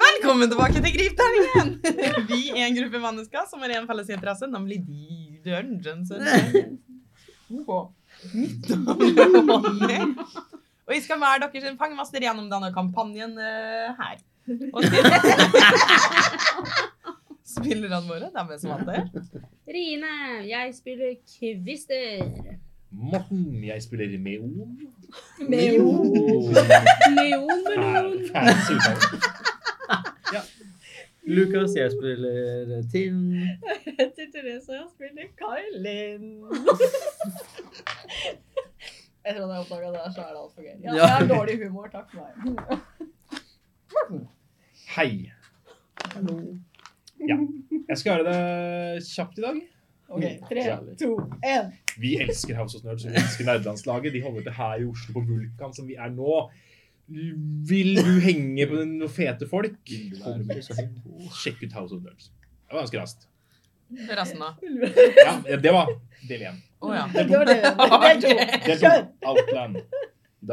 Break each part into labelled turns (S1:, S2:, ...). S1: Velkommen tilbake til Gripterningen! Vi er en gruppe mennesker som har en felles interesse, nemlig de Dungeons and Dragons. Ok. Mitt navn er Ronny. Og jeg skal være deres en fangmester gjennom denne kampanjen eh, her. Og til- Spillerne våre, de er som vant det.
S2: Rine, jeg spiller Kvister.
S3: Morten, jeg spiller Meon.
S2: Neon
S3: Fæl-
S2: Melon.
S3: fæl uttale.
S4: Lukas, jeg spiller eh, Tim.
S2: Heter Therese, og jeg spiller Kailin. Etter at jeg oppdaga det, så er det altfor gøy. Ja,
S4: Ja.
S2: jeg har dårlig humor, takk for meg.
S3: Hei. Ja. Jeg skal gjøre det kjapt i dag.
S2: OK, tre,
S4: Kjærlig.
S2: to, én.
S3: Vi elsker House of Nerds, og vi elsker nerdelandslaget. De holder til her i Oslo på Vulkan, som vi er nå. Vil du henge på noen fete folk? Kom hit. Sjekk ut House of Nerds. Det var ganske raskt.
S1: Resten av.
S3: Ja, det var del én.
S1: Å ja.
S2: Det var det. Det er to.
S3: Del to, Outland. I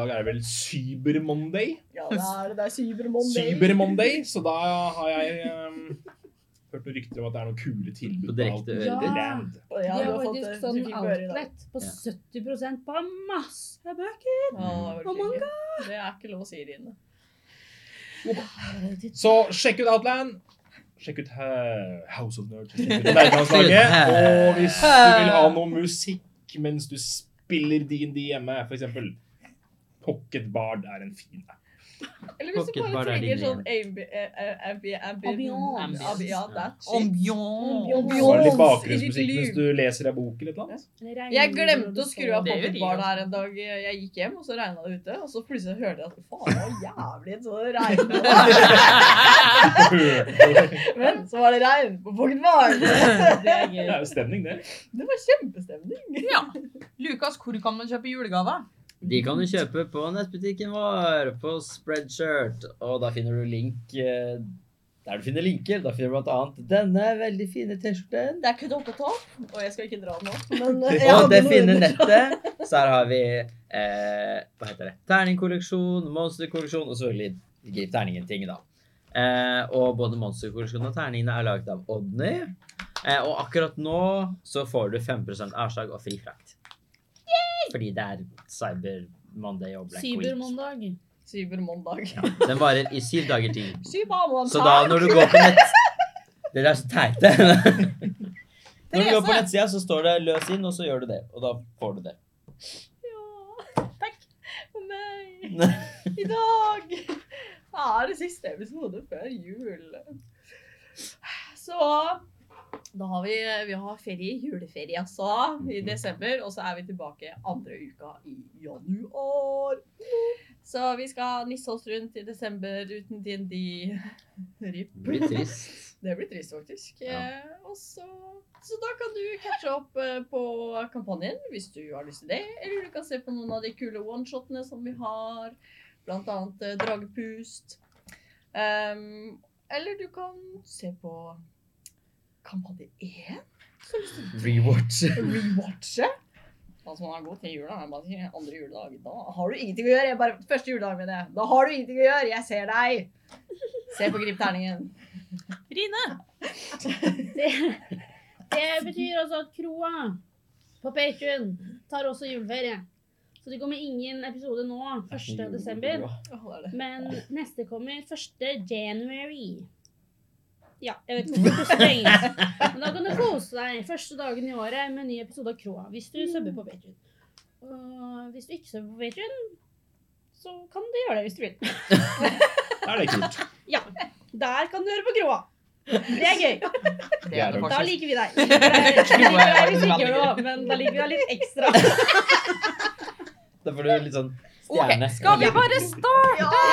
S3: dag er det vel Cyber Monday.
S2: Ja, det er det. Det er Cyber-Monday.
S3: Cyber Monday, så da har jeg ehm, hørt noen rykter om at det er noen kule tilbud
S4: På
S3: på
S4: direkte
S3: Outland.
S4: øre.
S5: Ja.
S3: Land.
S5: Vi
S2: Ja, du
S5: har
S2: har fått det.
S5: faktisk
S2: Du
S5: sånn
S2: fikk høre det.
S5: outlet på
S4: Ja.
S5: 70 på masse bøker.
S2: Ja, det var
S5: Oh my
S2: ikke gøy. Det er ikke lov å si, Rine.
S3: Så sjekk ut Outland. Sjekk ut eh, House of Nerds. Sjekk ut Nerdelandslaget. Og hvis du vil ha noe musikk mens du spiller DND hjemme, for eksempel Pocket Bard er en fin app.
S2: Eller hvis du
S4: Pocket
S2: bare
S4: bar er
S2: trenger
S4: din
S2: sånn ambi... eh, eh, ambi... ambi...
S5: Ambiance.
S2: ambi- Ja, that shit.
S1: Ambiance.
S3: Så er det litt
S2: Ambiance i ditt
S3: bakgrunnsmusikk
S2: liv.
S3: mens du leser ei bok eller noe.
S2: Jeg glemte å skru av
S1: Det gjør jeg
S2: pocket bar
S1: også.
S2: her en dag. Jeg gikk hjem, og så regna det ute. Og så plutselig hørte jeg at faen, det var jævlig så det regna. Men så var det regn på pocket bar.
S5: Det er
S3: Det
S5: gøy.
S3: er jo stemning, det.
S2: Det var kjempestemning.
S1: Ja. Lukas, hvor kan man kjøpe julegaver?
S4: De kan du kjøpe på nettbutikken vår, på Spreadshirt. Og da finner du link eh, der du finner linker. Da finner du blant annet denne veldig fine T-skjorten.
S2: Det er kun oppe på, og jeg skal ikke dra den opp, men eh, jeg
S4: Og
S2: hadde
S4: det
S2: noe
S4: fine
S2: under.
S4: nettet. Så her har vi eh, hva heter det? terningkolleksjon, monsterkolleksjon og selvfølgelig Grip terningen-ting, da. Eh, og både monsterkolleksjonen og terningene er laget av Odny. Eh, og akkurat nå så får du 5 avslag og fri frakt. Fordi det er Cyber Monday og Black Week.
S5: Cybermandag.
S2: Cybermandag.
S4: Ja, den varer i syv dager til.
S2: Cybermandag.
S4: Så da når du går på nett Dere er så teite. Når du går på
S1: Therese.
S4: nettsida, så står det 'løs inn', og så gjør du det. Og da får du det.
S2: Ja. Takk. Å nei. I dag er det siste episode før jul. Så da har vi, vi har ferie, juleferie altså, i desember, og så er vi tilbake andre uka i januar. Så vi skal nisse oss rundt i desember uten DND. Rip.
S4: Det blir trist.
S2: Det blir trist, faktisk.
S4: Ja.
S2: Eh, og så, så da kan du catche opp eh, på kampanjen hvis du har lyst til det. Eller du kan se på noen av de kule oneshotene som vi har. Blant annet eh, Dragepust. Ehm, eller du kan se på kampanje 1. Så hvis du
S4: Rewatch.
S2: rewatcher Altså, man er god til jula. Jeg bare sier andre juledag. Da har du ingenting å gjøre. Jeg bare, første juledag, mener jeg. Da har du ingenting å gjøre. Jeg ser deg. Se på Grip terningen.
S1: Rine.
S5: Det, det betyr altså at kroa på Patreon tar også juleferie. Så det kommer ingen episode nå, 1. desember.
S2: Åh, det er det.
S5: Men neste kommer 1. january. Ja, jeg vet ikke hvorfor det er så lenge. Men da kan du kose deg første dagen i året med en ny episode av Kroa. Hvis du subber på Patreon. Og hvis du ikke subber på Patreon, så kan du gjøre det hvis du vil.
S3: Da er det kult.
S5: Ja, der kan du høre på Kroa. Det er gøy.
S1: Det er det
S5: Da
S1: faktisk.
S5: liker vi deg. Vi liker deg hvis du ikke gjør det, men da liker vi deg litt ekstra.
S4: Da får du litt sånn
S1: Ok,
S4: stjerne.
S1: skal vi bare starte?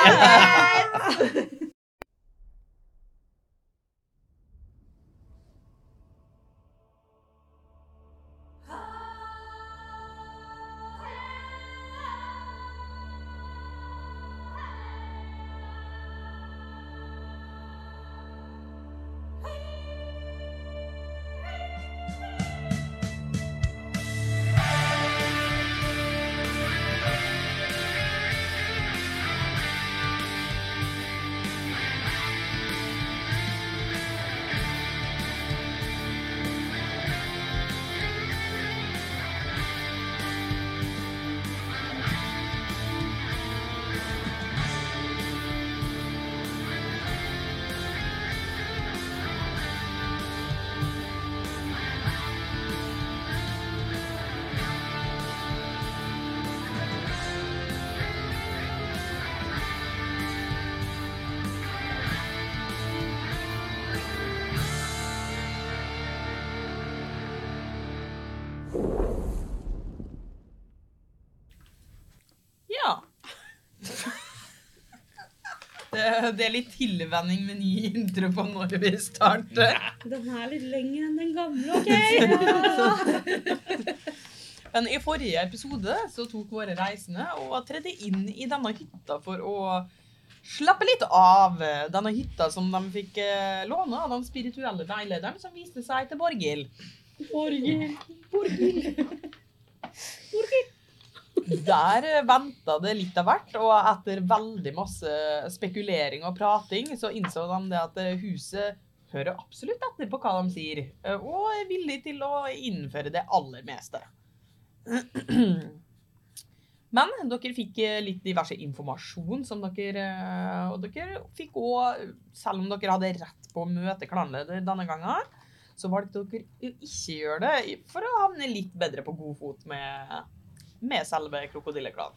S1: Ja. Det, det er litt tilvenning med ny intro på når vi starter.
S5: Den er litt lengre enn den gamle, OK?
S1: Men i forrige episode så tok våre reisende og tredde inn i denne hytta for å slappe litt av. Denne hytta som de fikk eh, låne av den spirituelle veilederen som viste seg til Borghild.
S6: Borghild.
S1: Der venta det litt av hvert, og etter veldig masse spekulering og prating, så innså de det at huset hører absolutt etter på hva de sier, og er villig til å innføre det aller meste. Men dere fikk litt diverse informasjon som dere Og dere fikk òg, selv om dere hadde rett på å møte klanleder denne gangen, så valgte dere å ikke gjøre det for å havne litt bedre på god fot med med selve krokodilleklanen.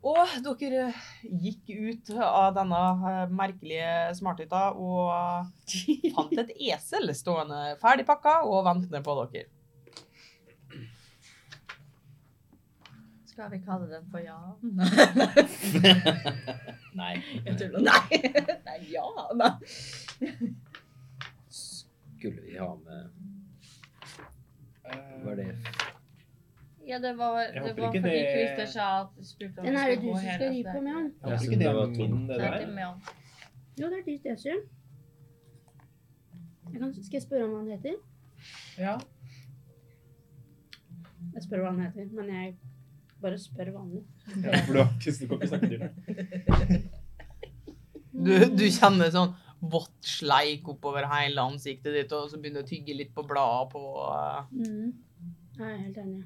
S1: Og dere gikk ut av denne eh, merkelige smarthytta og fant et esel stående ferdigpakka og ventende på dere.
S6: Skal vi kalle den for ja?
S4: Nei.
S6: Jeg tuller. Nei. Nei, ja. Nei.
S4: Skulle vi ha med
S3: Eh,
S4: Var det
S6: Ja, det var,
S3: Jeg
S6: det
S3: håper
S6: var
S3: ikke
S6: fordi
S3: det-
S6: Christer sa at du spurte om
S5: Den
S6: vi
S5: er det du
S6: gå
S5: som
S6: her
S5: skal ri
S6: etter.
S5: på med han.
S3: Jeg
S4: Ja,
S3: håper
S4: siden
S3: ikke Eh, det
S4: det var
S3: er min,
S4: to.
S3: det
S6: Det er
S3: der.
S6: ikke med han.
S5: Jo, det er ditt esel. Jeg kan, skal jeg spørre om hva han heter?
S3: Ja.
S5: Jeg spør hva han heter, men jeg bare spør vanlig.
S3: Ja, for du har ikke, du kan ikke snakke til det.
S1: Du, du
S5: Mm.
S1: kjenner sånn vått sleik oppover hele ansiktet ditt, og så begynner du å tygge litt på bladet på eh.
S5: Mm. Jeg er helt enig.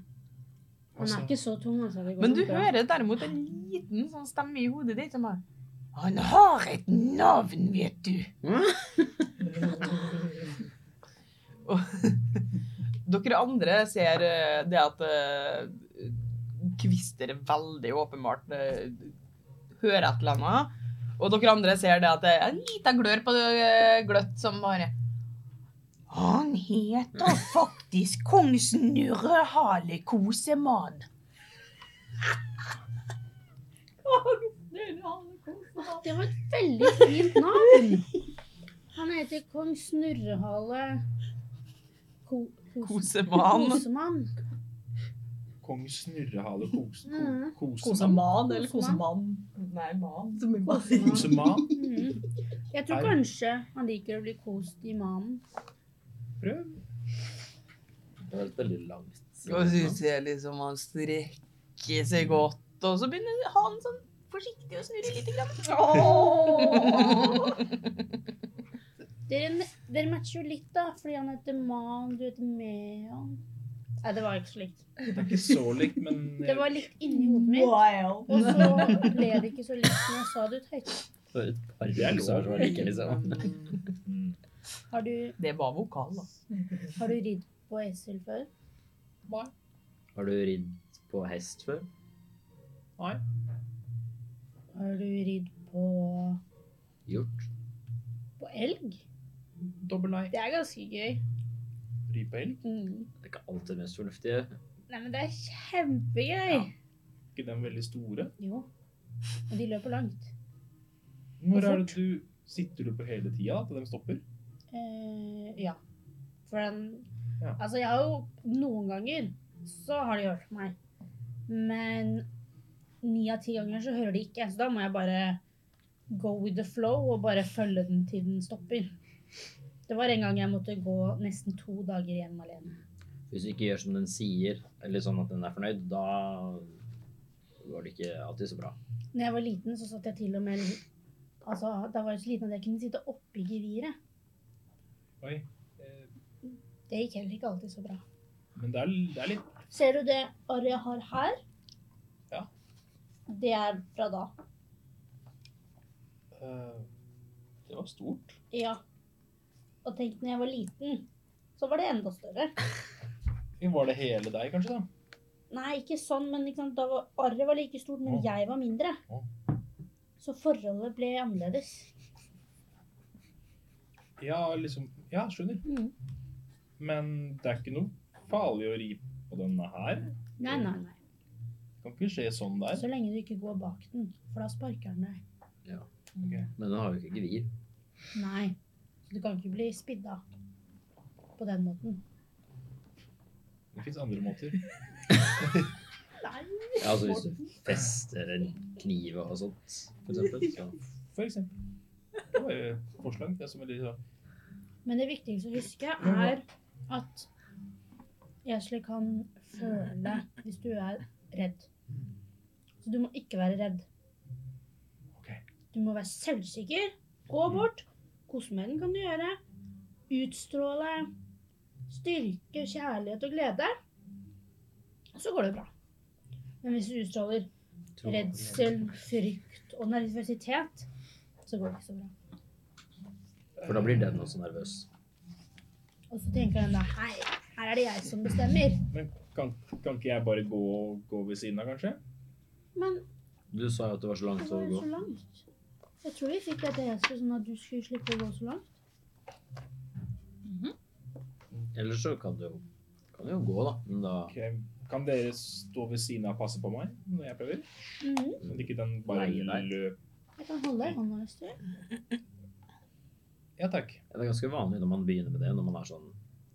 S5: Han
S3: Altså,
S5: er ikke så tung, altså. Det går
S1: Men
S5: nok
S1: du
S5: bra.
S1: hører derimot en liten sånn stemme i hodet ditt som er Han har et navn, vet du. Og dere andre ser eh, det at eh, Kvister veldig åpenbart eh, hører et eller annet. Og dere andre ser det at det er en liten glør på eh, gløtt som bare Han heter faktisk Kongsnurrehalekosemannen.
S5: Det var et veldig fint navn. Han heter kong Snurrehale Ko Kos
S1: Kosemann.
S5: Kosemann.
S3: Kong Snurrehale Kos- Ko-
S5: Mm.
S3: Kosemann.
S6: Koseman eller kosemann? Nei, man. Som er bare-
S5: Kosemann.
S3: Kosemann.
S5: Mm. Jeg tror
S3: Au.
S5: kanskje han liker å bli kost i manen.
S3: Prøv.
S4: Det var et veldig langt
S1: Og så ser jeg liksom han strekker seg godt, og så begynner han sånn forsiktig å snurre litt. Grann.
S5: Dere, dere matcher jo litt, da, fordi han heter Man, du heter Meon. Nei, det var ikke så likt.
S3: Det er ikke så likt, men
S5: Det var litt inni hodet mitt.
S6: Wild.
S5: Og så ble det ikke så likt når jeg sa det ut høyt.
S4: For et par
S3: Det er lov.
S4: bokstaver som var like, liksom.
S3: Mm.
S5: Har du,
S1: Det var vokal, da.
S5: har du ridd på esel før?
S4: Har du ridd på hest før?
S5: Har du ridd på,
S4: Gjort?
S5: på elg?
S3: Dobbel nei.
S5: Det er ganske gøy.
S3: Rypeelg.
S5: Mm.
S4: Det er ikke alltid det mest fornuftige.
S5: Nei, men det er kjempegøy.
S3: Ikke den veldig store.
S5: Jo. Og de løper langt.
S3: Når er det du Sitter du på hele tida da, til de stopper?
S5: Eh, ja. For den
S3: Ja.
S5: Altså, jeg har jo Noen ganger så har de hørt meg. Men ni av ti ganger så hører de ikke. Så da må jeg bare go with the flow og bare følge den til den stopper. Det var en gang jeg måtte gå nesten to dager hjem alene.
S4: Hvis du ikke gjør som den sier, eller sånn at den er fornøyd, da går det ikke alltid så bra.
S5: Når jeg var liten, så satt jeg til og med Altså, Da var jeg så liten at jeg kunne sitte oppi geviret.
S3: Oi. Eh,
S5: Det gikk heller ikke alltid så bra.
S3: Men det er, det er litt
S5: Ser du det arret jeg har her?
S3: Ja.
S5: Det er fra da.
S3: eh, Det var stort.
S5: Ja. Og tenk når jeg var liten, så var det enda større.
S3: Var det hele deg, kanskje? da?
S5: Nei, ikke sånn, men ikke sant, da var, arret var like stort, men
S3: Å.
S5: jeg var mindre.
S3: Å.
S5: Så forholdet ble annerledes. Mm.
S3: Ja, liksom Ja, skjønner. Men det er ikke noe farlig å ri på denne her.
S5: Nei, nei, nei.
S3: Det kan ikke skje sånn der.
S5: Så lenge du ikke går bak den, for da sparker den deg.
S4: Men den har jo ikke gevir.
S5: Nei. Så du kan ikke bli spidda på den måten.
S3: Det fins andre måter.
S5: Nei.
S4: Ja, altså hvis du fester en kniv og sånt, for eksempel. Så.
S3: For eksempel. Det var jo et forslag. Det er som er litt sånn.
S5: Men det viktigste å huske er at Esli kan føle hvis du er redd. Så du må ikke være redd.
S3: Ok.
S5: Du må være selvsikker. Gå bort. Kose med den kan du gjøre. Utstråle styrke, kjærlighet og glede. Så går det bra. Men hvis du utstråler redsel, frykt og nervøsitet, så går det ikke så bra.
S4: For da blir den også nervøs.
S5: Og så tenker den da Hei, her er det jeg som bestemmer.
S3: Men kan, kan ikke jeg bare gå, gå ved siden av, kanskje?
S5: Men
S4: Du sa jo at det var så
S5: det
S4: langt å
S5: var jo
S4: gå.
S5: så langt. Jeg tror vi fikk dette hestet sånn at du skulle slippe å gå så langt.
S4: Ellers så kan du jo kan du jo gå, da. Men da
S3: Ok, Kan dere stå ved siden av og passe på meg når jeg prøver?
S5: Mhm.
S3: Sånn at ikke den bare
S4: Leie deg.
S3: løper.
S5: Jeg kan holde deg i hånda hvis du vil.
S3: Ja takk.
S4: Ja, Det er ganske vanlig når man begynner med det, når man er sånn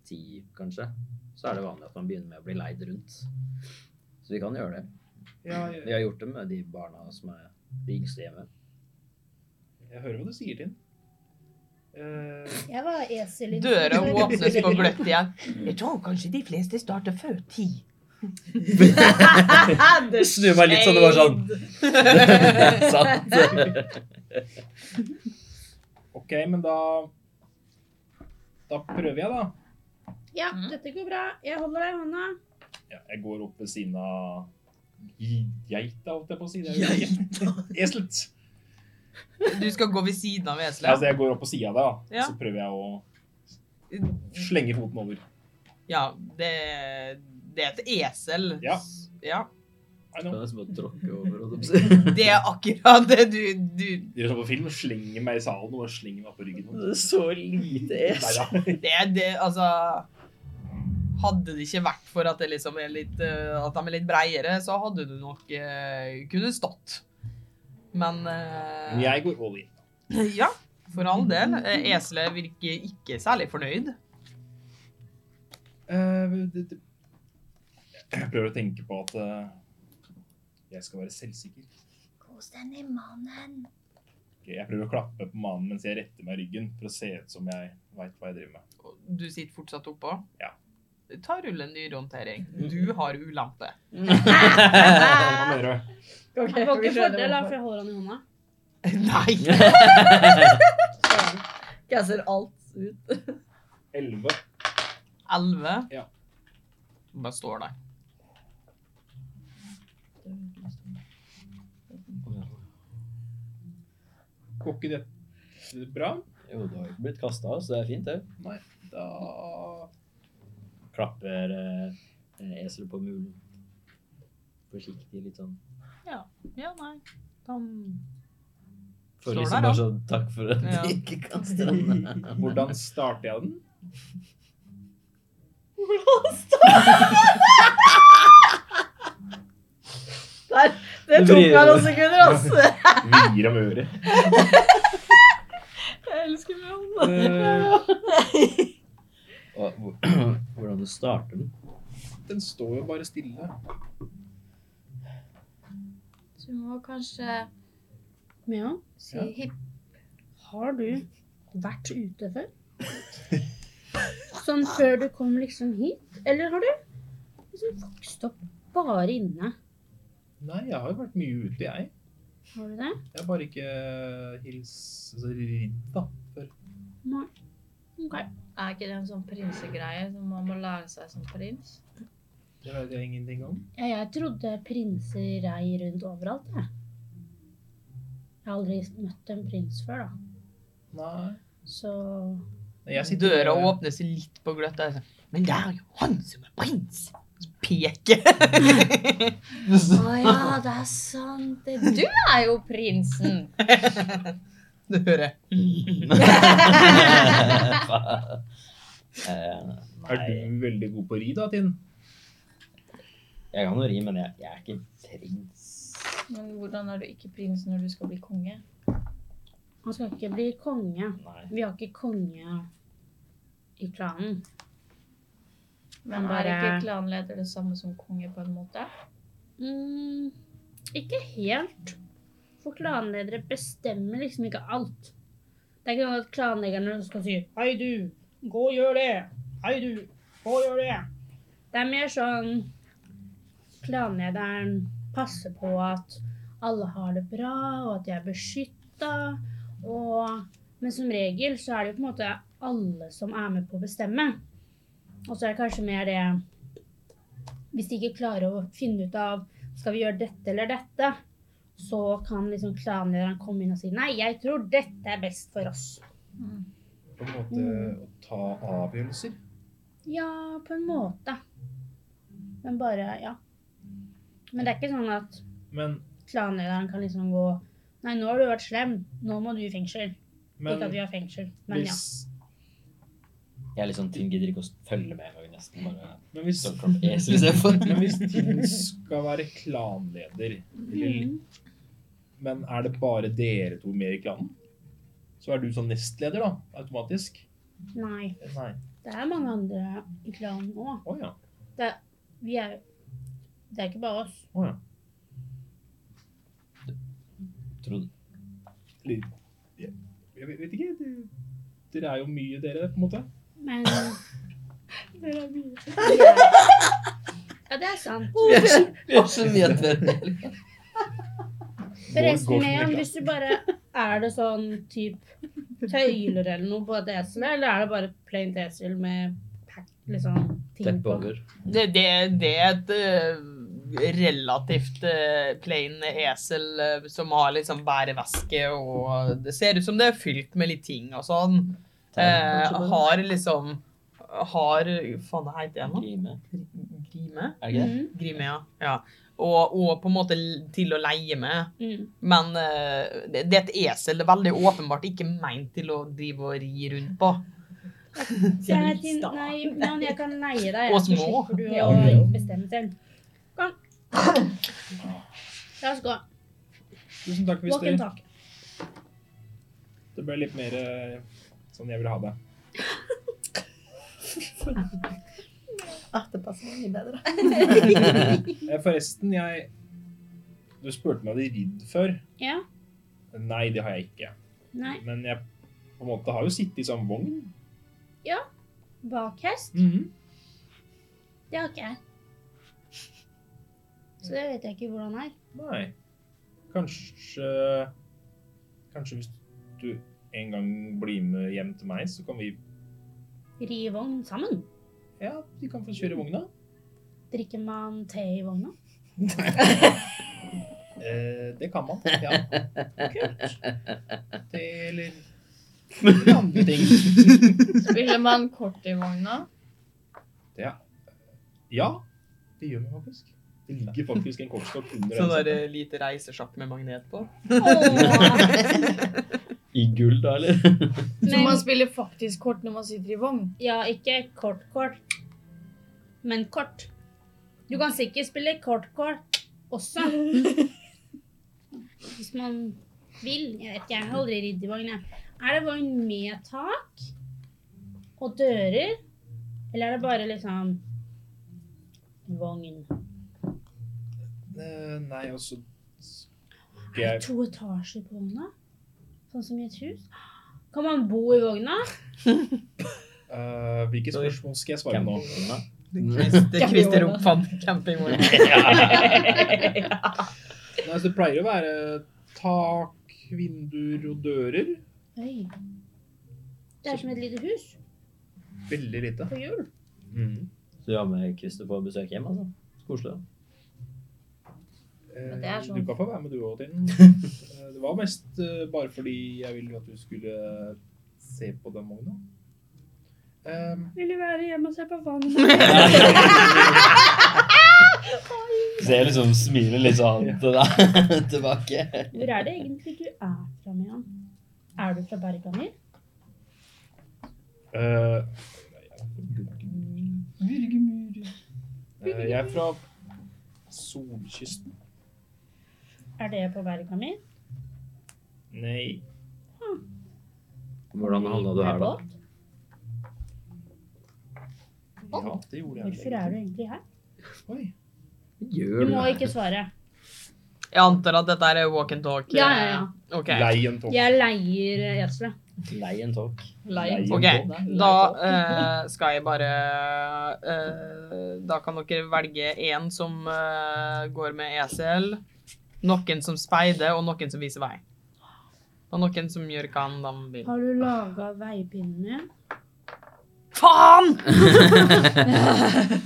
S4: ti, kanskje. Så er det vanlig at man begynner med å bli leid rundt. Så vi kan gjøre det.
S3: Ja,
S4: Vi
S3: jeg,
S4: har gjort det med de barna som er de yngste hjemme.
S3: jeg hører hva du sier, Tinn. Eh,
S5: Jeg var esel i
S1: Døra åpnes på gløtt igjen. Jeg tror kanskje de fleste starter før ti.
S4: Det snur meg litt sånn, det var sånn. Sant.
S3: ok, men da Da prøver jeg, da.
S5: Ja,
S1: Mhm.
S5: dette går bra. Jeg holder deg i hånda.
S3: Ja, jeg går opp ved siden av geita, holdt jeg på å si. Det er jo ikke- Eselet.
S1: Du skal gå ved siden av
S3: Ja,
S1: eselet?
S3: altså, jeg går opp på sida av deg, da.
S1: Ja.
S3: Så prøver jeg å slenge foten over.
S1: Ja, det, det er et esel.
S3: Ja.
S1: ja.
S3: I know.
S1: Det er akkurat det du, du
S3: Dere som sånn på film slenger meg i salen og bare slenger meg på ryggen.
S4: Så lite es.
S3: Neida.
S1: Det er det, altså Hadde det ikke vært for at, det liksom er litt, eh, at de er litt breiere, så hadde du nok eh, kunne stått. Men eh,
S3: Men jeg går all in.
S1: Ja, for all del. Eh, Eselet virker ikke særlig fornøyd.
S3: Eh, det, det. Jeg prøver å tenke på at eh, jeg skal være selvsikker.
S5: Kos den i mannen.
S3: Ok, Jeg prøver å klappe på mannen mens jeg retter meg i ryggen for å se ut som jeg veit hva jeg driver med.
S1: Og Du sitter fortsatt oppå?
S3: Ja. Mm.
S1: Ta rull en dyrehåndtering. Du har ulempe.
S3: Hva mener du?
S5: Jeg får ikke fordel da, for jeg holder han i hånda.
S1: Nei!
S6: Gasser alt ut.
S3: Elleve.
S1: Elleve?
S3: Ja.
S1: Bare står der.
S3: Går ikke dette bra?
S4: Jo, du har jo ikke blitt kasta, så det er fint, det.
S3: Nei, da
S4: Klapper eh, eselet på mulen. Forsiktig, litt sånn.
S1: Ja, nei. Han-
S4: For
S1: Står
S4: liksom
S1: der, da.
S4: bare sånn takk for at
S1: Ja.
S4: du ikke kaster den.
S3: Hvordan starter jeg den?
S6: Der, det tok meg noen sekunder, ass.
S3: Vrir om øret.
S6: Jeg elsker meg hånda.
S3: Eh,
S4: Og hvor- hvordan du starter den.
S3: den står jo bare stille.
S2: Så du må kanskje
S5: Mia,
S2: si
S3: Ja.
S2: hipp.
S5: har du vært ute før? Sånn før du kom liksom hit? Eller har du liksom vokst opp bare inne?
S3: Nei, jeg har jo vært mye ute, jeg.
S5: Har du det?
S3: Jeg har bare ikke eh, hils... Altså, ridd, da. Før.
S5: Nei. Ok.
S2: Er ikke det en sånn prinsegreie som man må lære seg som prins?
S3: Det vet jeg ingenting om.
S5: Ja, jeg trodde prinser rei rundt overalt, jeg. Jeg har aldri møtt en prins før, da.
S3: Nei.
S5: Så
S3: Nei, Jeg sitter
S1: Døra åpnes litt på gløtt. Der. Men det er jo han som er prins! Peke.
S2: Å ja, det er sant. det. Du er jo prinsen.
S1: Du hører.
S4: Eh,
S3: Er
S4: nei,
S3: du veldig god på å ri, da, Tinn?
S4: jeg kan jo ri, men jeg, jeg er ikke prins.
S2: Men hvordan er du ikke prins når du skal bli konge?
S5: Han skal ikke bli konge.
S4: Nei.
S5: Vi har ikke konge i klanen.
S2: Men
S5: Han
S2: er
S5: bare-
S2: ikke klanleder det samme som konge på en måte?
S5: Mm, ikke helt. For klanledere bestemmer liksom ikke alt. Det er ikke sånn at klanlederne skal si Hei, du. Gå og gjør det. Hei, du. Gå og gjør det. Det er mer sånn Klanlederen passer på at alle har det bra, og at de er beskytta. Og Men som regel så er det jo på en måte alle som er med på å bestemme. Og så er det kanskje mer det hvis de ikke klarer å finne ut av skal vi gjøre dette eller dette, så kan liksom klanlederen komme inn og si nei, jeg tror dette er best for oss.
S3: På en måte å ta avgjørelser?
S5: Ja, på en måte. Men bare ja. Men det er ikke sånn at
S3: Men,
S5: klanlederen kan liksom gå Nei, nå har du vært slem. Nå må du i fengsel.
S3: men
S5: ikke at vi har fengsel, men ja.
S3: hvis,
S4: Jeg er litt sånn Tinn gidder ikke å følge med engang, nesten. Bare
S3: men, hvis,
S4: står Trump Acer istedenfor.
S3: men hvis Tinn skal være klanleder, eller,
S5: Mm.
S3: men er det bare dere to med i klanen? Så er du sånn nestleder, da, automatisk?
S5: Nei.
S3: Nei.
S5: Det er mange andre i klanen òg.
S3: Å ja.
S5: Vi er Det er ikke bare oss.
S3: Å ja.
S4: Trodde-
S3: Eller, Jeg jeg vet ikke. det- Dere er jo mye, dere, på en måte.
S5: Men
S6: Dere er mye.
S5: Ja, det er sant.
S4: Vi er så- vi er så mye etter.
S5: Forresten,
S3: Går- går som
S5: Meon,
S3: rekka.
S5: hvis du bare Er det sånn type tøyler eller noe på eselet, eller er det bare plain esel med pack, liksom, ting
S4: Teppe
S5: på?
S4: over.
S1: Det, det, det er et eh, relativt eh, plain esel eh, som har liksom bæreveske, og det ser ut som det er fylt med litt ting og sånn. Eh, har liksom Har Faen, det heter jeg nå?
S4: Grime.
S1: Grime?
S4: Er det ikke det?
S5: Mhm,
S1: Grime, ja. ja. Og, og på en måte l- til å leie med.
S5: mm.
S1: Men eh, det, det er et esel. Det er veldig åpenbart ikke meint til å drive og ri rundt på.
S5: Så jeg er til, nei, Meon, jeg kan leie deg,
S1: Og
S5: så
S1: små.
S5: slipper du
S1: Ja.
S5: å bestemme selv. Kom. La oss gå.
S3: Tusen takk hvis
S5: Walk and
S3: det,
S5: talk.
S3: det ble litt mer eh, sånn jeg vil ha det.
S6: Ah, det passer mye bedre.
S3: Eh, Forresten, jeg Du spurte meg om jeg hadde ridd før.
S5: Ja.
S3: Nei, det har jeg ikke.
S5: Nei.
S3: Men jeg på en måte har jo sittet i sånn vogn.
S5: Bakhest?
S3: Mhm.
S5: Det har ikke jeg. Så det vet jeg ikke hvordan er.
S3: Nei. Kanskje Kanskje hvis du en gang blir med hjem til meg, så kan vi
S5: Ri i vogn sammen.
S3: Ja, vi kan få kjøre vogna.
S5: Drikker man te i vogna?
S3: Eh, det kan man. Ja. Kult. Det eller eller andre ting.
S2: Spiller man kort i vogna?
S3: Ja, det gjør vi faktisk. Det ligger faktisk en kortstokk under
S1: Sånn
S3: den
S1: der eh, lite reisesjakk med magnet på.
S2: Åh.
S4: I gull, da, eller?
S2: Så
S5: Men-
S2: man spiller faktisk kort når man sitter i vogn?
S5: Ja, ikke kort-kort, men kort. Du kan sikkert spille kort-kort også. Hvis man vil. Jeg vet ikke, jeg har aldri ridd i vogn. jeg. Er det vogn med tak og dører, eller er det bare liksom vogn?
S3: Eh, Nei, og så
S5: Er
S3: skal
S5: det
S3: jeg
S5: to etasjer på vogna? Sånn som i et hus? Kan man bo i vogna?
S3: Eh, Hvilke spørsmål skal jeg svare på nå?
S4: Campingvogna.
S1: Det er Christer oppfant campingvogn.
S3: Nei, så det pleier å være tak, vinduer og dører.
S5: Oi. Det er som et lite hus
S3: Veldig lite.
S5: på hjul.
S1: Mm.
S4: Så du har med Christer på besøk hjem, altså? Koselig. da.
S3: Eh,
S2: Men det er sånn.
S3: Du kan få være med du òg, Tinn. Eh, Det var mest eh, bare fordi jeg ville at du skulle eh, se på den vogna. Eh,
S5: Vil du være hjemme og se på vannet?
S4: Så jeg liksom smiler litt sånn til deg tilbake.
S5: Hvor er det egentlig du er fra, Mian? Er du fra Berganger?
S3: eh,
S1: Burgermurer.
S3: Eh, Jeg er fra solkysten.
S5: Er det på verka mi?
S3: Nei.
S4: Hvordan havna du her, da?
S3: Ja, det gjorde jeg.
S5: Hvorfor er du egentlig her?
S3: Oi.
S5: Du
S4: Gjør
S5: må ikke svare.
S1: Jeg antar at dette er walk and talk.
S5: Ja, ja, ja.
S1: ja. Ok.
S3: Leien tok.
S5: Jeg leier eh, eselet.
S4: Lei en talk.
S3: Leien
S1: Ok,
S3: tok.
S1: Da eh, skal jeg bare eh, Da kan dere velge én som eh, går med esel, noen som speider, og noen som viser vei. Og noen som gjør hva de vil.
S5: Har du laga veipinnen min?
S1: Faen!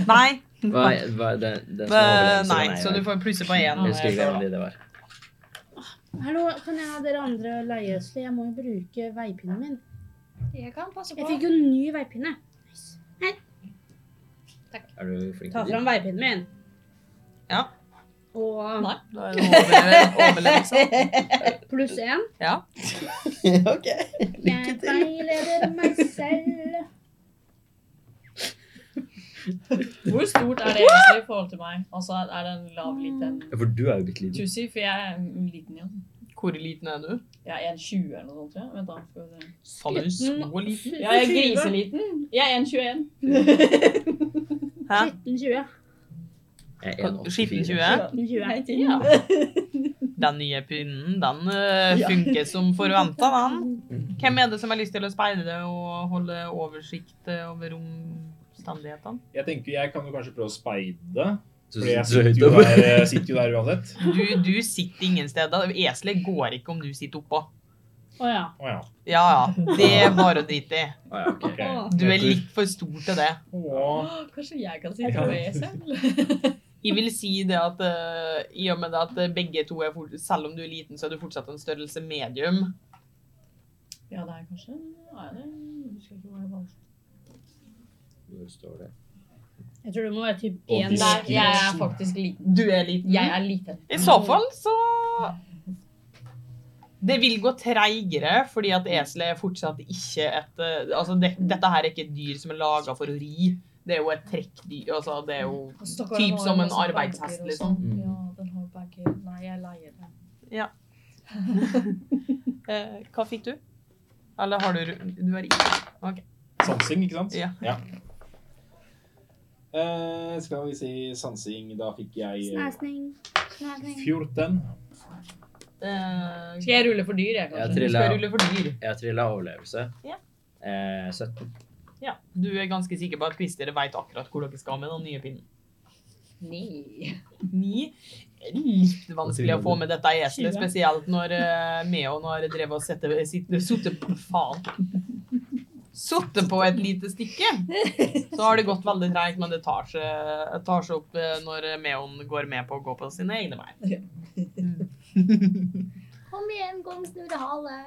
S1: Nei.
S4: Hva, hva, den, den
S1: Eh,
S4: som overlever,
S1: Nei,
S4: den er
S1: så
S4: jeg.
S1: du får plusse på én.
S4: Jeg Husker ikke hvem de det var.
S5: Hallo, kan jeg ha dere andre leie eselet? Jeg må jo bruke veipinnen min.
S2: Jeg kan passe
S5: Jeg
S2: på.
S5: fikk jo en ny veipinne.
S4: Er du flink
S5: Ta
S4: til det?
S5: fram veipinnen min.
S1: Ja.
S5: Og
S1: Nei, da er det overleve- liksom. overlevelse.
S5: pluss én.
S1: Ja.
S4: ok, lykke
S5: Jeg
S4: til.
S5: veileder meg selv.
S6: Hvor stort er det egentlig i forhold til meg? Altså, er det en lav, liten
S4: Ja, For du er jo bitte liten.
S6: tussi? For jeg er en liten, ja.
S1: Hvor liten er du?
S6: Jeg er 1,20 eller noe sånt, tror jeg. Vent da, skal vi se.
S1: Faen, er du så liten?
S6: Ja, jeg er griseliten. Jeg er 1,21.
S1: Hæ?
S5: 1320.
S4: Jeg er 1,84.
S1: Skitten 20?
S5: 1320.
S6: Ja.
S1: Den nye pinnen, den eh, funker som forventa, den. Hvem er det som har lyst til å speide og holde oversikt eh, over omstendighetene?
S3: Jeg tenker jeg kan jo kanskje prøve å speide.
S4: Så
S3: For jeg
S4: sitter
S3: sitter
S4: du
S3: jo
S4: høyt oppe.
S3: der, jeg sitter jo der uansett.
S1: Du, du sitter ingen steder. Eselet går ikke om du sitter oppå.
S5: Å ja.
S3: Å ja.
S1: Ja ja, det er bare å drite i.
S4: Å, ja, ok.
S3: ok.
S1: Du er litt for stor til det.
S3: Å,
S6: Kanskje jeg kan sitte E med esel?
S1: Jeg vil si det at eh, i og med det at eh, begge to er fort, Selv om du er liten, så er du fortsatt en størrelse medium.
S6: Ja, det er kanskje Nei, det husker jeg ikke hva jeg var.
S4: Hvor står det?
S5: Jeg tror du må være typ
S4: Og
S5: én
S4: hvis-
S6: Nei,
S5: der.
S6: jeg er faktisk liten.
S1: Du er liten.
S6: Jeg er liten.
S1: I så fall så Det vil gå treigere, fordi at eselet er fortsatt ikke et eh, Altså, det, dette her er ikke et dyr som er laga for å ri. Det er jo et trekkdyr. Altså, det er jo
S6: Stakkaren
S1: Typ
S6: har
S1: som en
S6: masse bager
S1: arbeidshest,
S6: og
S1: liksom.
S6: sånn.
S4: Mm.
S6: Ja, den har bager. Nei, jeg leier den.
S1: eh, Hva fikk du? Eller har du Du har ikke
S3: Sansing, ikke sant?
S1: Ja.
S3: Eh, skal vi si sansing, da fikk jeg eh,
S5: Snæsning. Snæsning.
S3: 14.
S1: eh,
S6: Skal jeg rulle for dyr,
S4: Jeg
S6: jeg, kanskje?
S1: Du Eh, skal
S4: trilla,
S1: rulle for dyr.
S4: jeg trilla overlevelse.
S1: Ja.
S4: Eh, 17.
S1: Ja. Du er ganske sikker på at Christer veit akkurat hvor dere skal med den nye pinnen.
S6: Nei.
S1: Ni er litt vanskelig å få med dette eselet,
S5: Tjue.
S1: spesielt når eh, Meon har drevet og sette, sitte, suttet på faen. Suttet på et lite stykke. Så har det gått veldig treigt, men det tar seg, tar seg opp eh, når Meon går med på å gå på sine egne veier.
S2: Kom igjen, kom, snurre hale.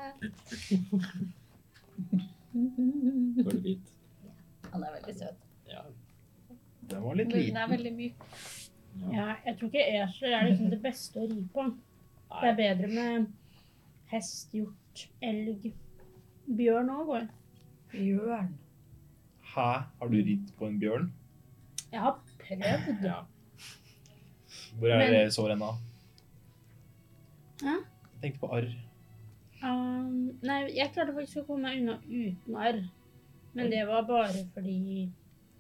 S4: Går det fint?
S2: Han er veldig søt.
S4: Ja.
S3: Den var litt
S2: Den
S3: liten.
S2: er veldig myk.
S5: Ja, jeg tror ikke esel er liksom det beste å ri på. Det er bedre med hest, hjort, elg. Bjørn òg går.
S6: Bjørn.
S3: Hæ? Har du ridd på en bjørn?
S5: Jeg har prøvd.
S3: Ja. Hvor er
S5: Men-
S3: det såret ennå?
S5: Hæ?
S3: Jeg tenkte på arr.
S5: Um, nei, jeg klarte faktisk å komme meg unna uten arr. Men det var bare fordi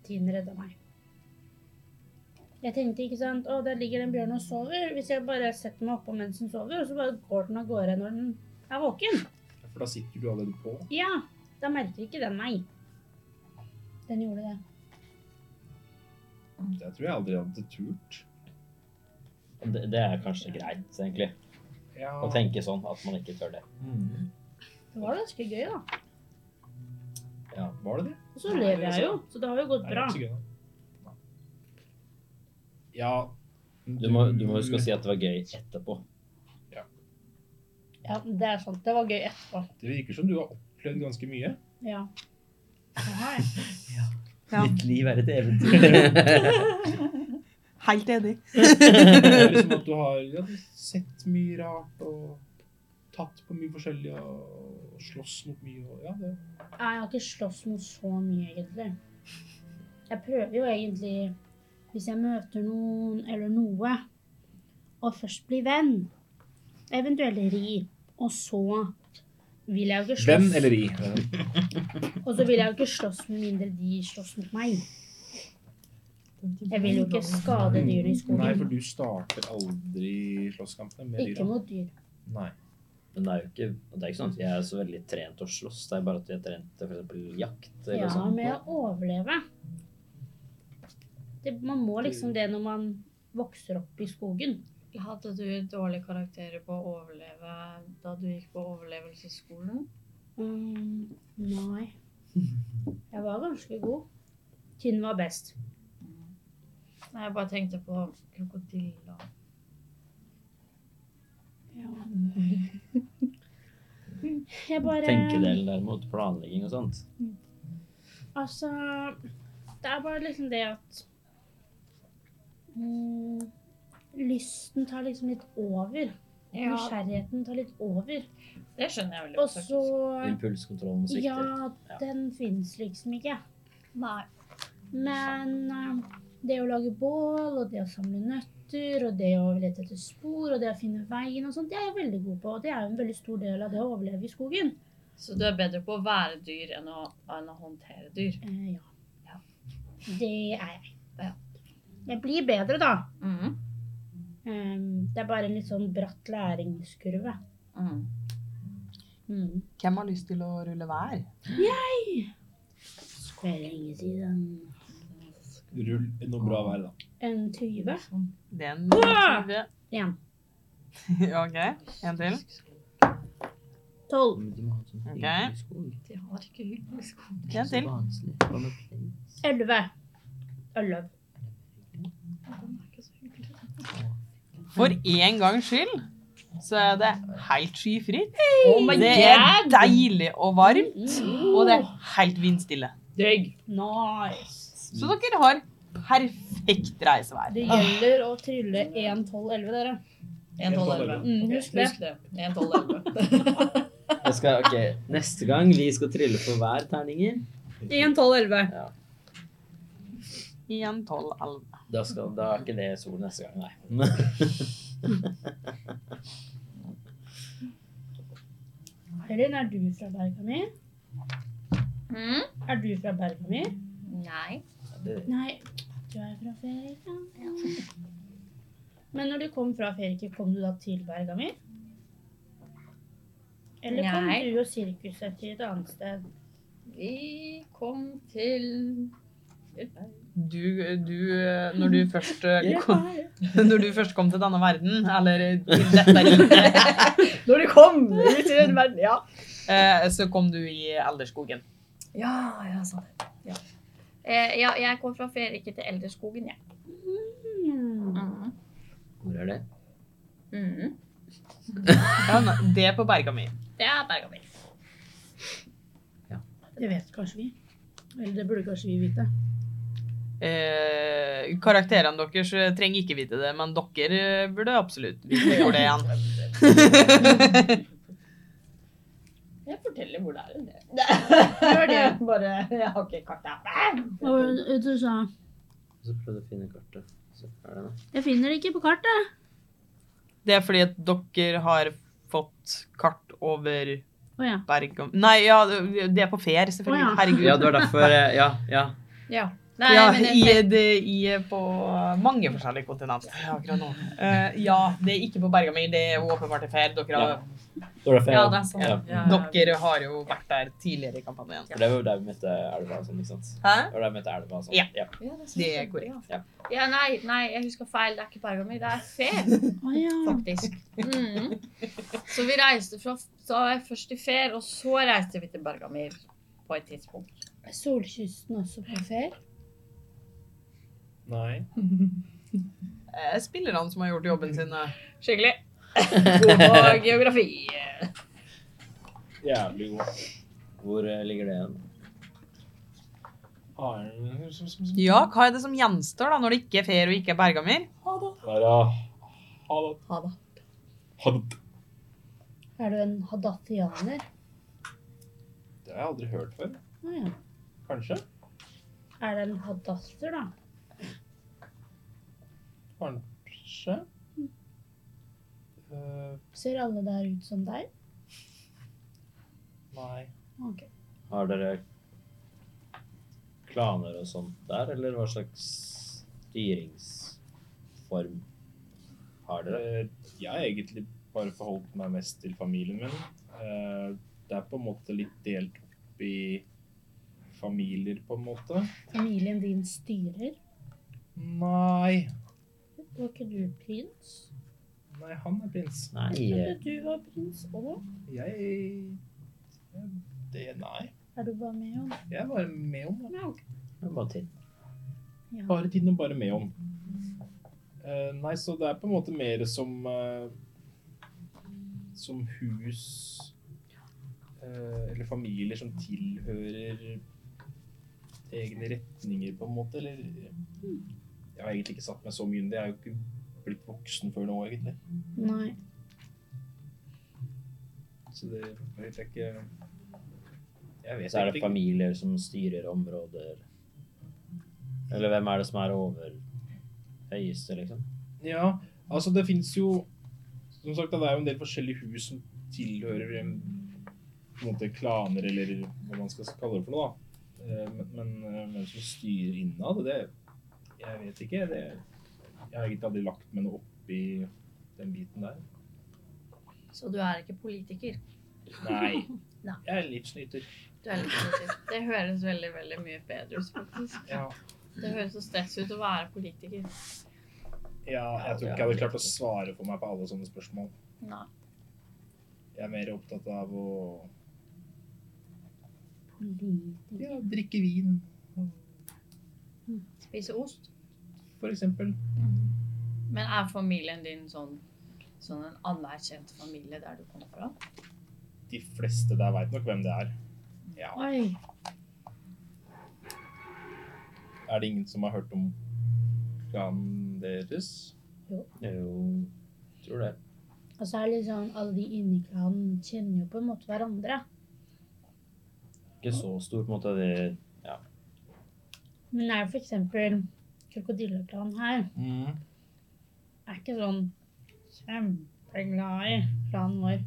S5: tiden redda meg. Jeg tenkte ikke sant Å, der ligger den bjørnen og sover. Hvis jeg bare setter meg oppå mens den sover, og så bare går den av gårde når den er våken.
S3: For da sitter du allerede på.
S5: Ja, da merker ikke den meg. Den gjorde det.
S3: Jeg tror jeg aldri hadde turt.
S4: Det, det er kanskje greit, egentlig.
S3: Ja.
S4: Å tenke sånn at man ikke tør det.
S3: Mm.
S5: Det var ganske gøy, da.
S3: Ja, var det det?
S5: Og så lever jeg jo, så det har jo gått
S3: Nei,
S5: bra.
S3: jeg er ikke så gøy nå. Ja.
S4: Du må, du må huske å si at det var gøy etterpå.
S5: Ja, Det er sant. Det var gøy etterpå.
S3: Det virker som du har opplevd ganske mye.
S5: Ja. Det har jeg.
S1: Ja.
S4: Mitt liv er et eventyr.
S1: Helt enig.
S3: Det er liksom at du har ja, du har sett mye rart og tatt på mye forskjellig og slåss mot mye og ja, det
S5: Nei, Jeg har ikke slåss mot så mye, egentlig. Jeg prøver jo egentlig, hvis jeg møter noen eller noe, å først bli venn. Eventuelt ri. Og så vil jeg jo ikke
S3: Venn
S5: slåss.
S3: eller i?
S5: Og så vil jeg jo ikke slåss med mindre de slåss mot meg. Jeg vil jo ikke skade dyrene i
S3: Nei, for
S5: skogen.
S3: du starter aldri slåsskampene med
S5: Ikke
S3: dyra.
S5: mot dyr.
S3: Nei.
S4: Men det er jo ikke, det er ikke sånn at jeg er så veldig trent til å slåss. Det er bare at jeg er trent til for eksempel jakt eller
S5: Ja,
S4: sånn.
S5: med å overleve. Det, man må liksom det når man vokser opp i skogen.
S2: Hadde du dårlige karakterer på å overleve da du gikk på overlevelsesskolen?
S5: Mm, nei. Jeg var ganske god. Tinn var best.
S2: Nei, jeg bare tenkte på krokodiller.
S5: Jeg bare
S4: Tenkedelen derimot, planlegging og sånt.
S5: Altså Det er bare liksom det at mm, Lysten tar liksom litt over.
S2: Ja,
S5: Nysgjerrigheten tar litt over.
S2: det skjønner jeg veldig
S5: Og
S2: godt.
S5: så
S4: Impulskontrollen svikter.
S5: Ja, den fins liksom ikke.
S2: Nei.
S5: Men eh, det å lage bål, og det å samle nøtter, og det å lete etter spor, og det å finne veien og sånt, det er jeg veldig god på. Og det er jo en veldig stor del av det å overleve i skogen.
S2: Så du er bedre på å være dyr enn å, enn å håndtere dyr?
S5: Eh, ja.
S2: Ja.
S5: Det er jeg.
S2: Ja.
S5: Jeg blir bedre, da.
S2: Mm.
S5: Ehm, det er bare en litt sånn bratt læringskurve.
S2: Mm.
S5: Mm.
S1: Hvem har lyst til å rulle hver?
S5: For lenge siden.
S3: Rull noe bra vær, da.
S5: En 20.
S1: Det er en tyve.
S5: Igjen.
S1: Ja, OK. En til.
S5: 12.
S4: Men de må ha en
S1: Ok.
S4: sånn hyggelig skog.
S2: De har ikke hyggelig skole.
S4: Det er
S1: En
S4: så
S1: til.
S4: vanskelig. Hva med planes?
S5: 11. Elleve.
S2: Den er ikke så hyggelig.
S1: For en gangs skyld så er det helt skyfritt.
S2: Oh my
S1: Det er deilig og varmt,
S6: Mm.
S1: og det er helt vindstille.
S2: Digg.
S5: Nice.
S1: Så
S6: Mm.
S1: dere har perfekt reisevær.
S5: Det gjelder å trylle 1, 12, 11, dere.
S2: 1, 12, 11.
S5: Mm, husk det.
S2: Husk det. 1, 12, 11.
S4: Jeg skal, ok, Neste gang vi skal trille for hver terninger,
S5: 1, 12, 11.
S1: Igjen 12, 11.
S4: da, skal, da er ikke det sol neste gang, nei.
S5: Elin, er du fra Bergami? Er du fra Bergami?
S2: Mm. Nei.
S4: Det,
S5: Nei, du er fra Ferika. Men når du kom fra Ferika, kom du da til Bergami? Eller kom
S2: Nei.
S5: du og sirkuset til et annet sted?
S2: Vi kom til
S1: Du, du, når du først eh, kom, når du først kom til denne verden, eller til dette riket,
S6: Når du kom ut i den verden, ja.
S1: eh, så kom du i Elderskogen.
S2: Ja, ja, sånn. Ja. Eh, ja, jeg kom fra Ferike til Elderskogen, jeg.
S5: Mm.
S2: Mm.
S4: hvor er det?
S2: Mm.
S1: Ja, nei, det er på berga mi.
S2: Det er Bergami.
S5: Det vet kanskje vi. Eller det burde kanskje vi vite.
S1: Eh, karakterene deres eh, trenger ikke vite det, men dere eh, burde absolutt vite hvor det er. igjen.
S2: Jeg forteller hvor det er en del.
S6: Gjør det. Bare, jeg har ikke kartet.
S5: Og du sa
S4: Så prøvde jeg å finne kartet. Så er det noe.
S5: 'Jeg finner det ikke på kartet'.
S1: Det er fordi at dere har fått kart over
S5: Å ja.
S1: Bergam... Nei, ja, det er på Fer, selvfølgelig.
S5: Å ja.
S1: Herregud.
S4: Ja, det var derfor eh, Ja, ja.
S2: Ja. Nei,
S1: ja,
S2: men
S1: i,
S2: jeg,
S1: det, i, eh, på mange forskjellige kontinent akkurat nå. Eh, ja, det er ikke på berga mi, det er åpenbart i Fer. Dere, har-
S4: Det var derfor jeg
S2: ja, det er sånn.
S4: Ja.
S2: Ja.
S1: dere har jo vært der tidligere i kampanjen.
S4: For det var jo der vi møtte elva og sånn, ikke sant?
S1: Hæ?
S4: Det var der vi møtte elva og sånn.
S1: Ja.
S4: ja.
S2: Ja, det er,
S1: Det er korrekt.
S4: Ja.
S2: Ja, nei, nei, jeg husker feil. Det er ikke Bergami, det er Fer,
S5: Å ja.
S2: faktisk. Mm. Så vi reiste fra Da var jeg først til Fer, og så reiste vi til Bergami på et tidspunkt.
S5: Solkysten også på fer?
S3: Nei.
S1: Eh, Spillerne som har gjort jobben sin. eh.
S2: Skikkelig. God på geografi.
S3: Jævlig god.
S4: Hvor eh, ligger det igjen?
S3: Arne
S1: Ja, hva er det som gjenstår da, når det ikke er Fer og ikke er Bergamir?
S3: Der, ja. Ha det.
S2: Ha det.
S3: Ha det.
S5: Er du en hadathianer?
S3: Det har jeg aldri hørt før.
S5: Å ja.
S3: Kanskje?
S5: Er det en hadaster, da?
S3: Kanskje? Øh,
S5: Ser alle der ut som deg?
S3: nei.
S5: Ok.
S4: Har dere klaner og sånt der, eller hva slags styringsform har dere?
S3: Eh, Jeg har egentlig bare forholdt meg mest til familien min. Eh, Det er på en måte litt delt opp i familier, på en måte.
S5: Familien din styrer.
S3: Nei.
S5: Var ikke du prins?
S3: Nei, han er prins.
S4: Nei,
S5: Trodde du var prins òg?
S3: Jeg jeg- det, Nei.
S5: Er du bare med om?
S3: Jeg er bare med om det.
S5: Ja, ok.
S4: det er bare titt.
S5: Ja.
S3: Bare tiden og bare med om. Eh, nei, så det er på en måte mer som eh, Som hus eh, Eller familier som tilhører egne retninger, på en måte. Eller Jeg har egentlig ikke satt meg så mye inn i det. Jeg er jo ikke blitt voksen før nå, egentlig.
S5: Nei.
S3: Så det jeg vet jeg ikke Jeg vet
S4: Så er det
S3: egentlig ikke.
S4: familier som styrer områder. Eller hvem er det som er over høyeste, liksom?
S3: Ja, altså det finnes jo Som sagt, det er jo en del forskjellige hus som tilhører em, på en måte klaner, eller hva man skal kalle det for noe, da. Eh, Men, men eh, hvem som styrer innad, det Jeg vet ikke. Det, jeg har egentlig aldri lagt meg noe opp i den biten der.
S2: Så du er ikke politiker.
S3: Nei.
S2: Nei.
S3: Jeg er livsnyter.
S2: Du er litt politiker. Det høres veldig veldig mye bedre ut, faktisk.
S3: Ja.
S2: Det høres så stress ut å være politiker.
S3: ja, jeg tror ikke jeg hadde klart å svare for meg på alle sånne spørsmål.
S2: Nei.
S3: Jeg er mer opptatt av å
S5: Politiker.
S3: ja, drikke vin,
S2: Spise ost.
S3: for eksempel.
S2: Mm. Men er familien din sånn, sånn en anerkjent familie der du kommer fra?
S3: De fleste der veit nok hvem det er. Ja.
S5: Oi.
S3: Er det ingen som har hørt om klanen deres?
S4: Jo, tror det.
S5: Og så er det liksom alle de inni klanen kjenner jo på en måte hverandre.
S4: Ikke så stor, på en måte. Det,
S5: Men er det for eksempel krokodilleklanen her,
S3: Mm.
S5: er ikke sånn kjempeglad i klanen vår.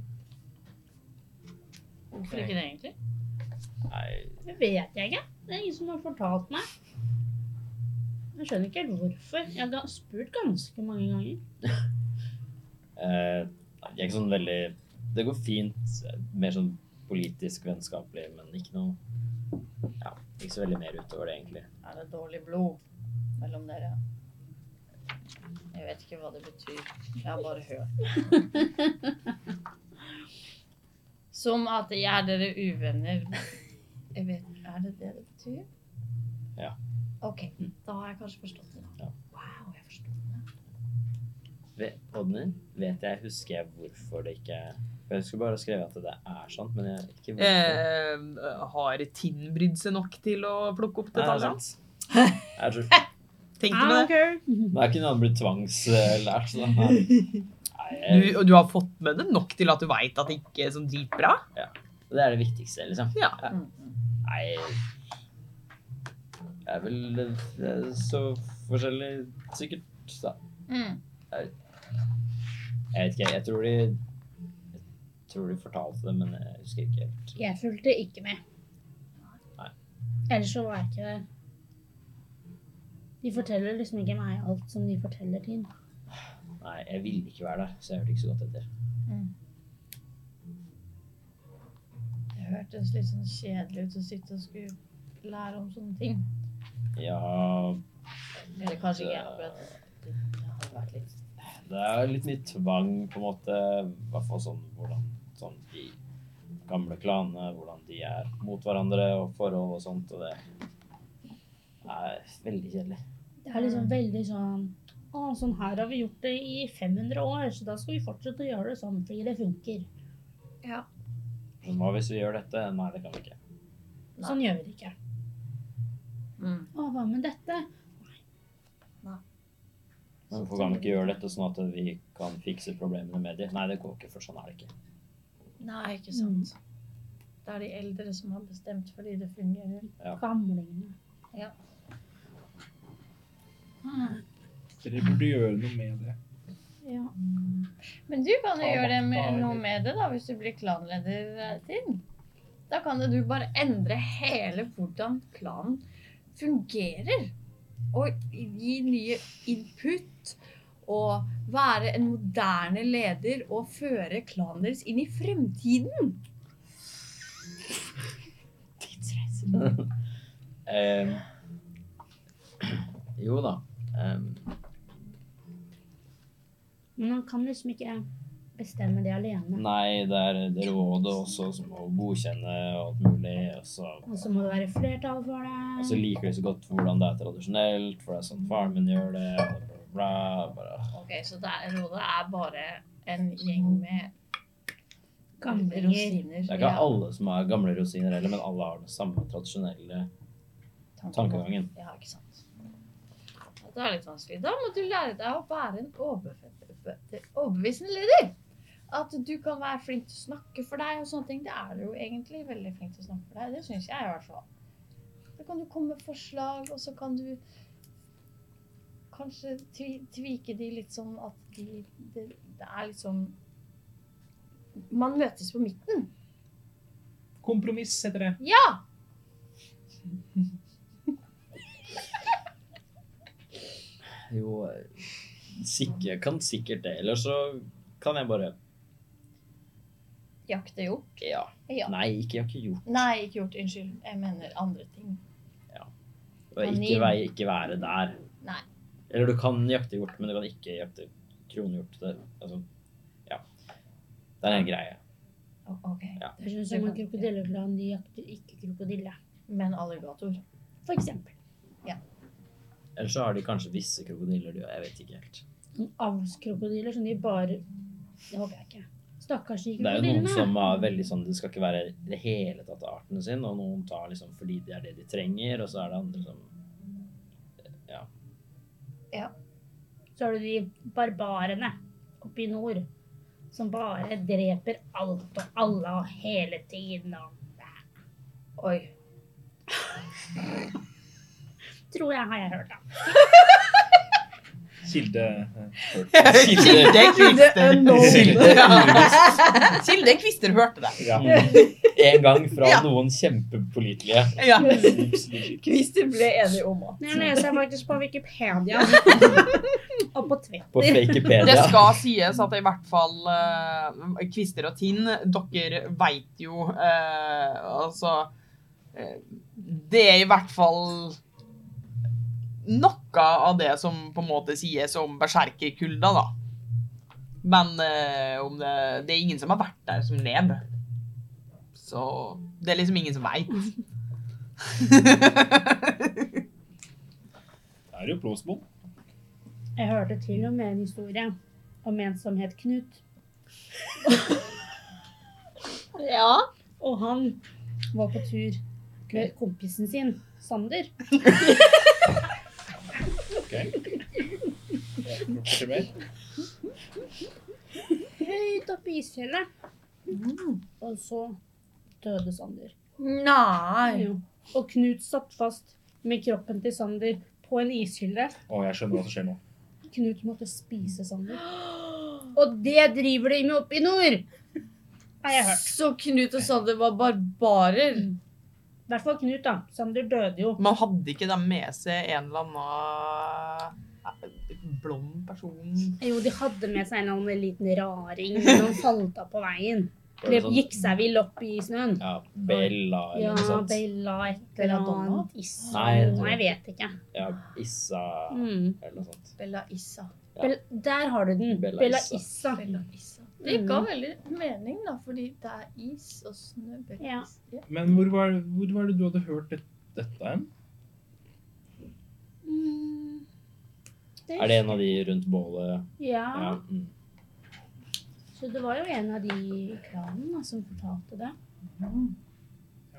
S2: Hvorfor ikke det, egentlig?
S4: nei,
S5: Det vet jeg ikke. Det er ingen som har fortalt meg. Jeg skjønner ikke helt hvorfor. Jeg har spurt ganske mange ganger.
S4: eh, nei, jeg er ikke sånn veldig Det går fint. Mer sånn politisk vennskapelig, men ikke noe Ja, ikke så veldig mer utover det, egentlig.
S2: Er det dårlig blod mellom dere? Jeg vet ikke hva det betyr. Jeg har bare hørt. Som at jeg er dere uvenner. Jeg vet, er det det det betyr?
S4: Ja.
S2: Ok, da har jeg kanskje forstått det.
S4: Ja.
S2: da. Wow, jeg forstod det.
S4: Ve- Odny, vet jeg, husker jeg hvorfor det ikke Jeg husker bare å skrive at det er sant, men jeg ikke hvorfor.
S1: Eh, har Tinn brydd seg nok til å plukke opp
S4: Nei, det er
S1: detaljene?
S4: sant. Jeg tror,
S1: Tenk
S5: Ah,
S1: på det.
S5: ok.
S4: da kunne han blitt tvangslært. Så da. Nei,
S1: Du,
S4: jeg,
S1: og du har fått med det nok til at du veit at det ikke er sånn dritbra?
S4: det er det viktigste, liksom.
S1: Ja.
S2: Mm, mm.
S4: Nei Jeg er vel det er så forskjellig, sikkert. Da.
S2: Mm.
S4: Jeg vet ikke, jeg tror de Jeg tror de fortalte det, men jeg husker ikke helt.
S5: Jeg fulgte ikke med.
S4: Nei.
S5: Ellers så var jeg ikke der. De forteller liksom ikke meg alt som de forteller til.
S4: Nei, jeg ville ikke være der, så jeg hørte ikke så godt etter.
S2: Det hørtes litt sånn kjedelig ut å sitte og skulle lære om sånne ting.
S4: Ja,
S2: Eller kanskje ikke akkurat. Det hadde vært litt
S4: det er litt mye tvang, på en måte. I hvert fall sånn hvordan sånn de gamle klanene, hvordan de er mot hverandre og forhold og sånt, og det er veldig kjedelig.
S5: Det er liksom veldig sånn Å, sånn her har vi gjort det i 500 år, så da skal vi fortsette å gjøre det sånn fordi det funker.
S2: Ja.
S4: Sånn, hva hvis vi gjør dette? Nei, det kan vi ikke.
S5: Sånn gjør vi det ikke.
S2: Mm.
S5: Å, hva med dette?
S4: Men Hvorfor kan vi ikke gjøre dette sånn at vi kan fikse problemene med de? Nei, det går ikke, for sånn er det ikke.
S2: Nei, ikke sant. Det er de eldre som har bestemt fordi det fungerer.
S4: Ja.
S5: Gamlingene.
S2: Ja.
S3: Dere burde gjøre noe med det.
S2: Ja. Men du kan
S3: Ta
S2: jo gjøre det med,
S3: makta,
S2: noe
S3: eller?
S2: med det da, hvis du blir klanleder eh, til. Da kan jo du bare endre hele hvordan klanen fungerer. Og gi nye input. Og være en moderne leder og føre klanen deres inn i fremtiden. Tidsreise.
S4: Ehm, jo da. ehm,
S5: Men han kan liksom ikke bestemme det alene.
S4: nei, det er det er rådet også som må godkjenne og alt mulig. Og så,
S5: Og så må det være flertall for
S4: og så
S5: det.
S4: Altså, liker de så godt hvordan det er tradisjonelt, for det er sånn faren min gjør det. og Bla, bla, bla.
S2: Ok, så det er, rådet er bare en gjeng med gamle
S5: Gamlinger.
S2: rosiner.
S4: Det er ikke alle som er gamle rosiner heller, men alle har den samme tradisjonelle
S2: Ja,
S4: tankegangen.
S2: Ja, ikke sant. Ja, Det er litt vanskelig. Da må du lære deg å være en overbe- overbevisende leder. At du kan være flink til å snakke for deg og sånne ting. Det er du jo egentlig veldig flink til å snakke for deg. Det syns jeg i hvert fall. Da kan du komme med forslag, og så kan du kanskje tvi, tvike de litt sånn at de det, det er litt sånn Man møtes på midten.
S3: Kompromiss heter det.
S2: Ja!
S4: Jo, sikkert, kan sikkert det. Eller så kan jeg bare
S2: Jakte jo.
S4: Ja.
S2: Ja.
S4: Nei, ikke, jeg har ikke gjort
S2: Nei, ikke gjort. Unnskyld. Jeg mener andre ting.
S4: det. Ikke,
S2: Kanin.
S4: vei- ikke være der.
S2: Nei.
S4: Eller du kan jakte hjort, men du kan ikke jakte kronhjort. Det, altså, ja. det er en greie.
S2: O- Ok.
S4: Ja.
S5: Det er sånn som en krokodilleklan, de jakter ikke krokodille.
S2: Men alligator.
S5: For eksempel.
S4: Eller så har de kanskje visse krokodiller, du. Jeg vet ikke helt.
S5: Sånn avlskrokodiller som de bare Det håper jeg ikke. Stakkars de
S4: Det er jo noen
S5: krokodillene.
S4: som er veldig sånn Det skal ikke være i det hele tatt av artene sin, og noen tar liksom fordi det er det de trenger, og så er det andre som
S5: Så har du de barbarene oppe i nord som bare dreper alt og alle og hele tiden og
S2: Oi.
S5: Tror jeg har jeg hørt, da.
S3: Kilde
S1: Kilde, kvister.
S3: Kilde.
S1: Kilde, kvister hørte det.
S3: Ja.
S4: En gang fra
S1: Ja.
S4: noen kjempepålitelige.
S1: Ja.
S2: Kvister ble enige om at
S5: Jeg leser faktisk på Wikipedia og på Twitter.
S4: På
S1: Det
S4: Fakepedia.
S1: skal sies at i hvert fall eh, Kvister og Tinn, dere veit jo eh, Altså eh, Det er i hvert fall noe av det som på en måte sies om berserkerkulda, da. Men eh, om det, det er ingen som har vært der som lev. Så det er liksom ingen som veit.
S3: Det er jo plåsbom.
S5: Jeg hørte til og med en historie om en som het Knut.
S2: Ja.
S5: Og han var på tur med kompisen sin, Sander.
S3: Ok. Fortell mer.
S5: Høyt oppe i isfjellet. Og så døde Sander.
S2: Nei.
S5: Jo. Og Knut satt fast med kroppen til Sander på en ishylle.
S3: Å, jeg skjønner hva som skjer nå.
S5: Knut måtte spise Sander. Og det driver de med oppe i nord! Har jeg hørt.
S2: Så Knut og Sander var barbarer.
S5: I hvert fall Knut, da. Sander døde jo.
S1: Man hadde ikke da med seg en eller annen eh, blond person
S5: Jo, de hadde med seg en eller annen liten raring som falt av på veien.
S4: Var
S5: Det
S4: det sånn-
S5: gikk seg vill opp i snøen.
S4: Ja, Bella
S5: Ja,
S4: eller noe sånt.
S5: Bella et eller
S2: Belladonna?
S5: annet. Issa.
S4: Nei, jeg tror-
S5: Nei, jeg vet ikke.
S4: Ja, Issa
S5: Mm.
S4: eller noe sånt.
S2: Bella Issa.
S4: Ja.
S5: Bel der har du den.
S4: Bella
S5: Bella
S4: Issa.
S5: Issa.
S2: Bella Issa. Det ga
S5: Mm.
S2: veldig mening, da, fordi det er is og snø. Bella
S5: Ja.
S2: Issa. Ja.
S3: Men hvor var, hvor var det du hadde hørt det, dette hen?
S5: Mm.
S4: Er det en av de rundt bålet? Ja.
S5: Ja.
S4: Mm.
S5: Så det var jo en av de i klanen da, som fortalte det.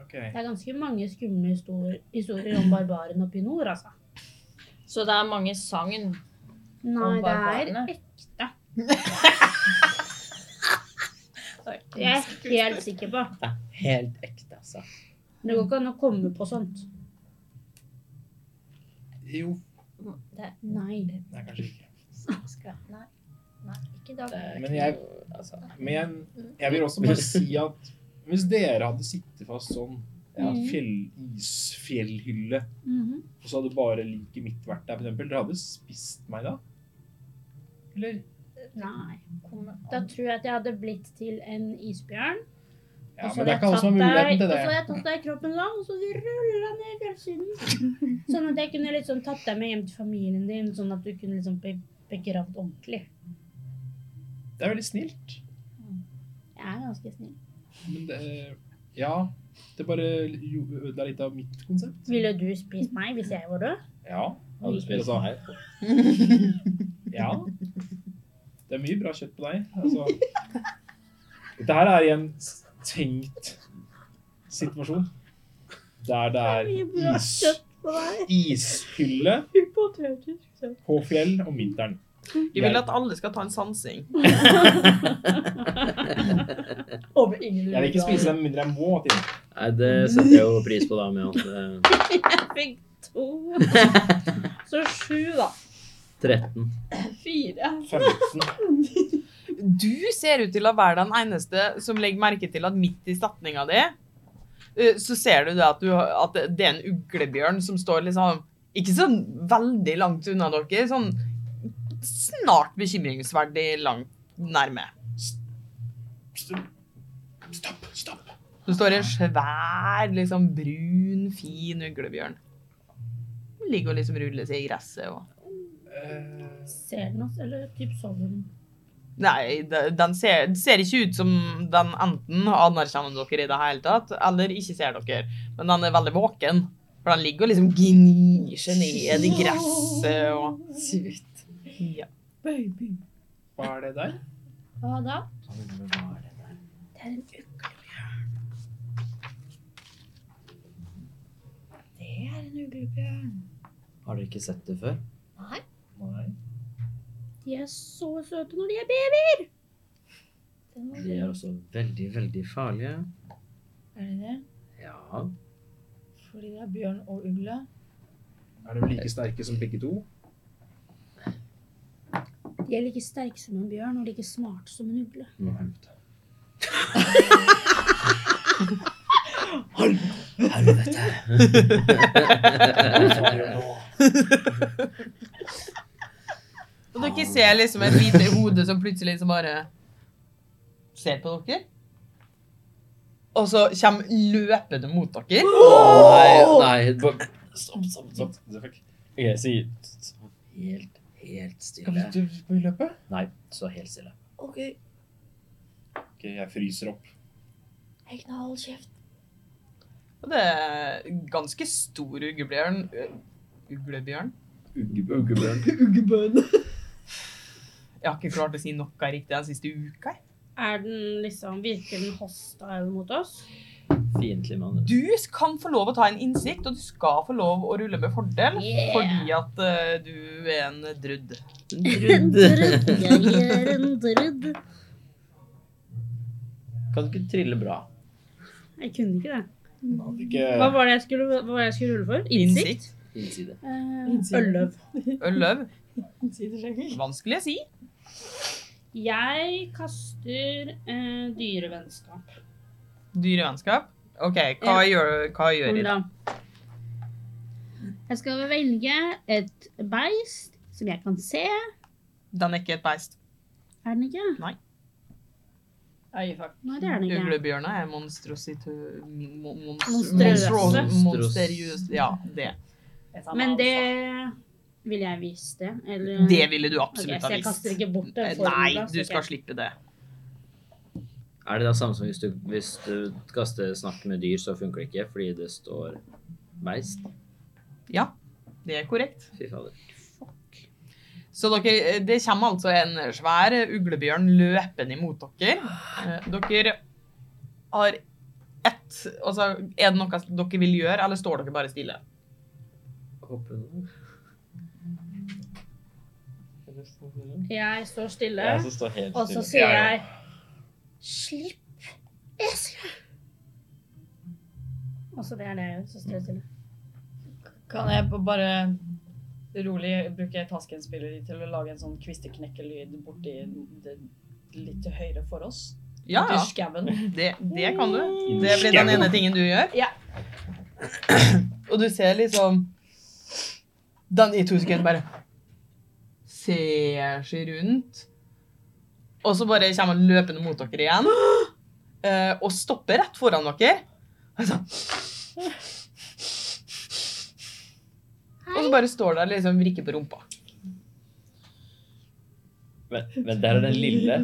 S3: Ok.
S5: Det er ganske mange skumle histor- historier om barbaren oppe i nord, altså.
S2: Så det er mange sagn.
S5: Nei,
S2: Om
S5: det
S2: barbarene?
S5: er ekte.
S2: Mm.
S5: Det er jeg helt sikker på.
S4: Helt ekte, altså.
S5: Det går ikke an å komme på sånt.
S3: Jo,
S5: Nei.
S3: Nei, kanskje ikke.
S2: Skal, nei, nei, ikke i dag.
S3: Men jeg,
S4: altså.
S3: men jeg, jeg vil også bare si at hvis dere hadde sittet fast sånn ja, fjell, isfjellhylle,
S5: Mhm.
S3: og så hadde bare liket mitt vært der, for eksempel, dere hadde spist meg da? Eller?
S5: Nei.
S2: Kommer
S5: Da
S2: an.
S5: tror jeg at jeg hadde blitt til en isbjørn.
S3: Ja,
S5: og så
S3: men
S5: hadde
S3: det er
S5: jeg
S3: ikke alle som har
S5: tatt deg-
S3: muligheten til
S5: Og så
S3: det.
S5: hadde jeg tatt deg i kroppen da, og så rulla ned i fjellsiden. Sånn at jeg kunne liksom tatt deg med hjem til familien din, sånn at du kunne liksom bli begravd ordentlig.
S3: Det er veldig snilt.
S5: Jeg er ganske snill.
S3: Men det, ja, det bare jo- ødela litt av mitt konsept.
S5: Ville du spist meg hvis jeg var død?
S3: Ja.
S4: Hadde spist
S3: Altså,
S4: meg.
S3: Ja. Det er mye bra kjøtt på deg. Altså. Dette her er i en tenkt situasjon. Der det er is, ishylle på fjell om vinteren.
S1: Jeg vil at alle skal ta en sansing.
S6: Håper ingen
S3: Jeg vil ikke spise den med mindre jeg må. Til.
S4: Nei, det setter jeg jo pris på, da. med at eh, det-
S6: Fikk to. Så sju, da.
S4: 13.
S6: Fire.
S3: 15.
S1: Du ser ut til å være den eneste som legger merke til at midt i setninga di, eh, så ser du det at, du, at det er en uglebjørn som står liksom Ikke sånn veldig langt unna dere, sånn snart bekymringsverdig langt nærme.
S3: Stopp, stopp.
S1: Det står en svær, liksom brun, fin uglebjørn. Den Ligger og liksom ruller seg i gresset og
S3: Eh,
S5: Ser den oss, eller typ sover den?
S1: Nei, de- den ser, det ser ikke ut som den enten anerkjenner dere i det hele tatt, eller ikke ser dere. Men den er veldig våken. For den ligger og liksom gnir seg ned i gresset og ja.
S3: hva er det der?
S5: Hva da?
S2: Det er en uglebjørn. Det er en uglebjørn.
S4: Har dere ikke sett det før?
S2: Nei.
S4: Nei.
S5: De er så søte når de er babyer.
S2: Den var
S4: De er også veldig, veldig farlige.
S2: Er det det?
S4: Ja.
S2: Fordi det er bjørn og ugle?
S3: Er de like sterke som begge to?
S5: De er like sterke som en bjørn og like smarte som en ugle.
S4: Helvete.
S1: Og dere ser liksom et lite hode som plutselig liksom bare ser på dere. Og så kommer løpende mot dere.
S4: Åh, Nei, nei. bare- Stopp, stopp, stopp.
S3: Stopp. Fuck.
S4: Ok, si stopp. helt, helt
S3: Skal
S4: stille.
S3: vi ut på løpet?
S4: Nei, så helt stille.
S2: OK,
S3: Ok, jeg fryser opp.
S2: Egna, hold kjeft.
S1: Og det er en ganske stor uglebjørn. Uglebjørn?
S3: Uggebjørn.
S1: Jeg har ikke klart å si noe riktig den siste uka. jeg.
S5: Er den liksom, Virker den hostile mot oss?
S4: Fiendtlig mann.
S1: Du kan få lov å ta en innsikt, og du skal få lov å rulle med fordel,
S2: Yeah.
S1: fordi at eh, du er en drudd.
S5: Drudd. Jeg er en drudd.
S4: Kan ikke trille bra.
S5: Jeg kunne ikke det.
S3: Hadde
S5: Hva
S3: ikke
S5: var det jeg skulle, hva var det jeg skulle rulle for? Innsikt?
S1: Innsikt.
S4: Innside.
S5: Eh, Ølløv.
S1: Ølløv. Vanskelig å si.
S5: Jeg kaster eh, dyrevennskap.
S1: Dyrevennskap. OK, hva gjør, hva gjør i dag?
S5: Hvordan? Jeg skal velge et beist som jeg kan se.
S1: Den er ikke et beist.
S5: Er den ikke?
S6: Jeg gir fuck.
S5: Nei, det er den ikke.
S1: Uglebjørna er monstrosito... mon- monstro-
S5: Monstrøse.
S1: monstro- Monstrøs. Ja, det.
S6: Jeg tar
S5: Men
S6: meg
S5: det
S6: av,
S5: vil jeg vise det. Eller
S1: altså. Det ville du
S5: Mm. Ok,
S1: absolutt
S5: Så
S1: ha
S5: jeg kaster
S1: visst. Eh,
S5: ikke bort det.
S1: Nei, du skal slippe det.
S4: Er det da samme som hvis du, hvis du kaster snakk med dyr, så funker det ikke fordi det står beist?
S1: Ja, det er korrekt.
S4: Fy fader.
S1: Så dere, det kommer altså en svær uglebjørn løpende imot dere. Eh, Dere har ett Altså, er det noe dere vil gjøre, eller står dere bare stille?
S4: Håper du
S5: Jeg står stille,
S3: Jeg som står helt
S5: og så
S3: stille.
S5: sier
S3: Ja, ja.
S5: jeg Slipp eselet! Og så det er det jeg gjør. Så står jeg stille.
S2: Kan jeg b- bare
S6: rolig bruker jeg Tasken-spilleri til å lage en sånn kvisteknekkelyd borti det litt til høyre for oss.
S1: Ja,
S6: Borti
S1: ja.
S6: skabben.
S1: Det, det kan du. Det blir den ene tingen du gjør.
S6: Ja.
S1: Og du ser liksom Dan i to sekunder bare ser seg rundt. Og så bare kommer han løpende mot dere igjen. eh, Og stopper rett foran dere. Og så- Og så bare står der liksom vrikker på rumpa.
S4: Men, men der er den lille.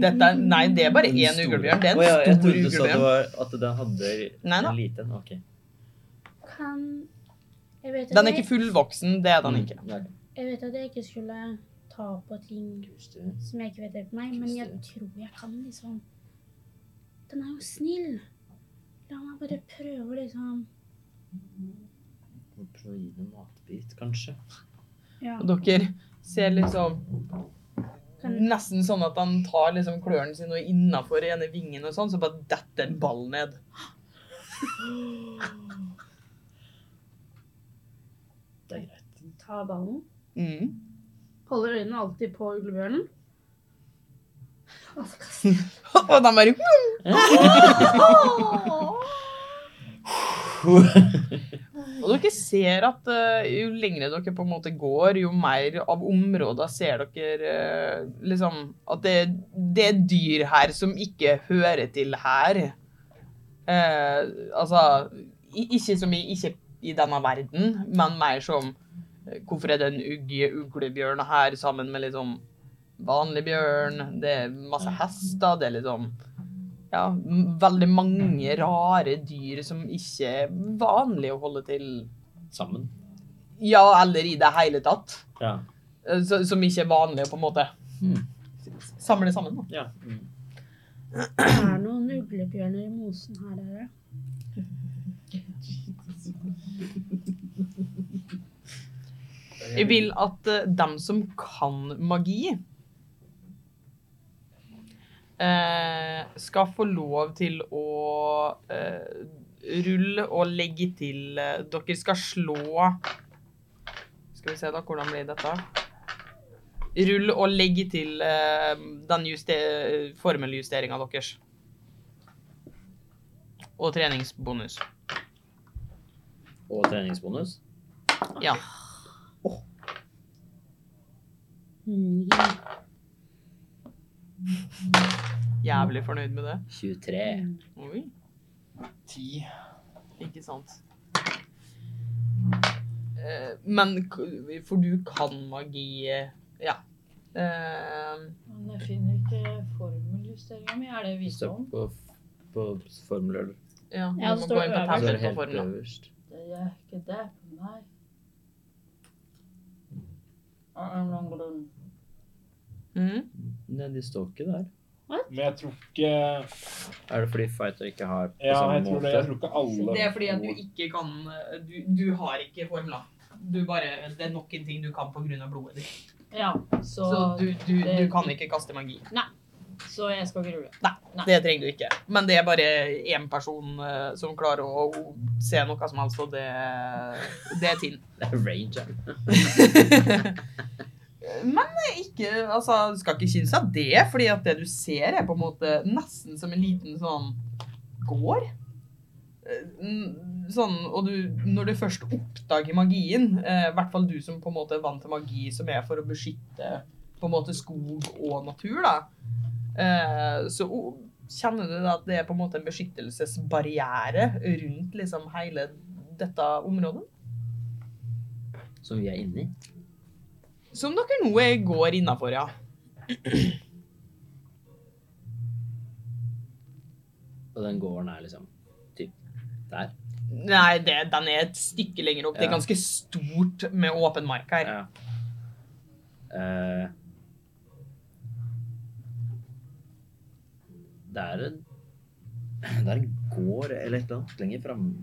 S1: Dette, er- nei, det er bare
S4: Den
S1: én
S4: store.
S1: uglebjørn. Det er en
S4: Å ja, jeg
S1: stor
S4: trodde du sa det
S1: uglebjørn.
S4: var at den hadde
S1: Nei da.
S4: en liten. Ok.
S5: Kan jeg vet, at
S1: Den er
S5: jeg,
S1: ikke fullvoksen. Det er den ikke.
S4: Mm, ok.
S5: jeg vet at jeg ikke skulle ta på ting som jeg ikke vet hjelper meg, men jeg tror jeg kan liksom Den er jo snill. La meg bare prøve å liksom
S4: Må prøve å gi den en matbit, kanskje.
S5: Ja.
S1: Og dere ser liksom
S5: Kan,
S1: Nesten sånn at han tar liksom klørne sine og innafor ene vingen og sånn, så bare detter en ball ned.
S5: det er greit. Ta ballen.
S1: Mm.
S5: Holder øynene alltid på uglebjørnen.
S1: Og de bare Og dere ser at eh, jo lengre dere på en måte går, jo mer av områder ser dere eh, liksom At det, det er dyr her som ikke hører til her. Eh, altså i, Ikke som i, ikke i denne verden, men mer som eh, Hvorfor er det en ugge uglebjørn her sammen med liksom vanlig bjørn? Det er masse hester, det er liksom ja, m- veldig mange rare dyr som ikke er vanlig å holde til
S4: Sammen.
S1: Ja, eller i det hele tatt.
S4: Ja.
S1: Eh, Så, som ikke er vanlige, på en måte.
S4: Mm.
S1: S- Samle sammen, da.
S4: ja. Mm.
S5: Det er noen uglebjørner i mosen her, dere.
S1: Jeg vil at eh, dem som kan magi eh, skal få lov til å eh, rulle og legge til eh, Dere skal slå Skal vi se, da. Hvordan blir dette? Rull og legge til eh, den juste- formeljusteringa deres. Og treningsbonus.
S4: Og treningsbonus.
S1: Ja.
S5: Ni.
S1: Jævlig fornøyd med det.
S4: 23.
S1: Oi.
S3: Ti.
S1: Ikke sant. Eh, Men k- For du kan magi eh, Ja. Eh,
S2: Men jeg finner ikke formeljusteringa mi. Er det
S4: Står
S2: visdom?
S4: på, på formler.
S1: ja du
S5: Ja,
S1: må
S5: det
S1: gå
S5: står
S1: inn på
S5: øverst.
S4: Så er
S1: tablet på
S4: det helt eh,
S1: formelen.
S4: øverst.
S2: Det gjør ikke det for meg. Ah, ah, lang grunn.
S1: Mhm.
S4: Nei, de står ikke der.
S3: Men jeg tror ikke
S4: Er det fordi fighter ikke har på
S3: Ja,
S4: samme
S3: jeg tror, det, jeg tror ikke alle
S1: Det er fordi at du ikke kan eh, Du, du har ikke formla. Du bare, det er nok en ting du kan pga. blodet ditt.
S2: Ja, så,
S1: Så du, du, du
S2: det-
S1: kan ikke kaste magi.
S2: så jeg skal ikke rulle.
S1: Det trenger du ikke. Men det er bare én person eh, som klarer å se noe som helst, og det, det er Tinn.
S4: Det er ranger.
S1: Men ikke, altså, du skal ikke synes av det, fordi at det du ser er på en måte nesten som en liten sånn gård. Eh, n- Sånn, og du, når du først oppdager magien, eh, i hvert fall du som på en måte er vant til magi som er for å beskytte på en måte skog og natur, da, eh, så o- kjenner du at det er på en måte en beskyttelsesbarriere rundt liksom hele dette området.
S4: Som vi er inni.
S1: Som dere nå er- går innafor, ja.
S4: Og den gården er liksom typ der.
S1: Nei, det, den er et stykke lenger opp. Det er
S4: Ja.
S1: ganske stort med åpen mark her.
S4: Ja. Eh, det er en Det er en gård eller et eller annet lenger framme.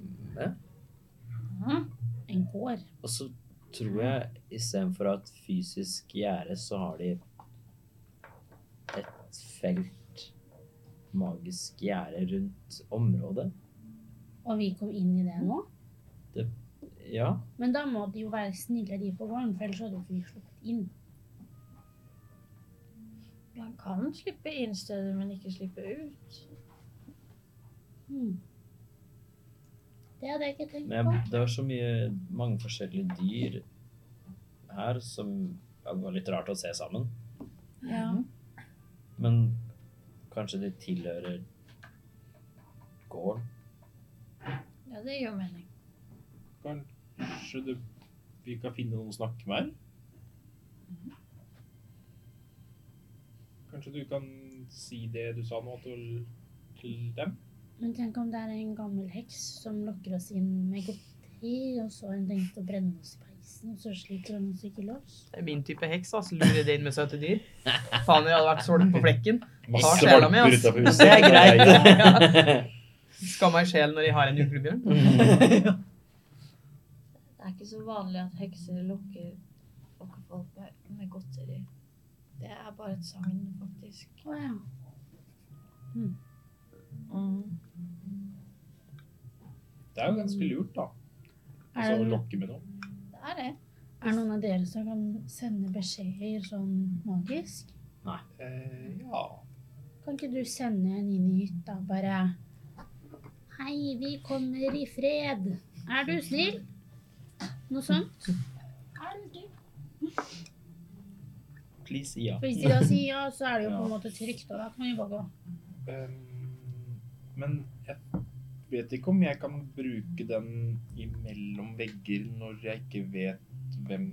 S5: En gård.
S4: Og så tror jeg istedenfor å ha et fysisk gjerde, så har de et felt magisk gjerde rundt området.
S5: Og vi kom inn i det nå?
S4: Ja.
S5: Men da må de jo være snille, de på gården, for ellers hadde jo ikke vi sluppet inn.
S2: Man kan slippe inn steder, men ikke slippe ut.
S5: Hmm. Det hadde jeg ikke tenkt
S4: Men
S5: på.
S4: jeg- det var så mye mange forskjellige dyr her som ja, det var litt rart å se sammen.
S2: Ja.
S4: Men kanskje de tilhører gården?
S2: ja, det gir jo mening.
S3: Kanskje det, vi kan finne noen å snakke med her? Kanskje du kan si det du sa nå til, til dem?
S5: Men tenk om det er en gammel heks som lokker oss inn med godteri, og så har hun tenkt å brenne oss i peisen, og så sliter hun oss ikke løs.
S1: Det er min type heks, ass. Lurer det inn med søte dyr. Faen, jeg hadde vært solgt på flekken.
S4: Har
S3: Masse
S1: sjela mi,
S3: valper
S1: ass.
S3: utenfor huset.
S1: Det er greit.
S4: Ja.
S1: Skamma i sjelen når de har en uglebjørn.
S2: Det er ikke så vanlig at hekser lokker lokker folk med, med godteri. Det er bare et sagn, faktisk.
S5: Å ja.
S3: Det er jo ganske lurt, da.
S5: Er
S3: Altså, å
S5: det,
S3: lokke med noe.
S2: Det er det.
S5: er det noen av dere som kan sende beskjeder sånn magisk?
S3: Eh, ja.
S5: Kan ikke du sende en inn i hytta og bare Hei, vi kommer i fred. Er du snill? Noe sånt? Er du snill?
S4: Please, ja.
S5: For hvis de da sier ja, så er det jo på en
S3: Ja.
S5: måte trygt, og da kan vi bare gå.
S3: Ehm, men jeg vet ikke om jeg kan bruke den imellom vegger når jeg ikke vet hvem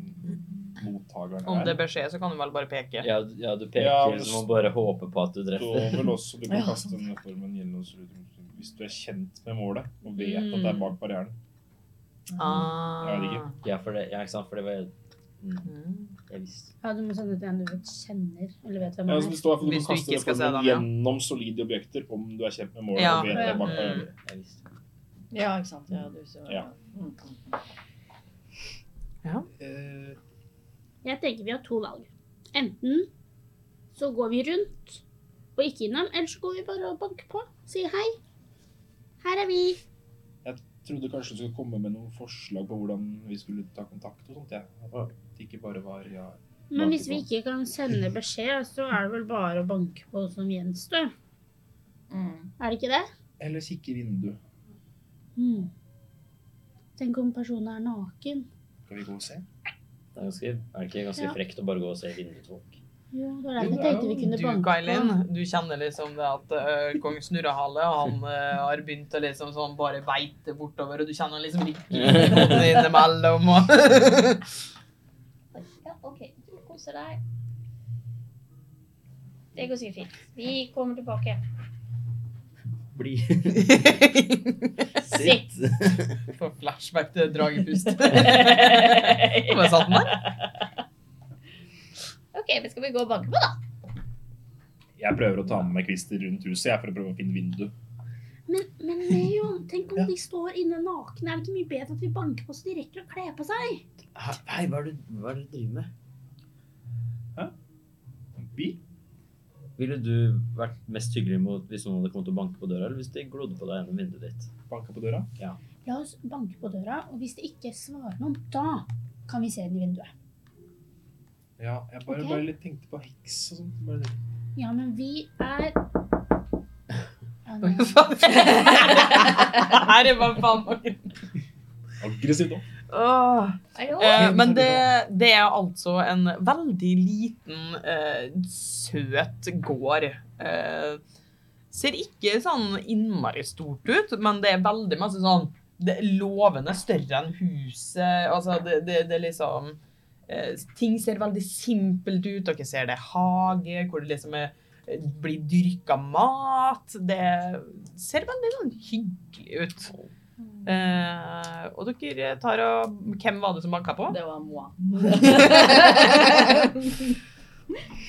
S3: mottakeren er.
S1: Om det bør skje, så kan du vel bare peke.
S4: Ja, du- ja, du peker
S3: Ja,
S4: så må man bare håpe på at du treffer.
S3: står vel også du kan
S2: Ja,
S3: kaste denne formen gjennom rundt hvis du er kjent med målet og vet at
S1: Mm.
S3: det er bak barrieren.
S1: Ah.
S3: Jeg vet ikke.
S4: Ja, for det, ja, ikke sant? For det var mm, Jeg visste
S5: Ja, du må sende til en du vet kjenner, eller vet hvem
S3: Ja,
S5: han
S3: altså, så
S5: er.
S3: det står i hvert fall du
S1: Mm. Hvis
S3: kan
S1: du
S3: kaste
S1: ikke
S3: denne
S1: skal se
S3: formen
S1: dem, ja.
S3: gjennom solide objekter om du er kjent med målet
S1: Ja. Mm.
S3: og vet det er bak
S1: Ja.
S3: barrieren.
S4: Jeg visste.
S2: Ja, ikke sant. Ja, du ser
S3: Ja.
S2: Mm.
S3: Eh,
S5: Jeg tenker vi har to valg. Enten så går vi rundt og ikke innom, eller så går vi bare og banker på. Sier hei. Her er vi.
S3: trodde kanskje du skulle komme med noen forslag på hvordan vi skulle ta kontakt og sånt. Jeg. At det ikke bare var ja.
S5: Men hvis vi ikke kan sende beskjed, så er det vel bare å banke på som gjenstår.
S2: Mm.
S5: Er det ikke det?
S3: Eller kikke i vinduet.
S5: Hmm. Tenk om personen er naken.
S3: Skal vi gå og se?
S4: Det er, ganske, er det ikke ganske
S5: Ja.
S4: frekt å bare gå og se vinduet til folk?
S5: Ja, det var
S3: Jo,
S5: derfor
S3: det
S5: jeg
S3: er
S5: tenkte
S3: jo
S5: vi kunne
S1: Du,
S5: banke
S1: Kailin,
S5: på.
S1: du kjenner liksom det at ø, kong Snurrehale han ø, har begynt å liksom sånn bare beite bortover, og du kjenner liksom litt grin innimellom. Og
S2: Ja, OK. Du koser deg. Det går sikkert fint. Vi kommer tilbake.
S4: Bli.
S2: Sitt.
S1: får flashback til dragepust. Hva satt den der?
S2: OK, men skal vi gå og banke på, da?
S3: Jeg prøver å ta med meg kvister rundt huset jeg, for å prøve å finne vindu.
S5: Men, men Leon, tenk om
S3: Ja.
S5: de står inne nakne. Er det ikke mye bedre at vi banker på så de rekker å kle på seg?
S4: Hei, hva er det hva er det du driver med?
S3: Vi?
S4: Ville du vært mest hyggelig mot hvis noen hadde kommet og banket på døra, eller hvis de glodde på deg gjennom vinduet ditt?
S3: Banka på døra.
S5: La oss banke på døra, og hvis det ikke svarer noen, da kan vi se inn i vinduet.
S3: Ja, jeg bare,
S5: Ok.
S3: bare litt tenkte på heks og sånt. Bare litt.
S5: Ja, men vi er ja,
S1: Oi,
S5: nå-
S1: faen. Her er bare faen meg
S3: Aggressivt òg.
S1: Åh.
S2: Ajo.
S1: Eh, men det, det er altså en veldig liten, eh, søt gård. Eh, ser ikke sånn innmari stort ut, men det er veldig masse sånn det er lovende større enn huset. Altså, det, det, det er liksom eh, Ting ser veldig simpelt ut. Dere ser det er hage, hvor det liksom er, blir dyrka mat. Det ser veldig sånn hyggelig ut. Eh, og dere tar og Hvem var det som banka på?
S6: Det var moi.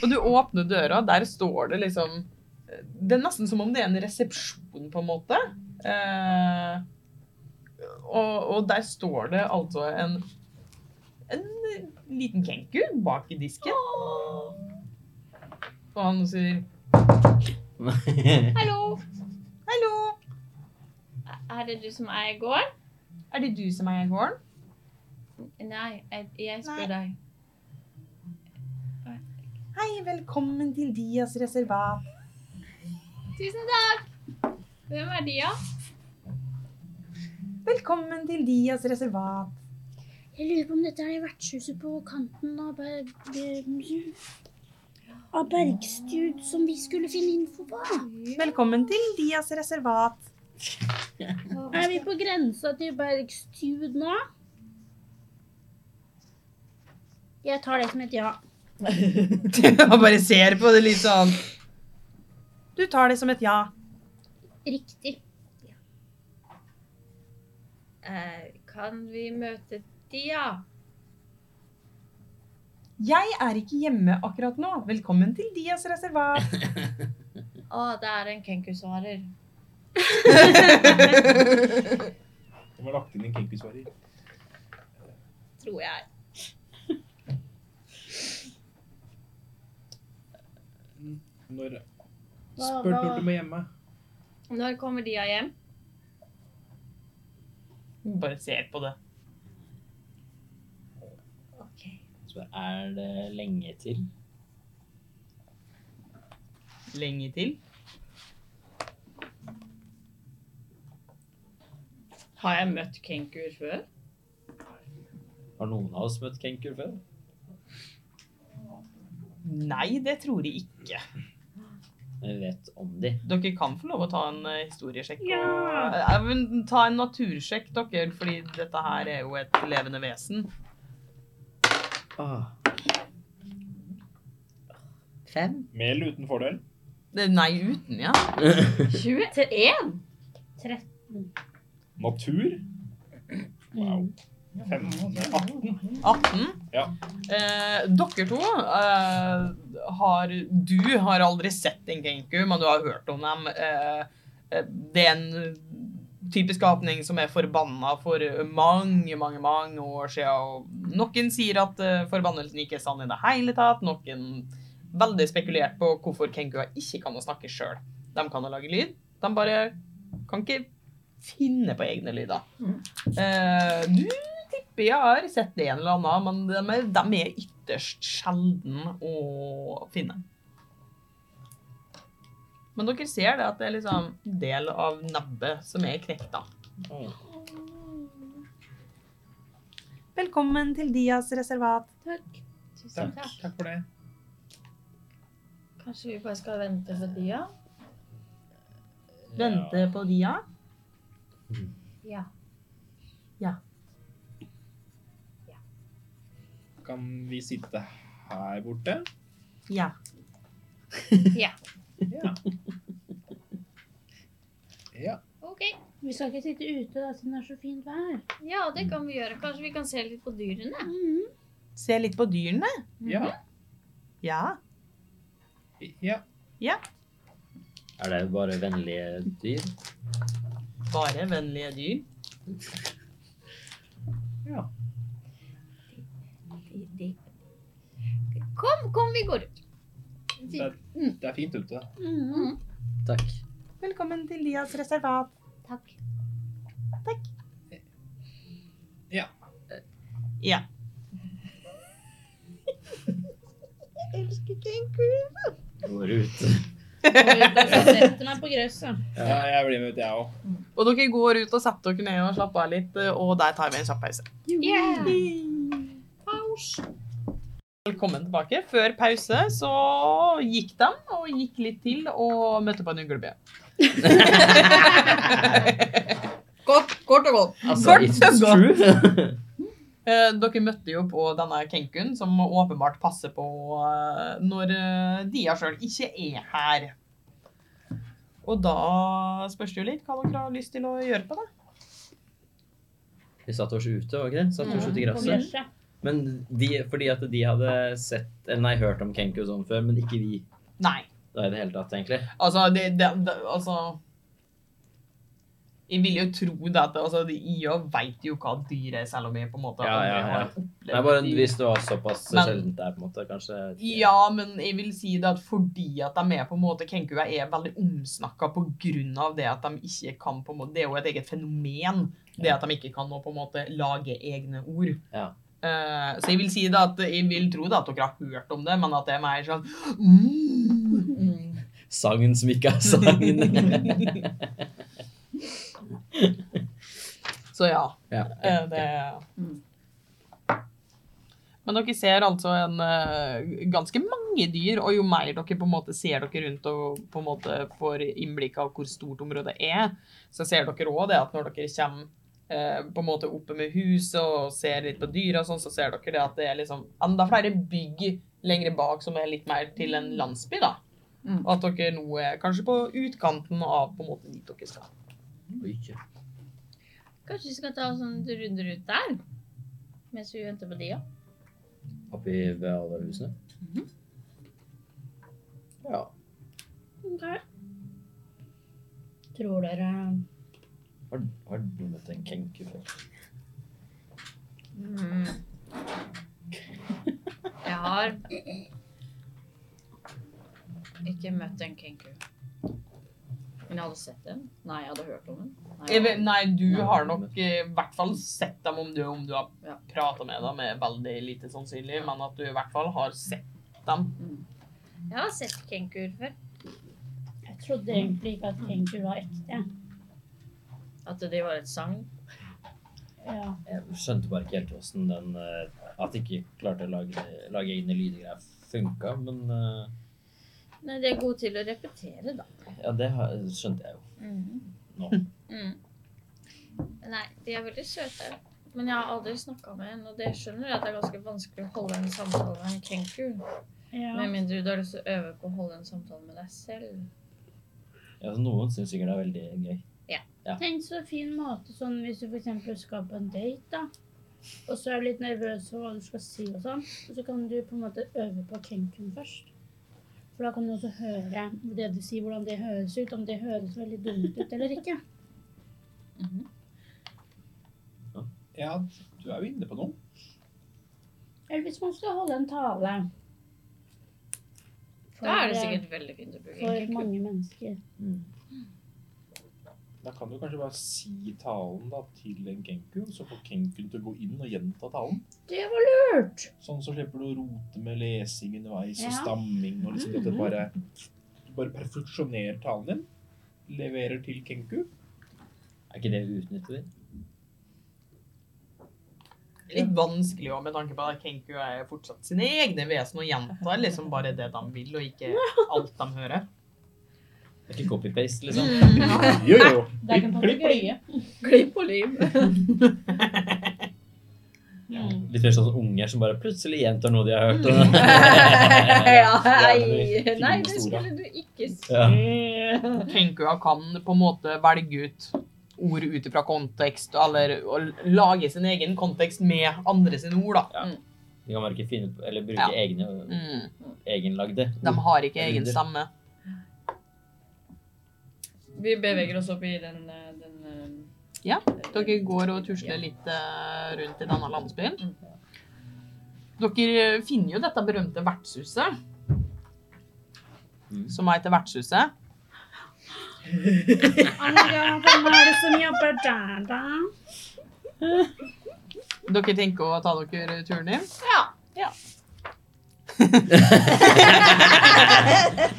S1: Og du åpner døra, der står det liksom Det er nesten som om det er en resepsjon, på en måte. Eh, og, og der står det altså en, en liten kenku bak i disken. Og han sier
S2: Hallo.
S1: 'Hallo,
S2: Er det du som eier gården?
S1: er det du som eier gården?'
S2: Nei, jeg, jeg spør
S1: Nei.
S2: deg.
S1: Hei, velkommen til Dias reservat.
S2: Tusen takk! Hvem er de, da?
S1: Velkommen til Dias reservat.
S5: Jeg lurer på om dette er vertshuset på kanten av, Berg... av Bergstud som vi skulle finne info på.
S1: Velkommen til Dias reservat.
S5: Er vi på grensa til Bergstud nå? Jeg tar det som et ja.
S1: Og bare ser på det litt sånn. Du tar det som et ja.
S5: Riktig.
S2: Eh, kan vi møte de, ja?
S1: Jeg er ikke hjemme akkurat nå. Velkommen til Dias reservat.
S2: Å, det er en kenkusvarer.
S3: Det var lagt inn en kinkusvarer.
S2: Tror jeg.
S3: Når
S5: Hva-
S3: Spør
S5: hva-
S3: når du må hjemme.
S2: Når kommer de av hjem?
S1: Bare ser på det.
S4: Spør, er det lenge til?
S1: Lenge til.
S6: Har jeg møtt kenkuer før?
S4: Har noen av oss møtt Kenkur før?
S1: Nei, det tror jeg ikke.
S4: Men vi vet om de.
S1: Dere kan få lov å ta en eh, historiesjekk. og-
S5: Ja.
S1: Ja, men ta en natursjekk, dere, fordi dette her er jo et levende vesen.
S4: Ah. Fem?
S3: Med eller uten fordel?
S1: Det- Nei, uten, ja.
S2: 21!
S3: Natur? Wow. Fem. Nei, 18.
S1: 18.
S3: Ja.
S1: Eh, dere to eh, har Du har aldri sett en kenku, men du har hørt om dem. Eh, eh, det er en type skapning som er forbanna for mange, mange mange år siden. Og noen sier at eh, forbannelsen ikke er sann i det hele tatt. Noen veldig spekulert på hvorfor kenguer ikke kan å snakke sjøl. De kan å lage lyd, de bare kan ikke finne på egne lyder. Eh, du tipper jeg har sett det en eller annen, men de er, de er ytterst sjelden å finne. Men dere ser det at det er liksom en del av nebbet som er knekt av. Velkommen til Dias reservat.
S5: Takk.
S2: Tusen takk.
S3: Takk for det.
S2: Kanskje vi bare skal vente på de, ja?
S1: Vente på Dia.
S2: Ja.
S3: Kan vi sitte her borte?
S1: Ja.
S3: Ja. ja.
S2: Ok.
S5: Vi skal ikke sitte ute da, siden det er så fint vær.
S2: Ja, det kan vi gjøre. Kanskje vi kan se litt på dyrene?
S5: Mhm.
S1: Se litt på dyrene.
S3: Ja.
S1: Ja.
S3: ja.
S4: Er det bare vennlige dyr?
S1: Bare vennlige dyr.
S2: De, de. Kom, kom, vi går ut. Mm.
S3: Det er, det er fint ute.
S5: Mhm.
S4: Takk.
S1: Velkommen til Dias reservat.
S2: Takk.
S1: Ja.
S4: Går ut.
S5: Jeg setter meg på gresset.
S3: Ja, jeg blir med ut, jeg òg.
S1: Og dere går ut og setter dere ned og slapper av litt, eh, og der tar vi en kjapp pause.
S2: Yeah.
S1: Velkommen tilbake. Før pause så gikk de og gikk litt til og møtte på en uglebjørn.
S6: Kort, kort og godt.
S4: Altså,
S1: Kort
S4: it's
S1: og
S4: true.
S1: Eh, Dere møtte jo på denne kenkun, som åpenbart passer på eh, når eh, Dia sjøl ikke er her. Og da spørs det jo litt hva dere har lyst til å gjøre på det.
S4: Vi satte oss ute, var ikke det? Satte oss
S1: Ja,
S4: ute i
S5: På
S4: gresset.
S5: gresset.
S4: Men de, fordi at de hadde sett, eller nei, hørt om Kenku og sånn før, men ikke vi
S1: Nei,
S4: da i det hele tatt, egentlig.
S1: altså det, det, det Altså Jeg vil jo tro det at altså, de IO vet jo hva dyr er, selv om jeg på en måte
S4: Ja, ja,
S1: aldri har
S4: ja.
S1: opplevd
S4: Det er bare
S1: dyr.
S4: hvis det var såpass
S1: Men-
S4: sjeldent der, på en måte, kanskje.
S1: Ja, men jeg vil si det at fordi at de er på en måte Kenkua er veldig omsnakka på grunn av det at de ikke kan på en måte, Det er jo et eget fenomen, det at de ikke kan nå på en måte lage egne ord.
S4: Ja.
S1: Eh, så jeg vil si det at jeg vil tro det at dere har hørt om det, men at det er mer sånn mm,
S4: Sangen som ikke er sangen.
S1: Så ja.
S4: ja.
S1: eh, det Men dere ser altså en eh, ganske mange dyr, og jo mer dere på en måte ser dere rundt og på en måte får innblikk av hvor stort området er, så ser dere òg det at når dere kommer eh, på en måte oppe med huset og ser litt på dyra og sånn, så ser dere det at det er liksom enda flere bygg lengre bak som er litt mer til en landsby, da.
S2: Mm.
S1: Og at dere nå er kanskje på utkanten av på en måte dit dere skal.
S4: Oi,
S2: Kanskje vi skal ta oss en runde rundt der? Mens vi venter på de, ja.
S4: Oppi ved alle husene.
S1: Mhm.
S4: Ja.
S5: Ok. Tror dere
S4: Har, har du møtt en kenku før?
S2: Mm. Jeg har ikke møtt en kenku. Men jeg hadde sett den. Nei, jeg hadde hørt om den. Nei,
S1: Jeg vet- Nei, du
S4: Nei,
S1: har
S4: men-
S1: nok eh, i hvert fall sett dem om du, om du har
S2: Ja.
S1: prata med dem, er veldig lite sannsynlig, men at du i hvert fall har sett dem.
S2: jeg har sett kenkuer før.
S5: Jeg trodde egentlig ikke at Kenku var ekte.
S2: At de var et sagn.
S5: Ja.
S4: Jeg skjønte bare ikke helt hvordan den eh, At jeg ikke klarte å lage, lage egne lydgreier funka, men eh,
S2: Nei, de er gode til å repetere, da.
S4: Ja, det har, skjønte jeg jo nå.
S2: Mm. Nei, de er veldig søte. Men jeg har aldri snakka med en, og det skjønner jeg at det er ganske vanskelig å holde en samtale med en kenku.
S5: ja.
S2: Med mindre du har lyst til å øve på å holde en samtale med deg selv.
S4: Ja, så noen syns sikkert det er veldig gøy.
S5: Tenk så fin måte sånn hvis du for eksempel skal på en date, da. Og så er du litt nervøs for hva du skal si og sånn. Og så kan du på en måte øve på kenken først. For da kan du også høre det du sier, hvordan det høres ut. Om det høres veldig dumt ut eller ikke.
S3: Ja, du er jo inne på noe.
S5: Eller hvis man skal holde en tale. For,
S2: Da er det sikkert veldig fint å bruke
S5: For
S2: en kenku.
S5: mange mennesker.
S3: Da kan du kanskje bare si talen da, til en kenku, og så får kenkuen til å gå inn og gjenta talen.
S5: Det var lurt!
S3: Sånn så slipper du å rote med lesing underveis
S5: Ja.
S3: og
S5: Mm.
S3: stamming og liksom at det bare Du bare perfeksjonerer talen din, leverer til kenku.
S4: Er ikke det vi utnytter?
S1: Litt vanskelig òg, med tanke på at Kenku er fortsatt sine egne vesen og gjentar liksom bare det de vil, og ikke alt de hører.
S4: Det er ikke copy-paste, liksom?
S1: Mm.
S3: Jo, jo.
S6: Det kan ta
S3: Klipp, klipp.
S6: gløye.
S2: Glipp og lim.
S4: Litt mer sånn som unger som bare plutselig gjentar noe de har hørt. Og...
S2: nei,
S3: Gjerne de
S2: nei,
S3: fine
S2: det
S3: store.
S2: skulle du ikke si.
S4: ja.
S1: Kenkua kan på en måte velge ut ord ut ifra kontekst, eller og lage sin egen kontekst med andre sine ord, da.
S4: De kan bare ikke finne på, eller bruke
S1: Ja.
S4: egne,
S1: Mm.
S4: egenlagde.
S1: De har ikke
S4: Jeg
S1: egen
S4: lyder.
S1: stemme.
S2: Vi beveger oss opp i den, eh, den eh,
S1: Ja, Dere går og tusler litt eh, rundt i denne landsbyen. Dere eh, finner jo dette berømte vertshuset.
S4: Mm.
S1: Som heter Vertshuset.
S5: Oh my God, hvem er det som jobber der, da?
S1: Dere tenker å ta dere turen inn?
S2: Ja.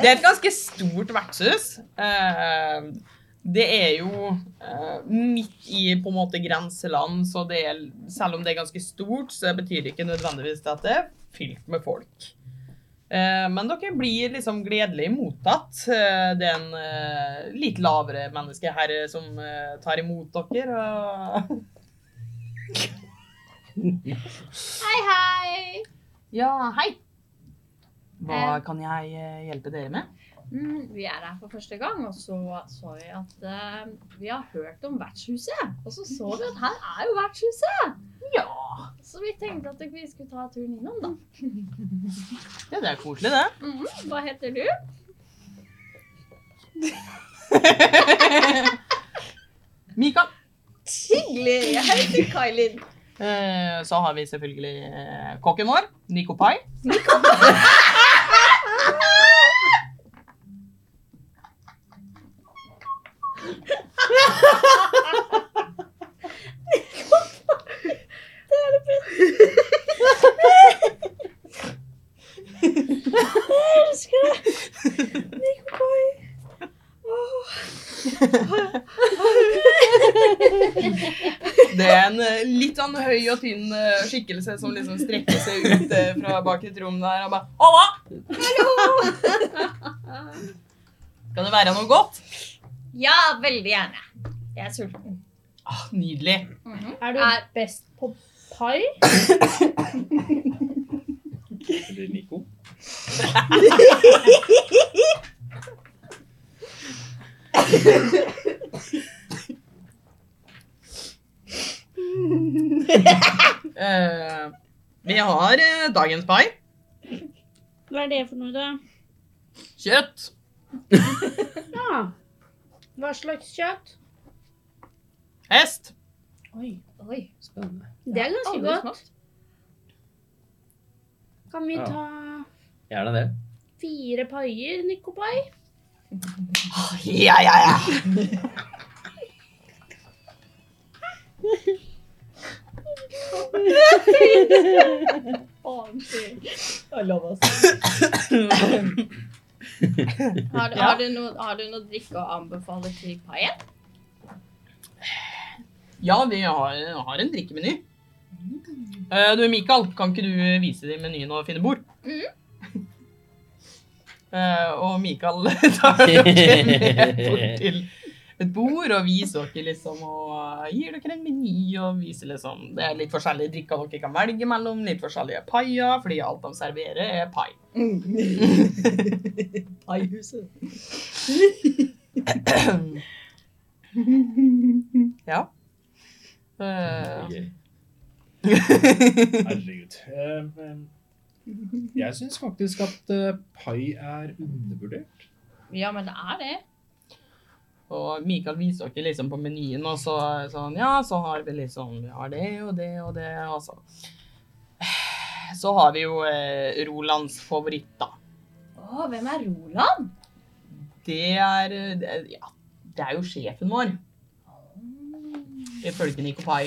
S1: Det er et ganske stort vertshus. Eh, Det er jo eh, midt i på en måte grenseland, så det er, selv om det er ganske stort, så betyr det ikke nødvendigvis at det er fylt med folk. Eh, Men dere blir liksom gledelig mottatt. Eh, Det er en eh, litt lavere menneskeherre som eh, tar imot dere. Og
S2: Hei, hei.
S1: ja, hei! Hva
S2: Eh.
S1: kan jeg eh, hjelpe dere med?
S2: Mm, vi er her for første gang, og så så vi at eh, vi har hørt om vertshuset. Og så så vi at her er jo vertshuset. Ja. Så vi tenkte at vi skulle ta turen innom, da.
S1: Ja, det er koselig, det.
S2: Mhm, Hva heter du?
S1: Mika.
S6: Hyggelig! Jeg heter Kailin.
S1: Eh, Så har vi selvfølgelig eh, kokken vår, Nico Pai. Det er en eh, litt sånn høy og tynn eh, skikkelse som liksom strekker seg ut eh, fra bak et rom der og bare Halla! Kan det være noe godt?
S2: Ja, veldig gjerne. Jeg er sulten.
S1: Ah, nydelig.
S2: Mhm.
S5: Er du
S2: Er-
S5: best på pai?
S3: Eller Nico.
S1: Eh, vi har eh, dagens pai.
S5: Hva er det for noe, da?
S1: Kjøtt.
S5: Ja. Hva slags kjøtt?
S1: Hest.
S5: Oi.
S2: Oi.
S4: Spennende.
S5: Det er ganske
S2: Aldri
S5: godt. Kan vi
S4: Ja.
S5: ta
S4: Gjerne det.
S5: fire paier, Nikopai?
S1: Ja, ja, ja.
S2: Har, du-
S1: Ja.
S2: har, du noe, har du noe drikke å anbefale til paien?
S1: Ja, vi har, har en drikkemeny. Eh, du, Mikael, kan ikke du vise dem menyen og finne bord?
S2: Mhm.
S1: Eh, og Mikael tar dere med bort til et bord og viser dere liksom og gir dere en meny og viser liksom Det er litt forskjellige drikker dere kan velge mellom, litt forskjellige paier, fordi alt de serverer, er pai.
S6: Paihuset.
S1: ja. Eh,
S4: Gøy.
S5: sånn
S3: Herregud. Eh, eh, Jeg syns faktisk at eh, pai er undervurdert.
S2: Ja, men det er det.
S1: Og Mikael viser dere liksom på menyen, og så sånn, ja, så har vi liksom, vi har det og det og det, og så. Så har vi jo eh, Rolands favoritt, da.
S2: Å, hvem er Roland?
S1: Det er, eh, det er- ja, det er jo sjefen vår,
S2: Mm.
S1: ifølge Nico Pai.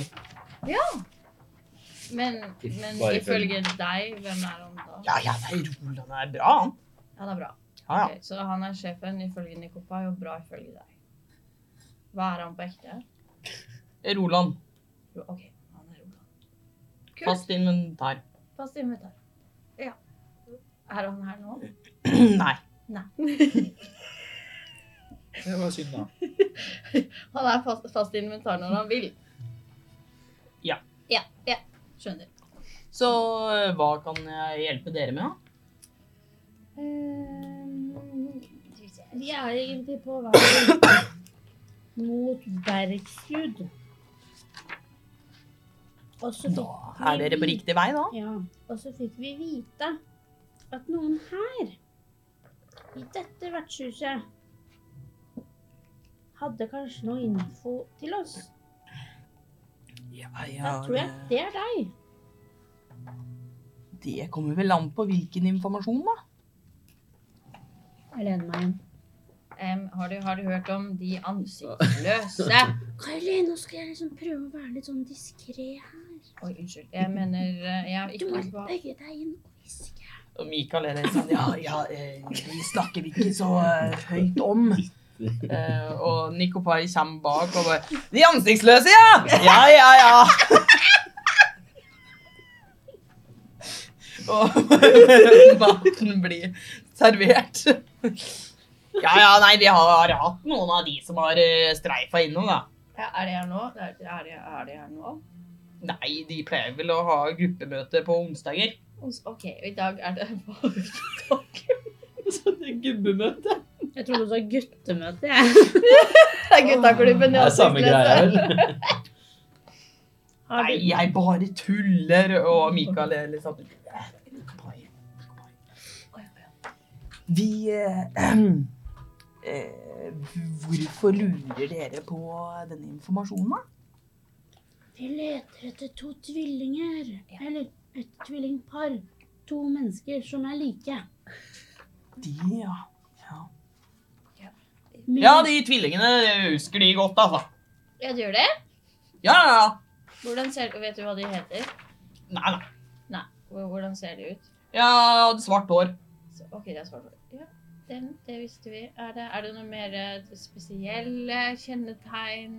S2: Men, men
S4: Bare
S2: ifølge deg, hvem er han da?
S1: Ja, ja, nei, Roland er bra, han.
S2: Ja, det er bra.
S1: Ja, ja.
S2: Ok, så han er sjefen ifølge Nikopai og bra ifølge deg. Hva er han på ekte?
S1: Roland,
S2: Jo, OK, han er Roland. Kult.
S1: fast inventar.
S2: Fast invitar. Ja. Er han her nå?
S1: nei.
S3: Det var synd, da.
S2: Han er fast, fast inventar når han vil.
S1: Ja.
S2: Ja, ja. Skjønner.
S1: Så eh, hva kan jeg hjelpe dere med, da?
S5: Vi er egentlig på vei mot Bergsrud. Og så fikk
S1: Er dere på
S5: vi-
S1: riktig vei, da?
S5: Ja, og så fikk vi vite at noen her, i dette vertshuset, hadde kanskje noe info til oss.
S1: Ja, eh,
S5: Da tror jeg det er deg.
S1: Det kommer vel an på hvilken informasjon, da.
S5: Jeg lener meg inn.
S2: Em, har, du, har du hørt om de ansiktsløse?
S5: Karoline, nå skal jeg liksom prøve å være litt sånn diskré her.
S2: Oi, unnskyld. Jeg mener eh, Jeg har
S5: Du
S2: ikke
S5: må
S2: på
S5: bøye deg inn og hviske.
S1: Og Mikael er litt sånn Ja, ja, eh, de snakker vi ikke så eh, høyt om. Eh, og Nikopai kommer bak og bare De ansiktsløse, ja! Ja, ja, ja. og maten blir servert. Ja, ja, nei, vi har hatt noen av de som har eh, streifa innom, da.
S2: ja, Er de her nå? Er de, er de, er de her nå?
S1: Nei, de pleier vel å ha gruppemøte på onsdager.
S2: OK, i dag er det
S6: Sånne gubbemøte.
S5: Jeg trodde du sa guttemøte, jeg.
S2: Det er guttaklubben i
S4: Det er samme greia,
S2: ansiktsløse.
S4: vel?
S1: Nei, jeg bare tuller, og Mikael er litt sånn Vi eh, eh, Hvorfor lurer dere på denne informasjonen, da?
S5: Vi leter etter to tvillinger. Eller et tvillingpar. To mennesker som er like.
S1: De, ja. Ja,
S5: Men-
S1: de tvillingene jeg husker de godt, altså.
S2: Ja, du gjør det?
S1: Ja, ja, ja.
S2: Hvordan ser, vet du hva de heter?
S1: Nei, nei.
S2: Nei. Hvor- Hvordan ser de ut?
S1: Ja, hadde svart hår.
S2: Så, ok, det er svart. Ja, den, det visste vi. Er det, er det noe mer eh, spesielle kjennetegn?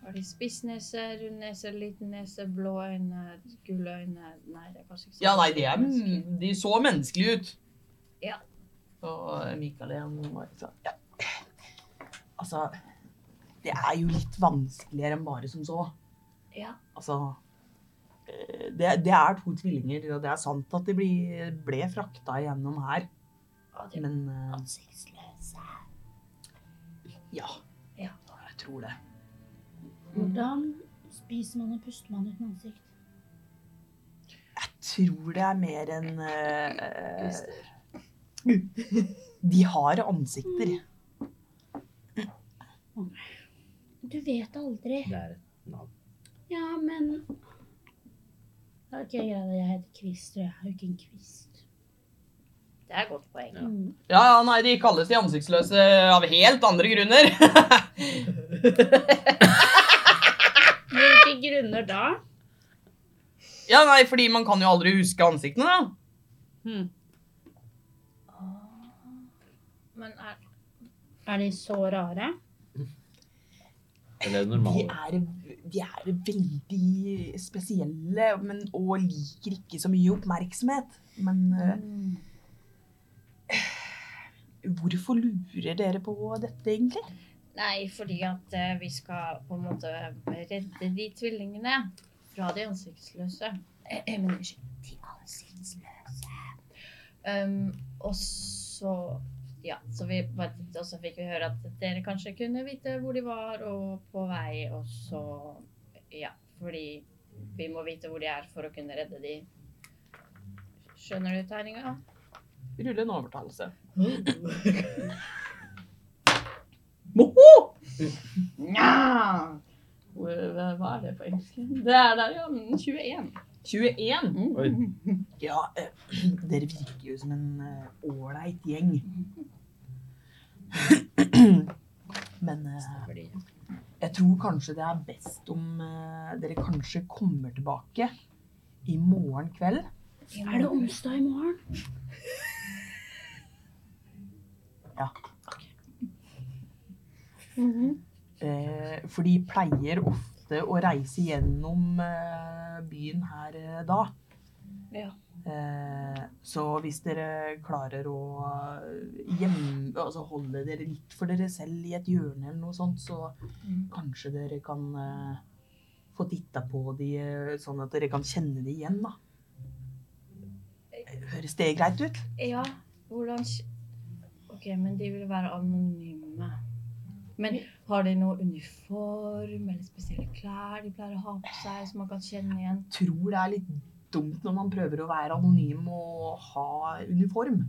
S2: Har de spissnese, rund nese, liten nese, blå øyne, gule øyne? Nei, det er kanskje ikke så
S1: Ja, nei, de, er,
S2: menneskelig.
S1: mm, de så menneskelige ut.
S2: Ja.
S1: Og Mikael igjen var ikke sånn ja. Altså, det er jo litt vanskeligere enn bare som så.
S2: Ja.
S1: Altså eh, det, det er to tvillinger, og det er sant at de ble, ble frakta igjennom her,
S2: Ja, de er
S1: men eh,
S2: ansiktsløse.
S1: ja.
S2: Ja.
S1: Jeg tror det.
S5: Hvordan spiser man og puster man uten ansikt?
S1: Jeg tror det er mer enn eh, De har ansikter.
S5: Du vet aldri.
S4: Det er et navn.
S5: Ja, men Ok, greit, jeg heter Kvist, og jeg har jo ikke en kvist.
S2: Det er et godt poeng.
S4: Ja.
S5: Mm.
S1: Ja, ja, nei, de kalles de ansiktsløse av helt andre grunner.
S5: Hvilke grunner da?
S1: ja, nei, fordi man kan jo aldri huske ansiktene, da.
S2: Men er,
S5: Er de så rare?
S4: Eller det
S1: De
S4: normale.
S1: er, de er veldig spesielle men, og liker ikke så mye oppmerksomhet. Men eh, hvorfor lurer dere på dette, egentlig?
S2: nei, fordi at eh, vi skal på en måte redde de tvillingene fra de ansiktsløse. Eh, eh, men unnskyld, de ansiktsløse. Um, og så ja, så vi bare tippet, og så fikk vi høre at dere kanskje kunne vite hvor de var og på vei, og så ja, fordi vi må vite hvor de er for å kunne redde de. Skjønner du tegninga?
S1: Rulle en overtalelse.
S2: Nja! Hva hva er det på engelsk? Det er der, ja. men 21.
S1: 21.
S2: Mm.
S4: Oi.
S1: Ja, eh, dere virker jo som en eh, ålreit gjeng. Men eh,
S4: Fordi
S1: jeg tror kanskje det er best om eh, dere kanskje kommer tilbake i morgen kveld.
S5: Er det onsdag i morgen?
S2: Mhm.
S1: Eh, for de pleier ofte å reise gjennom eh, byen her eh, da.
S2: Ja.
S1: Eh, så hvis dere klarer å eh, gjem- altså holde dere litt for dere selv i et hjørne eller noe sånt, så
S2: Mm.
S1: kanskje dere kan eh, få titta på de eh, sånn at dere kan kjenne de igjen, da. Eh, Høres det greit ut?
S2: Ja, hvordan kj- Ok, men de vil være anonyme. Men har de noe uniform eller spesielle klær de pleier å ha på seg, som man kan kjenne igjen?
S1: Tror det er litt dumt når man prøver å være anonym og ha uniform.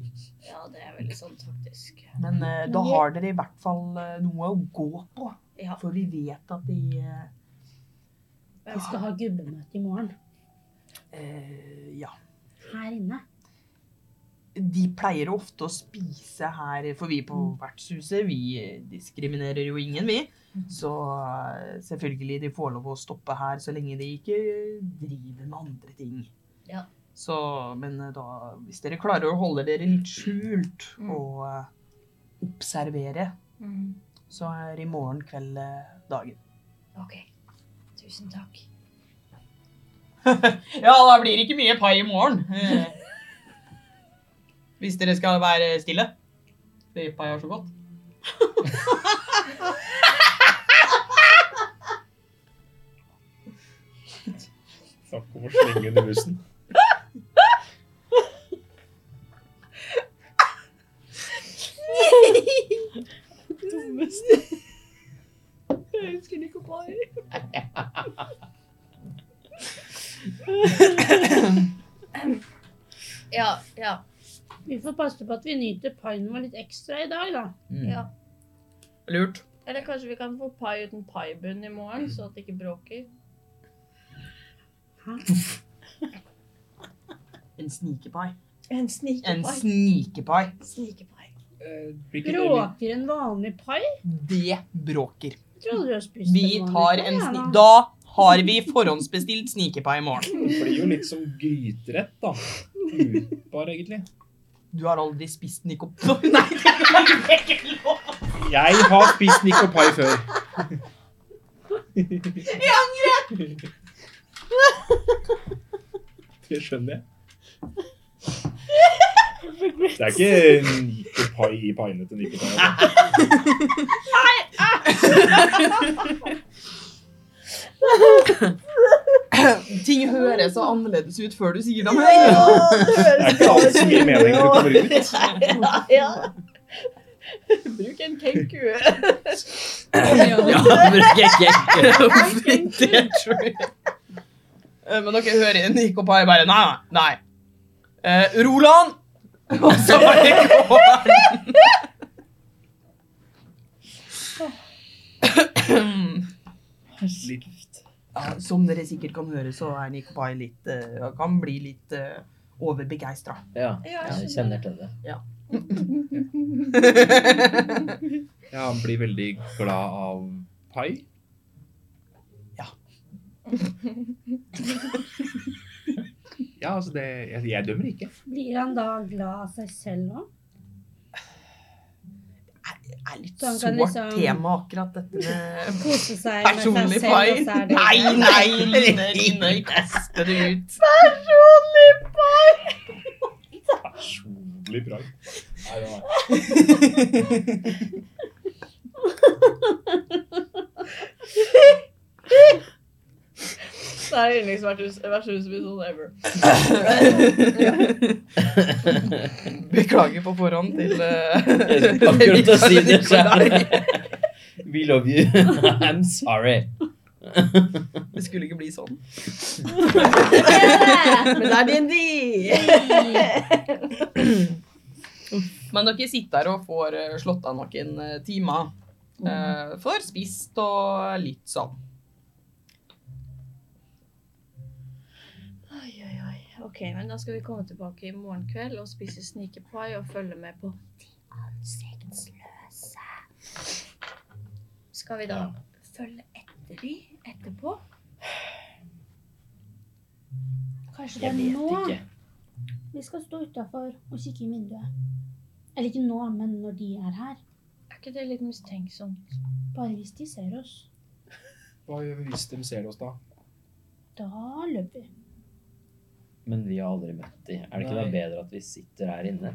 S2: Ja, det er veldig sånn faktisk.
S1: Men eh, da har dere i hvert fall eh, noe å gå på.
S2: Ja.
S1: For vi vet at de eh,
S5: Vi skal ha gubbemøte i morgen.
S1: eh, Ja.
S5: Her inne.
S1: De pleier ofte å spise her, for vi på
S2: Mm.
S1: vertshuset, vi diskriminerer jo ingen, vi.
S2: Mm.
S1: Så eh, selvfølgelig, de får lov å stoppe her så lenge de ikke driver med andre ting.
S2: Ja.
S1: Så, men eh, da, hvis dere klarer å holde dere litt skjult
S2: Mm.
S1: og eh, observere,
S2: Mm.
S1: så er i morgen kveld eh, dagen.
S2: Ok, tusen takk.
S1: Ja, da blir det ikke mye pai i morgen. Eh, Hvis dere skal være stille. Det pai er så godt.
S3: Snakk om å slenge under bussen.
S2: Jeg husker Nikolai. ja, ja.
S5: Vi får passe på at vi nyter paien vår litt ekstra i dag, da.
S4: Mm.
S2: Ja.
S4: Lurt.
S2: Eller kanskje vi kan få pai uten paibunn i morgen, så at det ikke bråker.
S1: En snikepai.
S2: En
S1: En
S2: snikepai.
S1: snikepai.
S2: Snikepai.
S3: Eh, hvilken-
S5: Bråker en vanlig pai?
S1: Det bråker.
S5: Jeg trodde du hadde spist
S1: Vi
S5: en vanlig
S1: tar
S5: pai,
S1: en
S5: ja,
S1: sni...
S5: da.
S1: Da har vi forhåndsbestilt snikepai i morgen.
S3: Det blir jo litt som gryterett, da. Utbar, egentlig.
S1: Du har aldri spist nikopai. Nei, det er ikke lov!
S3: Jeg har spist Nico Pie før. Jeg angrer! Det skjønner jeg. Det er ikke Nico Pie i paiene til Nico Pie. altså.
S1: Ting høres så annerledes ut før du sier det. Men
S3: Det er ikke alt som gir mening når det kommer ut.
S2: Bruk en kenkue.
S4: Ja, bruker jeg ikke.
S1: Eh, men dere hører en nikopai bare Nei, nei. nei. Eh, Roland! Og så er det Kåren.
S3: Litt luft.
S1: Ja, som dere sikkert kan høre, så er Nikopai litt eh, Kan bli litt uh, overbegeistra.
S4: Ja, jeg kjenner til det.
S3: Ja, han blir veldig glad av pai.
S1: Ja.
S3: Ja, altså det Jeg, jeg dømmer ikke.
S5: Blir han da glad av seg selv òg?
S1: er litt
S5: Så han
S1: sårt
S5: kan liksom-
S1: tema, akkurat dette med
S5: Kose seg med seg
S1: personlig
S5: selv,
S1: pai.
S5: og så er det
S1: Nei, nei, Line, Line, kaste det ut.
S3: Personlig bra. Nei, det var-
S2: Det er yndlingsvertshuset mitt sånn ever.
S1: Beklager på forhånd til eh,
S4: Jeg skulle akkurat å si det
S1: Nikolai.
S4: selv. We love you. I'm sorry.
S1: Det skulle ikke bli sånn.
S2: Men det er DND!
S1: Men dere sitter her og får eh, slått av noen eh, timer. Eh, Får spist og litt sånn.
S2: Oi, oi, oi. Ok, men da skal vi komme tilbake i morgen kveld og spise snikepai og følge med på De ansiktsløse. Skal vi da følge etter de etterpå?
S5: Kanskje det
S4: Jeg
S5: er
S4: vet
S5: nå
S4: ikke.
S5: vi skal stå utafor og kikke i vinduet. Eller ikke nå, men når de er her.
S2: Er ikke det litt mistenksomt?
S5: Bare hvis de ser oss.
S3: Hva gjør vi hvis de ser oss, da?
S5: Da løper vi.
S4: Men vi har aldri møtt de. Er det ikke da
S3: Nei.
S4: bedre at vi sitter her inne?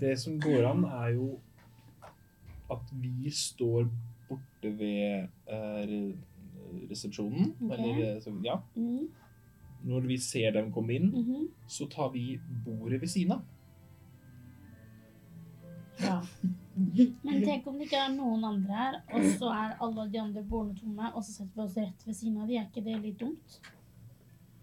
S3: Det som går an, er jo at vi står borte ved eh, re- resepsjonen.
S5: Ok.
S3: Eller eh, så- ja.
S5: Mm.
S3: Når vi ser dem komme inn,
S5: mhm.
S3: så tar vi bordet ved siden av.
S5: Ja. Men tenk om det ikke er noen andre her, og så er alle de andre bordene tomme, og så setter vi oss rett ved siden av de. Er ikke det litt dumt?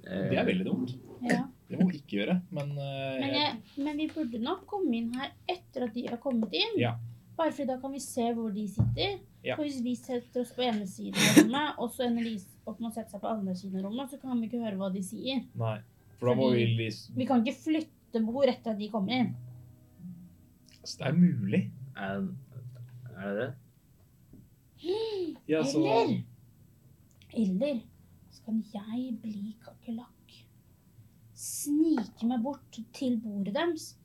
S3: Det er veldig dumt.
S5: Ja.
S3: Det må vi ikke gjøre, men, eh,
S5: Eh. Men, jeg, men vi burde nok komme inn her etter at de har kommet inn.
S3: Ja.
S5: Bare fordi da kan vi se hvor de sitter.
S3: Ja.
S5: For hvis vi setter oss på ene siden av rommet, og så ender de opp med å sette seg på andre siden av rommet, så kan vi ikke høre hva de sier.
S3: Nei. For da må vi
S5: Fordi-
S3: liksom
S5: Vi kan ikke flytte bord etter at de kommer inn.
S3: Altså, det er mulig.
S4: Er, er det det?
S3: Ja, så
S5: Eller- Eller så kan jeg bli kakerlakk. Snike meg bort til bordet deres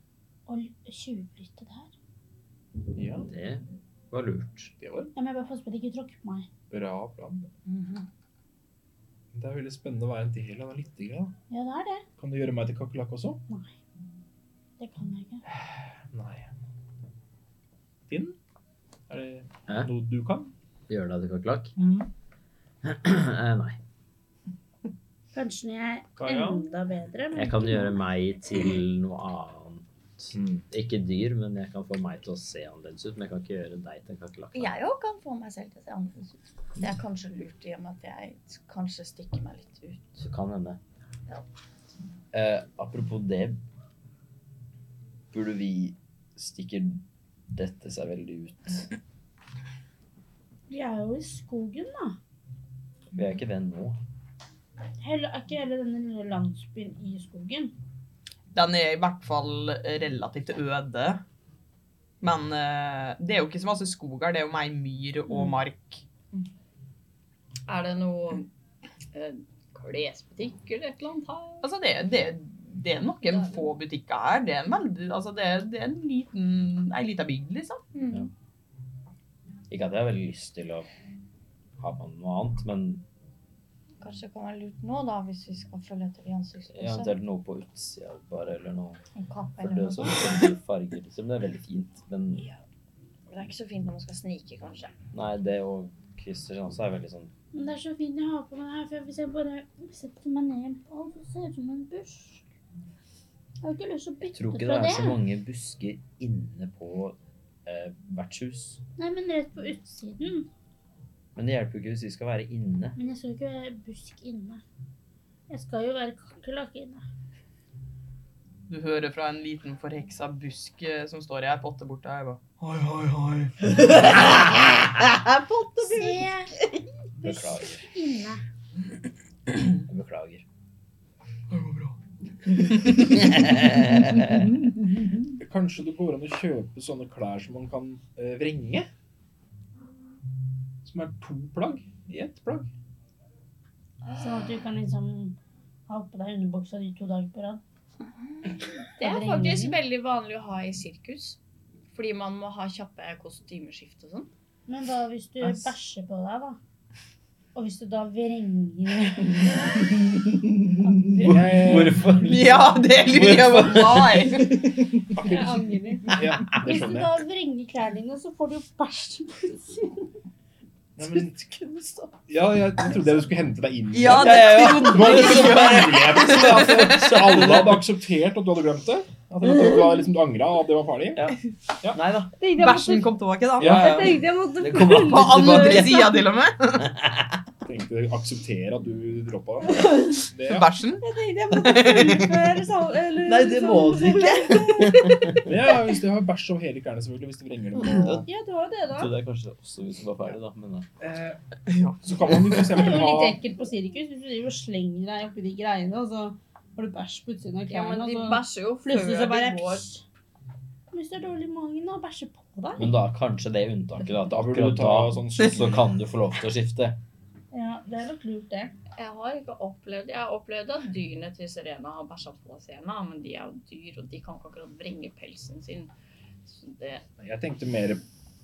S5: og l- tjuvlytte der.
S3: Ja,
S4: Det var lurt.
S3: det var
S5: Ja, men jeg bare passer på at de ikke tråkker på meg.
S3: bra plan.
S5: Mhm.
S3: Det er veldig spennende å være en del av det lite grann.
S5: Ja, det er det.
S3: Kan du gjøre meg til kakerlakk også?
S5: Det kan jeg ikke.
S3: Nei. Finn? Er det
S4: Hæ?
S3: noe du kan?
S4: Gjør deg til kakerlakk?
S1: Mm.
S4: Eh, Nei.
S5: Kanskje jeg
S3: Kaja?
S5: enda bedre. men
S4: Jeg kan
S5: ikke
S4: gjøre
S5: nå.
S4: meg til noe annet. Ikke dyr, men jeg kan få meg til å se annerledes ut. Men jeg kan ikke gjøre deg til en kakerlakk.
S2: Jeg òg kan få meg selv til å se annerledes ut. Det er kanskje lurt i og med at jeg kanskje stikker meg litt ut.
S4: Så kan hende.
S2: Ja.
S4: Eh, apropos det, burde vi stikke dette seg veldig ut.
S5: De er jo i skogen, da.
S4: Vi er ikke venn nå.
S5: Hele, er ikke hele denne lille landsbyen i skogen?
S1: Den er i hvert fall relativt øde. Men eh, det er jo ikke så masse skog her, det er jo mer myr og mark.
S2: Er det noe eh, klesbutikk eller et eller annet her?
S1: Altså, det, det, det er noen få butikker her. Det er en, veldig, altså, det, er- det er en liten, ei lita bygd, liksom.
S2: Mm.
S4: Ikke at jeg har veldig lyst til å ha på noe annet, men
S2: Kanskje det kan være lurt nå, da, hvis vi skal følge etter de ansiktsløse.
S4: eventuelt noe på utsida bare, eller noe.
S2: En kappe
S4: For
S2: eller
S4: det
S2: noe
S4: er
S2: sånt.
S4: sånn farger, liksom. Det er veldig fint, men
S2: Det er ikke så fint når man skal snike, kanskje.
S4: nei, det og Kristian også er veldig sånn
S5: Men det er så fint jeg har på meg det her, for hvis jeg bare setter meg ned på alt, så ser det ut som en busk. Jeg har ikke lyst til å bytte
S4: Tror ikke
S5: fra
S4: det
S5: det.
S4: er så mange busker inne på eh, vertshus.
S5: Nei, men rett på utsiden.
S4: Men det hjelper jo ikke hvis vi skal være inne.
S5: Men jeg skal jo ikke være busk inne. Jeg skal jo være kakerlakk inne.
S1: Du hører fra en liten forheksa busk eh, som står i ei potte borte her. bare, Hoi, hoi, hoi.
S5: Se busk
S4: Beklager.
S5: inne.
S4: Jeg beklager.
S1: Det går bra.
S3: Kanskje det går an å kjøpe sånne klær som man kan eh, vrenge? Som er to plagg i ett plagg.
S5: Sånn at du kan liksom ha på deg underbuksa di to dager på rad.
S2: Det er
S5: Avrenning.
S2: faktisk veldig vanlig å ha i sirkus. Fordi man må ha kjappe kostymeskift og sånn.
S5: Men hva hvis du
S1: Ass.
S5: bæsjer på deg, da? Og hvis du da vrenger
S3: eh,
S4: Hvorfor?
S1: Ja, det lurer jeg på. Why?
S5: Jeg angrer litt.
S3: Ja, det
S5: Hvis du
S3: skjønner
S5: da
S3: jeg.
S5: vrenger klærne dine, så får du jo bæsj på utsiden.
S3: Nei, men, ja, jeg trodde jeg skulle hente deg inn. igjen.
S1: Ja, det er jo
S3: Nå er det ikke muligheten til at alle hadde akseptert at du hadde glemt det. At det var- du var liksom, du angra og at det var farlig.
S4: Nei da.
S1: Bæsjen kom tilbake, da.
S3: Ja, ja.
S5: tenkte jeg måtte
S4: Det kommer
S1: På andre
S4: alltid tilbake.
S1: sida, til og med.
S3: Tenkte å akseptere at du droppa det. Ja.
S1: Bæsjen.
S5: jeg måtte fullføre liksom- samtalen.
S4: Nei, det må du ikke.
S3: Men ja, hvis du har bæsj over hele klærne, selvfølgelig. Hvis du vrenger dem på.
S5: Ja, du har jo det,
S4: Så
S5: da.
S4: det er kanskje også hvis du var ferdig, da. Men eh,
S3: Eh,
S1: Ja.
S3: Så kan man jo for
S5: Det er
S3: eksempel
S5: jo litt
S3: ha
S5: ekkelt på sirkus hvis du driver og slenger deg oppi de greiene, og så får du bæsj på utsiden av
S2: Ja, men
S5: klærne,
S2: de
S4: altså.
S5: og
S2: bæsjer jo
S5: så
S2: før
S5: plutselig så bare
S2: de går.
S5: Hvis du har dårlig i magen og bæsjer på deg
S4: Men da kanskje det unntaket, da. At
S3: Da burde du
S4: akkurat
S3: ta
S4: da
S3: sånn
S4: så kan du få lov til å skifte.
S5: Ja, det er nok lurt, det.
S2: Jeg har ikke opplevd Jeg har opplevd at dyrene til Serena har bæsja på Serena, men de er jo dyr, og de kan ikke akkurat vrenge pelsen sin. Så det
S3: Jeg tenkte mer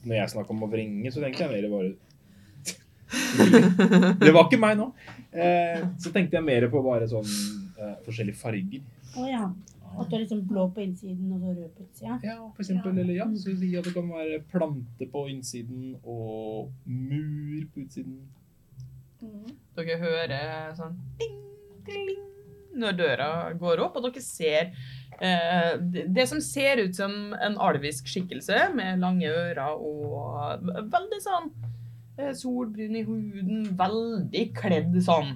S3: Når jeg snakka om å vrenge, så tenkte jeg mer bare Det var ikke meg nå. Eh, Så tenkte jeg mer på bare sånn eh, forskjellige farger.
S5: Å ja. At du er liksom blå på innsiden og så rød på utsida.
S3: Ja, for eksempel. Eller ja, så si at det kan være plante på innsiden og mur på utsiden.
S2: Mm.
S1: Dere hører sånn ding, ding, når døra går opp, og dere ser eh, det, det som ser ut som en alvisk skikkelse med lange ører og ve- veldig sånn eh, solbrun i huden, veldig kledd sånn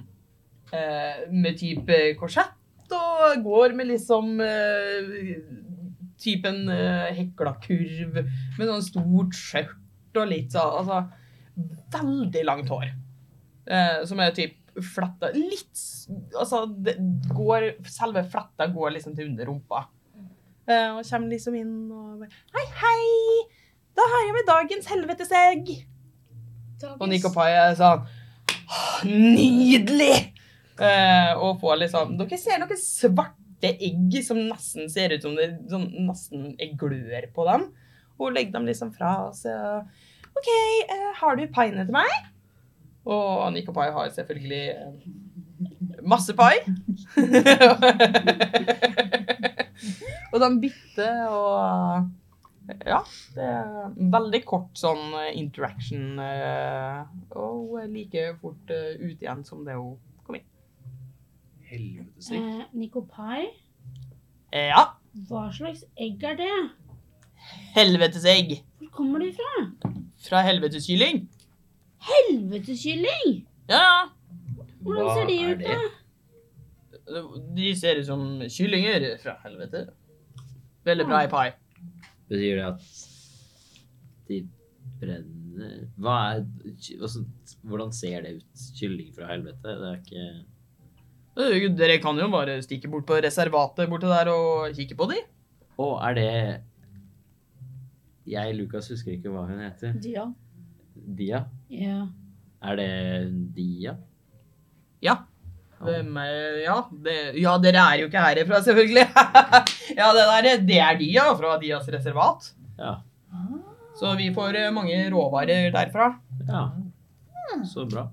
S1: eh, med type korsett og går med liksom eh, typen eh, hekla kurv med sånn stort skjørt og litt sånn, altså veldig langt hår. Eh, som er typ fletta Litt s- Altså, det går, selve fletta går liksom til under rumpa. Eh, og kommer liksom inn og bare Hei, hei! Da har jeg med dagens helvetesegg! Og Nico Pai er sånn «Åh, Nydelig! Eh, og får liksom Dere ser noen svarte egg som nesten ser ut som det sånn, nesten er glør på dem. Og hun legger dem liksom fra seg. OK, eh, har du paiene til meg? Og Nico Pai har selvfølgelig eh, masse pai. og de bytter og ja, det er en veldig kort sånn eh, interaction, eh, og hun er like fort eh, ut igjen som det hun
S3: Helvetes egg.
S5: Eh, Nico Pai,
S1: Eh, Ja,
S5: hva slags egg er det?
S1: helvetes egg
S5: Hvor kommer de fra?
S1: fra helvetes kylling.
S5: Helveteskylling!
S1: Ja, ja.
S5: Hvordan ser de ut, da?
S1: De ser ut som kyllinger fra helvete. Veldig bra i pai.
S4: Betyr det at de brenner Hva er hvordan, hvordan ser det ut? Kylling fra helvete? Det er ikke
S1: Øh, Dere kan jo bare stikke bort på reservatet borte der og kikke på de.
S4: Å, er det Jeg, Lukas, husker ikke hva hun heter.
S2: Dia.
S4: Dia?
S5: Ja.
S4: Er det Dia?
S1: Ja.
S4: Ja.
S1: Hvem er, ja, det, ja, dere er jo ikke herifra, selvfølgelig. ja, det der, det er Dia fra Dias reservat.
S4: Ja.
S1: Så vi får eh, mange råvarer derfra.
S4: ja. Så bra.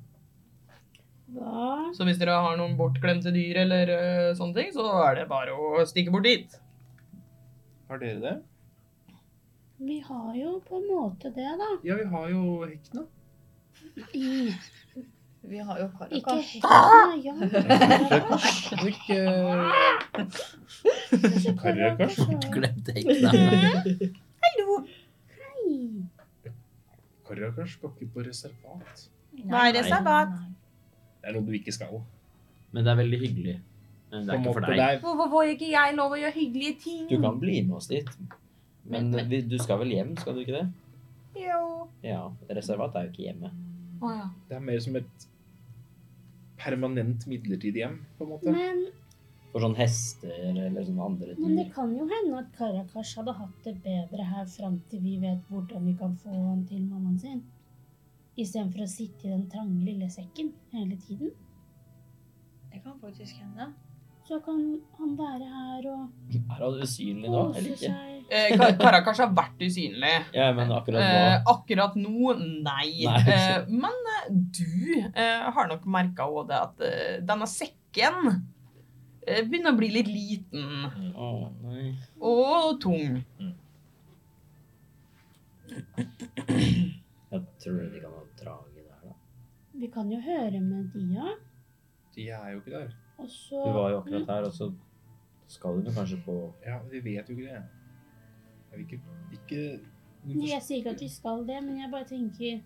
S5: Da
S1: Så hvis dere har noen bortglemte dyr eller eh, sånne ting, så er det bare å stikke bort dit.
S3: Har dere det?
S5: Vi har jo på en måte det, da.
S3: Ja, vi har jo hektene.
S5: I
S2: Vi har jo
S5: Ikke
S2: Karakas.
S5: hekken, ja. Karakas.
S3: Ikke
S5: Ikke
S3: Karakas?
S5: Karakas.
S4: Glemte hekkene.
S3: Karakas skal ikke på reservat.
S1: Hva er reservat?
S3: Det er noe du ikke skal.
S4: Men det er veldig hyggelig. Men det
S3: På
S4: er
S3: en
S4: ikke for
S3: måte,
S4: deg.
S3: det er-
S2: Hvorfor får ikke jeg lov å gjøre hyggelige ting?
S4: Du kan bli med oss dit. Men
S2: Men-
S4: vi- du skal vel hjem, skal du ikke det?
S2: Jo.
S4: Ja. Reservat er jo ikke hjemme.
S2: Å ja.
S3: det er mer som et permanent midlertidig hjem, på en måte.
S5: Men,
S4: For sånn hester eller sånne andre
S5: men det
S4: dyr.
S5: kan jo hende at Karakas hadde hatt det bedre her fram til vi vet hvordan vi kan få han til mammaen sin. Istedenfor å sitte i den trange lille sekken hele tiden.
S2: Det kan faktisk hende.
S5: Så kan han være her og
S4: Er han usynlig nå, eller
S5: kose
S4: ikke?
S5: seg.
S1: Eh, Ka- Karakas har vært usynlig.
S4: Ja, men akkurat
S1: Eh,
S4: nå
S1: akkurat nå, nei.
S4: Nei, ok.
S1: Eh, men eh, du eh, har nok merka òg det at eh, denne sekken eh, begynner å bli litt liten
S4: Å, nei.
S1: og tung.
S4: Jeg tror de kan ha drage der, da.
S5: Vi kan jo høre med Dia,
S3: De er jo ikke der.
S5: og så
S4: Du var jo akkurat her, og så skal du kanskje på
S3: Ja, de vet jo ikke det. Jeg vil ikke, ikke
S5: Nei, Jeg sier ikke at vi skal det, men jeg bare tenker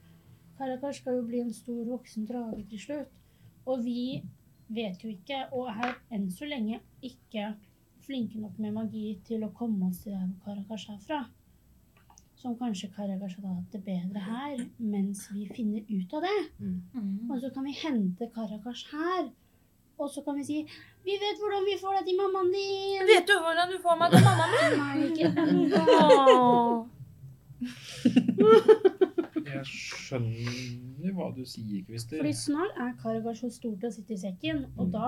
S5: Karakas skal jo bli en stor voksen drage til slutt. Og vi vet jo ikke, og er enn så lenge ikke flinke nok med magi til å komme oss til der hvor Karakas er fra. Som kanskje Karakas hadde hatt det bedre her, mens vi finner ut av det.
S2: Mm.
S5: Og så kan vi hente Karakas her. Og så kan vi si 'Vi vet hvordan vi får deg til mammaen din'.
S2: Vet du hvordan du får meg til mamma mi?
S5: Nei, ikke.
S2: Mm.
S3: Jeg skjønner hva du sier, Christer.
S5: Fordi snart er Karakas så stor til å sitte i sekken,
S4: Mm.
S5: og da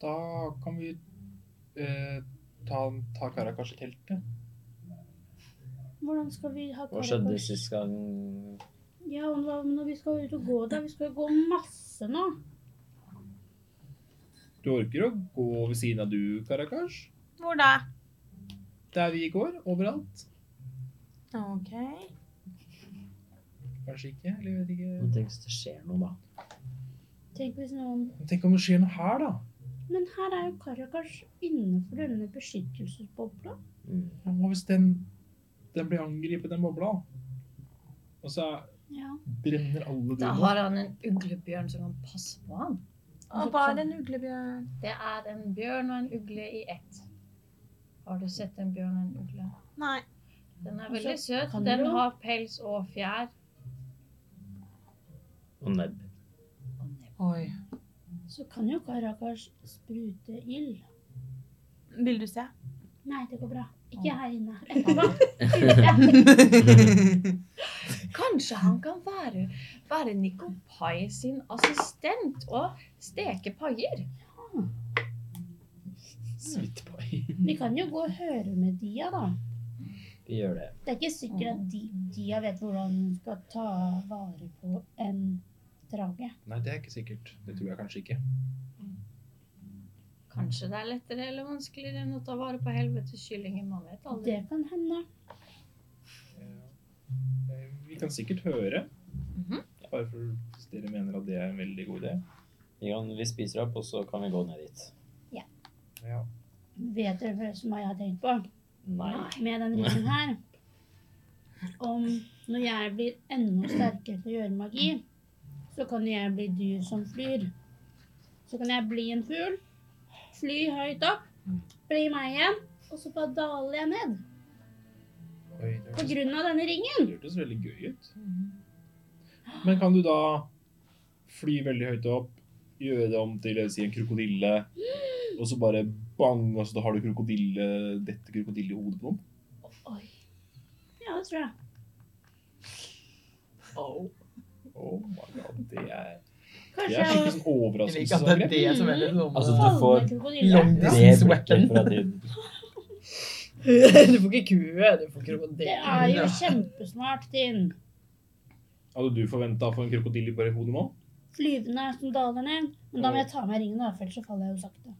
S3: Da kan vi eh, ta, ta Karakas i teltet.
S5: Hvordan skal vi ha
S4: Hva skjedde
S5: Karakas?
S4: sist gang?
S5: Ja, og hva- når vi skal ut og gå der? Vi skal jo gå masse nå.
S3: Du orker å gå ved siden av du, Karakas?
S2: Hvor da?
S3: Der vi går, overalt.
S2: Ok.
S3: Kanskje ikke, eller vet ikke.
S4: Men Tenk hvis det skjer noe, da.
S5: Tenk hvis noen
S3: Men Tenk om det skjer noe her, da.
S5: Men her er jo Karakas innenfor denne beskyttelsesbobla.
S4: Mm.
S3: Ja, Hva hvis den, den blir angrepet, den bobla? Og så
S5: Ja.
S3: brenner alle
S2: Da
S1: Mm.
S3: dyrene.
S2: har han en uglebjørn som kan passe på han. Altså,
S6: Og hva er en uglebjørn?
S2: Det er en bjørn og en ugle i ett. Har du sett en bjørn og en ugle?
S6: Nei.
S2: Den er
S5: Og så
S2: veldig søt.
S5: kan
S2: Den
S5: du-
S2: har pels og fjær.
S4: Og nebb.
S1: Oi.
S5: Så kan jo Karakas sprute ild.
S6: Vil du se?
S5: Nei, det går bra. Ikke her inne. Etterpå.
S2: Kanskje han kan være, være Nikopai sin assistent og steke paier?
S3: Svittpai.
S5: Vi kan jo gå og høre med Dia, da.
S4: Vi gjør det.
S5: Det er ikke sikkert at Di- Dia vet hvordan hun skal ta vare på en drage.
S3: Nei, det er ikke sikkert. Det tror jeg kanskje ikke.
S2: Kanskje det er lettere eller vanskeligere enn å ta vare på helvetes kyllinger. Man vet aldri.
S5: Det kan hende.
S3: Eh, Vi kan sikkert høre.
S2: Mhm.
S3: Bare for hvis dere mener at det er en veldig god idé.
S4: Vi, kan, vi spiser opp, og så kan vi gå ned dit.
S3: Ja.
S5: Vet dere forresten hva jeg har tenkt på?
S4: Nei.
S5: med den ringen her Om når jeg blir enda sterkere til å gjøre magi, så kan jeg bli dyr som flyr. Så kan jeg bli en fugl, fly høyt opp, bli meg igjen, og så bare daler jeg ned. På grunn av denne ringen.
S3: Det hørtes veldig gøy ut. Men kan du da fly veldig høyt opp, gjøre det om til si, en krokodille, og så bare bang, og så da har du krokodille, dette krokodille i hodet på noen?
S5: Ja, det tror jeg.
S3: Oh my god, det er, det
S5: Kanskje
S3: er skikkelig
S5: jeg
S1: Jeg
S3: sånn
S1: liker at det er
S3: overraskelsesangrep.
S1: det som er litt
S4: Altså,
S1: sånn
S4: du får
S5: krokodille.
S4: det blikket fra din
S6: Du får ikke kue, du får
S5: Det
S6: krokodille.
S5: er jo kjempesmart, din
S3: Hadde du forventa å få en krokodille bare i hodet nå?
S5: flyvende som daler ned. Men da må jeg ta av meg ringen, da, for ellers så faller jeg jo sakte.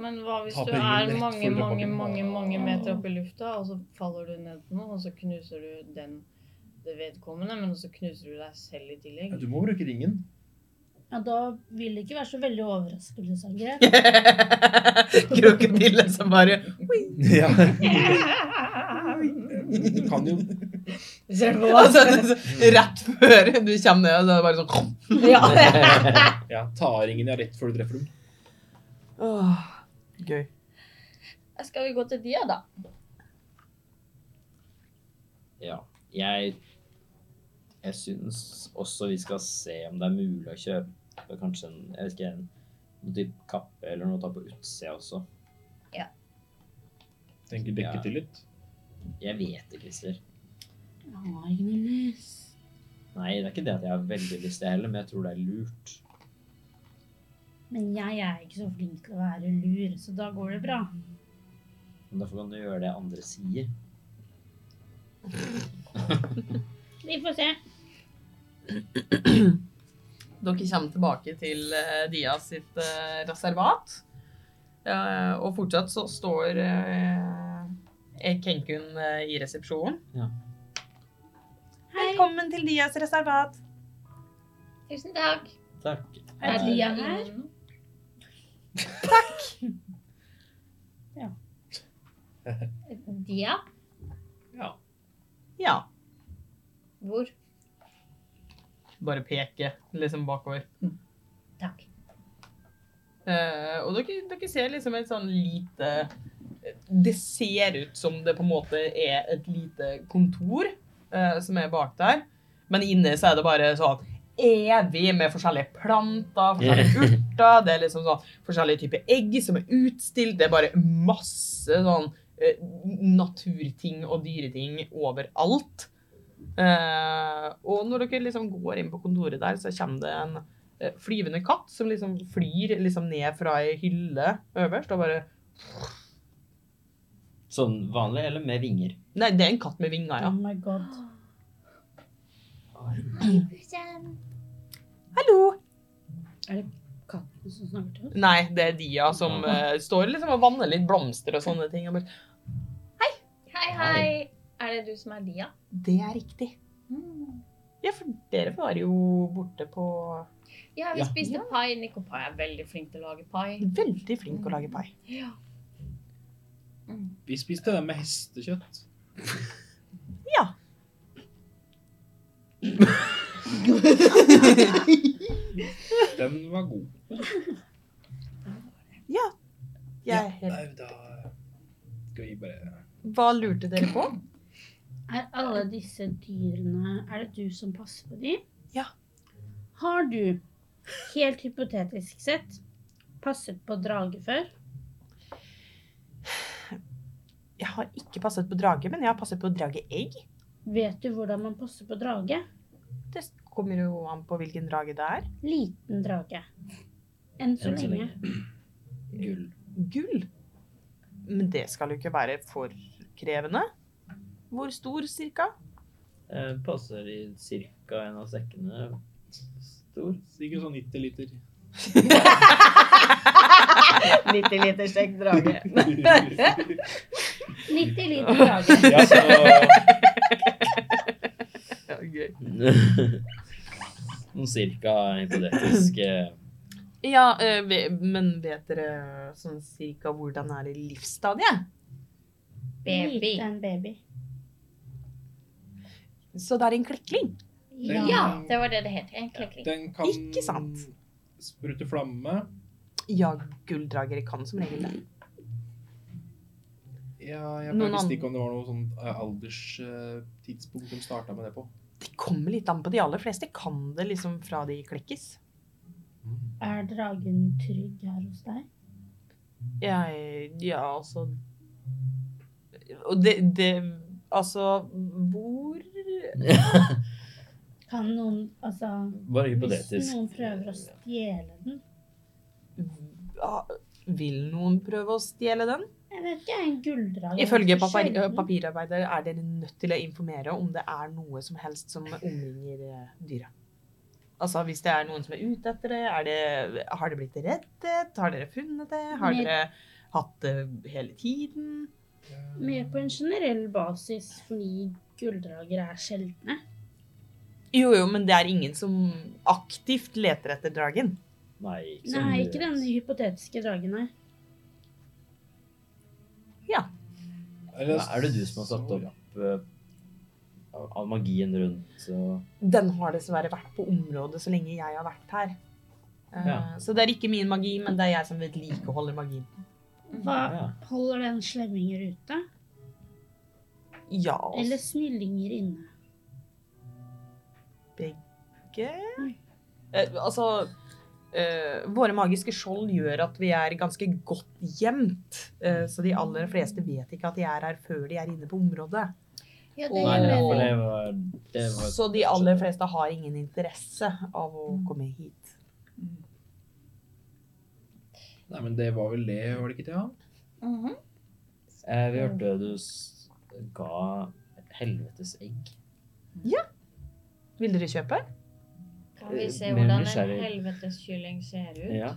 S2: Men hva hvis
S3: Ta
S2: du
S3: penger
S2: er
S3: rett
S2: mange,
S3: før du
S2: mange,
S3: kommer.
S2: mange mange meter opp i lufta, og så faller du ned på noe, og så knuser du den det vedkommende, men så knuser du deg selv i tillegg?
S3: Du må bruke ringen.
S5: Ja, Da vil det ikke være så veldig overraskelsesangrep.
S1: Krokodille som bare
S3: Ja. Du kan jo
S6: Ser du på hva?
S1: altså, det- så- Rett før du kommer ned, så er det bare sånn
S6: Ja.
S3: ja, ta av ringen ja, rett før du treffer dem.
S1: Åh, Gøy.
S2: Skal vi gå til dia, da?
S4: Ja. Jeg Jeg syns også vi skal se om det er mulig å kjøpe kanskje en jeg vet ikke, en noe typ kappe eller noe å ta på utsida også.
S3: Tenker dekke
S4: Ja.
S3: til litt.
S4: Jeg vet det, Christer.
S5: Jeg har ikke noe lys.
S4: Nei, det er ikke det at jeg har veldig lyst til det heller, men jeg tror det er lurt.
S5: Men jeg er ikke så flink til å være lur, så da går det bra.
S4: Men derfor kan du gjøre det andre sier.
S5: Vi får se.
S1: Dere kommer tilbake til eh, Dia sitt eh, reservat. Eh, og fortsatt så står eh, Kenkun eh, i resepsjonen.
S5: Hei.
S1: Velkommen til Dias reservat.
S2: Tusen takk.
S4: Takk.
S5: Er
S2: det
S5: Dia her?
S2: inne nå?
S5: Ja.
S2: Takk. Dia?
S1: Ja.
S2: Hvor?
S1: Bare peke liksom bakover.
S5: Takk.
S1: Eh, og dere, dere ser liksom et sånn lite Det ser ut som det på en måte er et lite kontor eh, som er bak der. Men inne så er det bare sånn evig med forskjellige planter, forskjellige urter. Det er liksom sånn forskjellige typer egg som er utstilt. Det er bare masse sånn eh, naturting og dyreting overalt. Eh, og når dere liksom går inn på kontoret der, så kommer det en eh, flyvende katt som liksom flyr liksom ned fra ei hylle øverst og bare
S4: Sånn vanlig eller med vinger?
S1: Nei, det er en katt med vinger, ja.
S5: Oh my god.
S1: Hallo!
S5: Katten som snakker til oss.
S1: Nei, det er Dia som eh, står liksom og vanner litt blomster og sånne ting. Og bare,
S2: Hei, hei. Er det du som er dia?
S1: det er riktig. Ja, for dere var jo borte på
S2: Ja, vi
S4: Ja.
S2: spiste pai. Nico Pai er veldig flink til å lage pai.
S1: Veldig flink å lage pai.
S2: Ja.
S3: Vi spiste den med hestekjøtt. Den var god.
S1: Jeg er helt...
S3: Nei, da skal vi bare
S1: Hva lurte dere på?
S5: Er alle disse dyrene Er det du som passer på dem?
S1: Ja.
S5: Har du, helt hypotetisk sett, passet på drage før?
S1: Jeg har ikke passet på drage, men jeg har passet på drageegg.
S5: Vet du hvordan man passer på drage?
S1: Det kommer jo an på hvilken drage det er.
S5: Liten drage. Enn så
S4: Enn så
S5: lenge.
S4: Gull.
S1: Gull. Men det skal jo ikke være for krevende. Hvor stor, cirka?
S4: Eh, passer i cirka en av sekkene stor.
S3: Sikkert sånn 90 liter.
S6: 90 liter stekt drage.
S5: 90 liter drage.
S3: ja, så
S1: Ja, gøy.
S4: Noen cirka hypotetisk eh,
S1: Ja, eh, ve- men vet dere sånn cirka hvordan er det i livsstadiet?
S2: Baby.
S5: Liten baby.
S1: Så det er en klekling.
S5: Ja.
S2: Ja, det var det det het. En klekling.
S3: Den kan
S1: Ikke sant.
S3: sprute flamme.
S1: Ja, gulldragere kan som regel det.
S3: Ja, jeg
S1: Noen
S3: bare visste
S1: andre-
S3: ikke om det var noe sånn alderstidspunkt de starta med det på.
S1: Det kommer litt an på de aller fleste. Kan det liksom fra de klekkes?
S5: Er dragen trygg her hos deg?
S1: Jeg Ja, altså Og det, det Altså, hvor
S5: Kan noen Altså,
S4: Bare
S5: hvis
S4: hypotetisk.
S5: noen prøver å stjele den
S1: ja, Vil noen prøve å stjele den?
S5: Jeg vet ikke, en gulldrage er
S1: Ifølge
S5: ganske
S1: papir
S5: sjelden.
S1: papirarbeider er dere nødt til å informere om det er noe som helst som omringer eh, dyret. Altså hvis det er noen som er ute etter det, er det har det blitt reddet? Har dere funnet det? Har
S5: Nei.
S1: dere hatt det hele tiden?
S5: Mer på en generell basis, fordi gulldrager er sjeldne.
S1: Jo, jo, men det er ingen som aktivt leter etter dragen.
S4: Nei, ikke, så
S5: Nei,
S4: mye.
S5: ikke den hypotetiske dragen her.
S1: Mhm.
S4: Hva er det du som har satt opp eh, all- all magien rundt og
S1: Den har dessverre vært på området så lenge jeg har vært her. Eh,
S4: Ja.
S1: Så det er ikke min magi, men det er jeg som vedlikeholder magien.
S5: Hva
S4: ja.
S5: holder den slemminger ute?
S1: Ja,
S5: Eller snillinger inne?
S1: ikke eh, Altså eh, Våre magiske skjold gjør at vi er ganske godt gjemt. Eh, så de aller fleste vet ikke at de er her før de er inne på området.
S2: Ja, det
S1: Nei,
S4: Nei, ja,
S2: gjør jeg.
S4: for det var, det var
S1: Så de aller fleste har ingen interesse av å komme hit.
S3: Nei, men det var vel det, var det ikke det? Ja?
S2: Mhm.
S4: Eh, Vi hørte du s- ga et helvetes egg.
S1: Vil dere kjøpe?
S2: Kan vi se
S4: Mer
S2: hvordan en
S4: nysgjerrig.
S2: helveteskylling ser ut?
S4: Ja.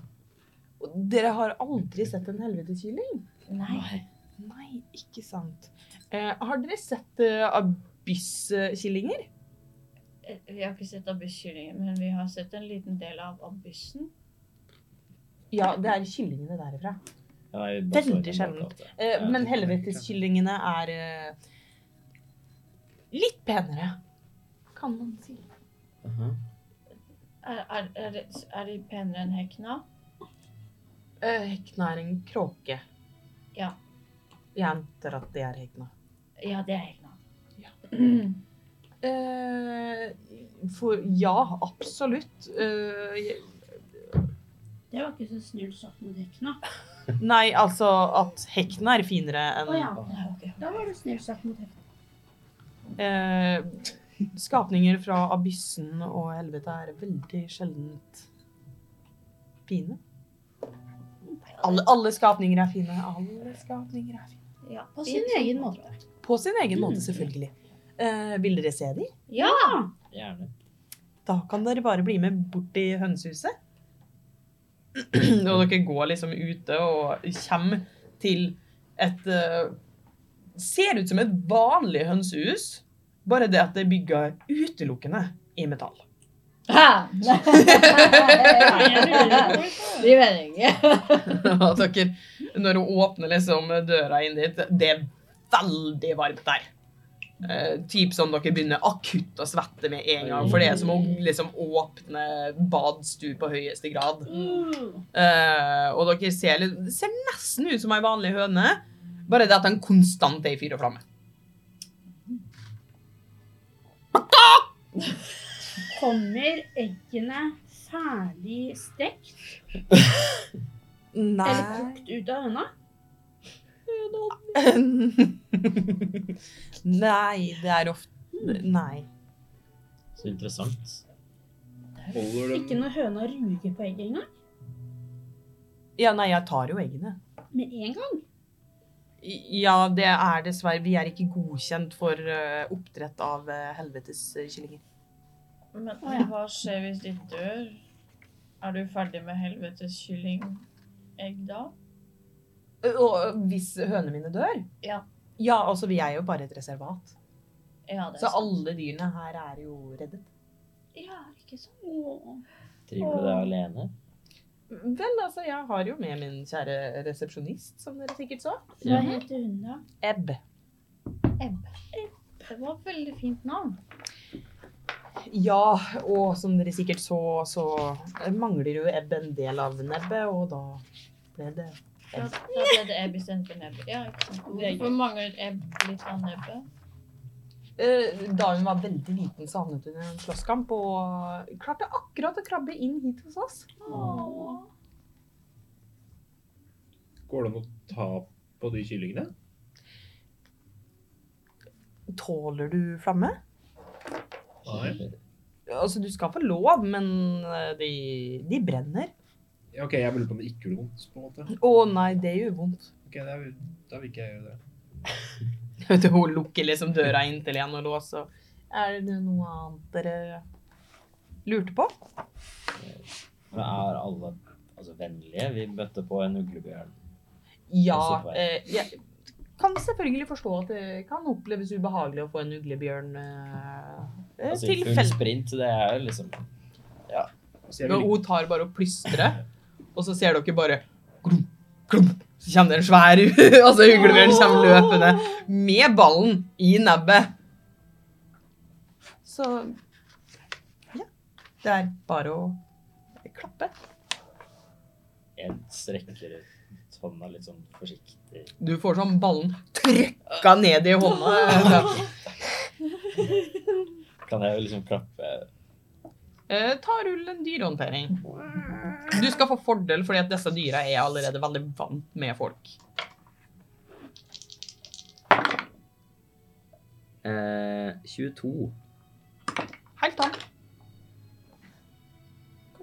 S1: Dere har aldri sett en helveteskylling?
S2: Nei.
S4: Nei.
S1: Nei, ikke sant. Eh, har dere sett eh, abysskillinger?
S2: Eh, Vi har ikke sett abysskyllingen, men vi har sett en liten del av abyssen.
S1: Ja, det er kyllingene derifra.
S4: Ja, jeg bare så
S1: Veldig
S4: den
S1: sjeldent.
S4: bakgata.
S1: Eh,
S4: Ja,
S1: men
S4: det kan jeg ikke.
S1: helveteskyllingene er eh, litt penere, kan man si.
S4: Aha.
S2: Er, er, er, det, er de penere enn hekna?
S1: Eh, hekna er en kråke.
S2: Ja.
S1: Jeg antar at det er hekna.
S2: Ja, det er hekna.
S1: Eh, for ja, absolutt. Eh, jeg-
S5: Det var ikke så snilt sagt mot hekna.
S1: nei, altså at hekna er finere enn
S5: Å ja,
S2: Nei, ok.
S5: da var det snilt sagt mot hekna.
S1: Eh, skapninger fra abyssen og helvete er veldig sjeldent fine. Alle, alle skapninger er fine. Alle skapninger er fine.
S2: Ja,
S5: På sin egen måte.
S1: På sin egen måte, selvfølgelig. Eh, vil dere se de?
S2: Ja!
S4: Gjerne.
S1: Da kan dere bare bli med bort til hønsehuset. og dere går liksom ute og kommer til et eh, Ser ut som et vanlig hønsehus, bare det at det er bygga utelukkende i metall.
S2: Ha! De mener ikke.
S1: Og dere, når hun åpner liksom døra inn dit, det er veldig varmt der. Eh, typ sånn dere begynner akutt å svette med en gang, for det er som å liksom åpne badstue på høyeste grad.
S5: Mm.
S1: Eh, og dere ser, litt- det ser nesten ut som ei vanlig høne, bare det at den konstant er i fyr og flamme.
S5: Kommer eggene ferdig stekt eller kokt ut av høna?
S1: Nei, det er ofte Nei.
S4: Så interessant.
S3: Holder
S5: Ikke
S3: den
S5: når høna ruger på egget engang?
S1: Ja, nei, jeg tar jo eggene.
S5: Med en gang?
S1: Ja, det er dessverre. Vi er ikke godkjent for eh, oppdrett av eh, helvetes eh, kyllinger.
S2: Men, men hva skjer hvis de dør? Er du ferdig med helvetes kyllingegg da?
S1: Ø, Og hvis hønene mine dør
S2: Ja.
S1: Ja, altså, vi er jo bare et reservat.
S2: Ja, det
S1: Så
S2: er sant.
S1: alle dyrene her er jo reddet.
S2: Ja, ikke sant?
S4: Driver du deg alene?
S1: Vel, altså, jeg har jo med min kjære resepsjonist, som dere sikkert så.
S5: Hva heter hun da?
S1: Ebb.
S2: Det var et veldig fint navn.
S1: Ja, og som dere sikkert så, så mangler jo Ebb en del av nebbet, og da ble det
S2: For at- for at det er bestemt for nebbet. Ja, ikke sant.
S6: Det er
S2: Hvor mangler ebb litt av nebbet?
S1: Eh, Da hun var veldig liten, så havnet hun i en slåsskamp og klarte akkurat å krabbe inn hit hos oss.
S2: Åh.
S3: Går det an å ta på de kyllingene?
S1: Tåler du flamme?
S3: Nei.
S1: Altså, du skal få lov, men eh, de, de brenner.
S3: Ja, ok, jeg lurer på om det ikke gjorde vondt, på en måte.
S1: Å nei, det gjør vondt.
S3: Ok, da, vil- da vil ikke jeg gjøre det.
S1: Vet du, Hun lukker liksom døra inntil igjen og låser. Er det noe annet dere lurte på?
S4: Men er alle altså, vennlige? Vi møtte på en uglebjørn.
S1: Ja.
S4: Også på
S1: Eh, jeg kan selvfølgelig forstå at det kan oppleves ubehagelig å få en uglebjørn eh, eh,
S4: Altså, I
S1: til
S4: full
S1: felt.
S4: sprint, det er jo liksom
S3: Så jeg
S1: Men
S3: vil ikke,
S1: hun tar bare og plystrer, og så ser dere bare klump, klump, Så kommer det en svær altså uglebjørn kommer løpende med ballen i nebbet. Så ja. Det er bare å klappe.
S4: Jeg strekker ut hånda litt sånn forsiktig.
S1: Du får sånn ballen trykka ned i hånda.
S4: Kan jeg jo liksom klappe
S1: Eh, ta rull en dyrehåndtering. Du skal få fordel fordi at disse dyra er allerede veldig vant med folk.
S4: eh, 22.
S1: Helt an.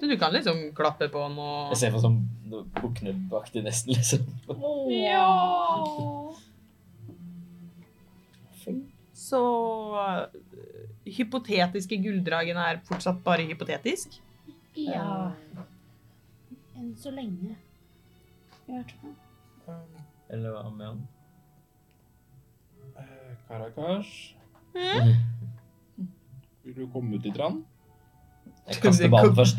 S1: Så du kan liksom klappe på den og
S4: Jeg ser på sånn noe buknebaktig nesten, liksom.
S6: Ja.
S1: Så øh, hypotetiske gulldragen er fortsatt bare hypotetisk.
S5: Ja. Enn så lenge. I hvert fall.
S4: Eller hva med han?
S3: eh, Karakash, vil du komme ut litt rann?
S4: Jeg kaster ballen først.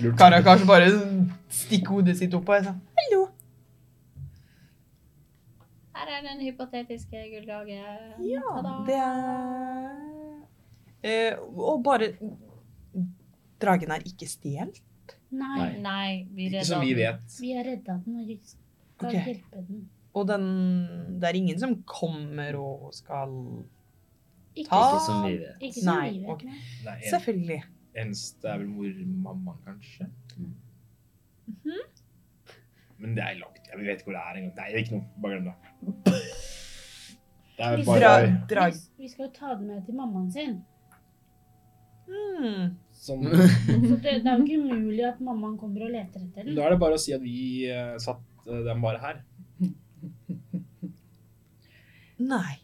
S3: Lurt.
S1: Karakas bare stikker hodet sitt opp og er sånn Hallo!
S2: Her er den hypotetiske gulldragen.
S1: det er Eh, Og bare Dragen er ikke stjålet.
S5: Nei.
S2: Nei, vi
S3: Ikke
S2: redda
S3: som vi
S2: den.
S3: vet.
S5: Vi har redda den og skal
S1: Ok.
S5: hjelpe den.
S1: Og den, det er ingen som kommer og skal
S5: Ikke,
S1: Ta-
S4: Ikke som vi vet.
S5: ikke som
S1: Nei,
S5: vi vet.
S1: ok.
S5: nei.
S3: Nei, en,
S1: Selvfølgelig.
S3: eneste er vel mormammaen, kanskje? Men det er langt. Jeg vet ikke hvor det er engang. Nei, det er ikke noe. Bare glem det. Det er
S5: Vi
S3: bare
S1: Dra, drag...
S5: Vi- Vi skal jo ta den med til mammaen sin.
S1: Hmm.
S3: sånn
S5: Så det, det er jo ikke umulig at mammaen kommer og leter etter den.
S3: Da er det bare å si at vi eh, satt eh, dem bare her.
S1: Nei.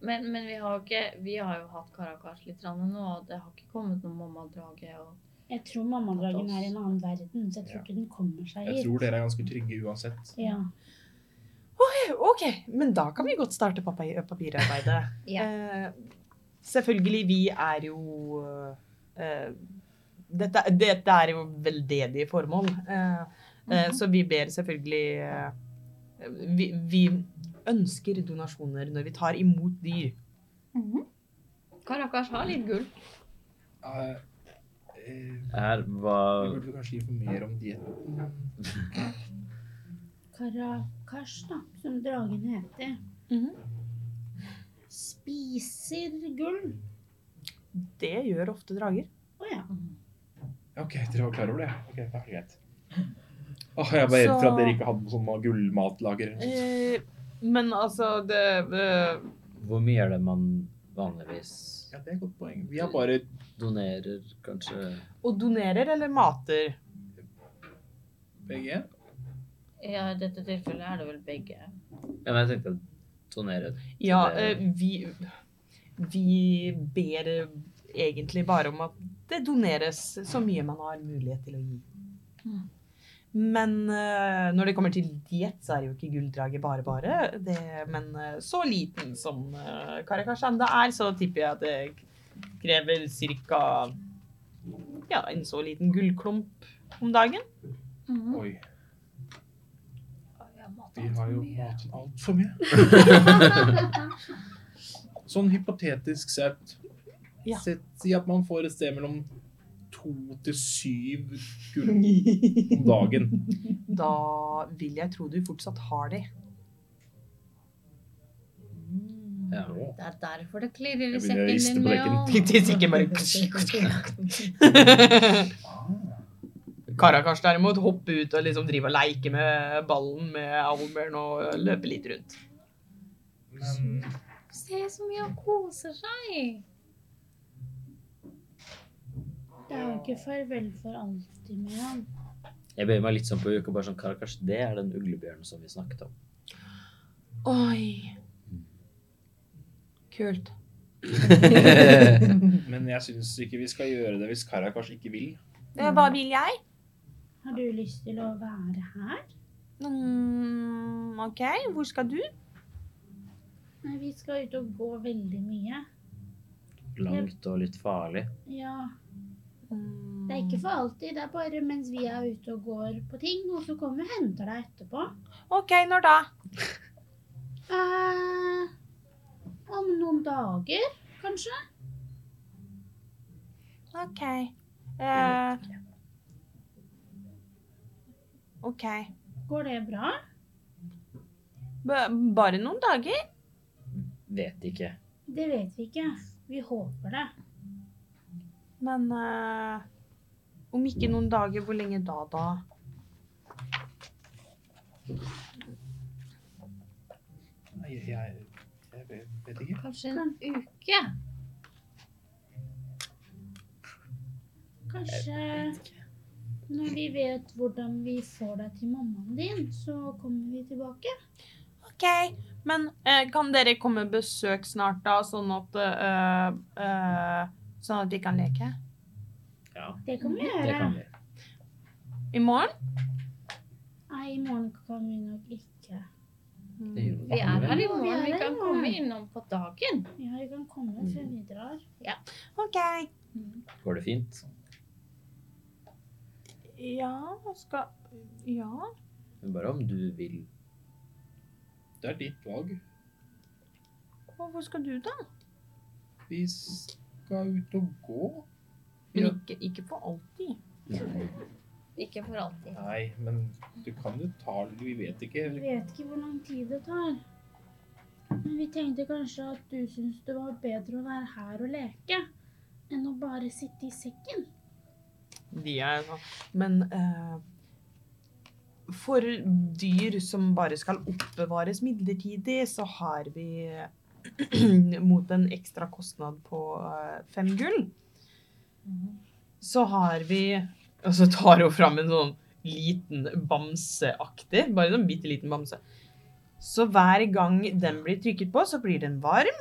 S2: Men, men vi, har jo ikke, vi har jo hatt Karakas litt rann nå, og det har ikke kommet noen mammadrage. Og...
S5: Jeg tror mammadragen er i en annen verden, så jeg tror
S3: Ja.
S5: ikke den kommer seg
S3: Jeg
S5: hit.
S3: tror dere er ganske trygge uansett.
S5: Ja.
S1: Ok, men da kan vi godt starte papir papirarbeidet.
S2: Ja.
S1: eh, selvfølgelig, vi er jo eh, dette, dette er jo veldedige formål. Eh, eh, Så vi ber selvfølgelig eh, vi, vi ønsker donasjoner når vi tar imot dyr.
S2: Karakas har litt gull.
S3: Eh, eh,
S4: Her
S3: Vi
S4: var
S3: burde kanskje informere om dietten.
S5: Karakash, da, som dragen heter,
S1: Mhm.
S5: spiser gull.
S1: Det gjør ofte drager.
S5: Å ja.
S2: Mm.
S3: Ok, dere var klar over det? Ok, det er greit. Åh, jeg var redd for at dere ikke hadde noe sånn ma- gullmatlager.
S1: Eh, men altså, det eh,
S4: Hvor mye er det man vanligvis
S3: Ja, det er et godt poeng. Vi har bare
S4: donerer, kanskje?
S1: Og donerer eller mater?
S3: begge.
S2: Ja, I dette tilfellet er det vel begge.
S4: Ja, men jeg tenkte donere.
S1: Ja,
S4: Det-
S1: eh, vi, vi ber egentlig bare om at det doneres så mye man har mulighet til å gi.
S2: Mm.
S1: Men eh, når det kommer til diett, så er det jo ikke gulldraget bare bare. Det, men eh, så liten som eh, Karakashanda er, så tipper jeg at det krever ca. Ja, en så liten gullklump om dagen.
S2: Mm.
S3: Oi, vi har jo maten altfor mye. Sånn hypotetisk sett
S1: Ja.
S3: Sett, Si at man får et sted mellom to to til syv gull om dagen.
S1: Da vil jeg tro du fortsatt har de.
S4: Ja.
S2: Det er derfor det klirrer i
S3: Jeg begynner å
S2: sekken
S3: riste
S2: din,
S3: på
S2: Leon.
S1: Tidssyken bare Karakas derimot hopper ut og liksom driver og leker med ballen med Owlbjørn og løper litt rundt.
S3: Men
S2: Se så mye han koser seg.
S5: Det er jo ikke farvel for alltid med han.
S4: Jeg bøyer meg litt sånn på uka, bare sånn Karakas, det er den uglebjørnen som vi snakket om.
S1: Oi. Kult.
S3: Men jeg syns ikke vi skal gjøre det hvis Karakas ikke vil.
S1: Hva vil jeg?
S5: Har du lyst til å være her?
S1: Mm, OK, hvor skal du?
S5: Nei, vi skal ut og gå veldig mye.
S4: Langt og litt farlig.
S5: Ja.
S1: Mm.
S5: Det er ikke for alltid, det er bare mens vi er ute og går på ting, og så kommer vi og henter deg etterpå.
S1: OK, når da?
S5: Eh, om noen dager, kanskje?
S1: OK. Eh, OK.
S5: Går det bra?
S1: B- bare noen dager?
S4: Vet ikke.
S5: Det vet vi ikke. Vi håper det.
S1: Men eh, om ikke noen dager, hvor lenge da, da?
S3: Nei, jeg, jeg vet- vet ikke.
S2: Kanskje en uke.
S5: Kanskje når vi vet hvordan vi får deg til mammaen din, så kommer vi tilbake.
S1: OK. Men eh, kan dere komme besøk snart, da, sånn at eh, eh, Sånn at vi kan leke?
S4: Ja,
S5: Det kan vi
S4: det
S5: gjøre.
S4: kan vi.
S1: I morgen?
S5: Nei, i morgen kan vi nok ikke.
S4: Det gjør
S2: Vi er her i morgen.
S5: Vi er her
S2: Vi
S5: i
S2: kan
S5: morgen.
S2: komme innom på dagen.
S5: Ja, vi kan komme før vi drar.
S1: OK.
S4: Går det fint?
S1: Ja, skal Ja.
S4: Men bare om du vil.
S3: Det er ditt valg.
S1: Hvorfor skal du, da?
S3: Vi skal ut og gå.
S1: Men ikke, ikke for alltid.
S2: Ikke for alltid.
S3: Nei, men du kan jo ta Vi vet ikke.
S5: Vi vet ikke hvor lang tid det tar. Men vi tenkte kanskje at du syntes det var bedre å være her og leke enn å bare sitte i sekken.
S1: De er sånn. Men eh, for dyr som bare skal oppbevares midlertidig, så har vi mot en ekstra kostnad på eh, fem gull, så har vi Og så tar hun fram en sånn liten bamseaktig, bare en sånn bitte liten bamse. Så hver gang den blir trykket på, så blir den varm.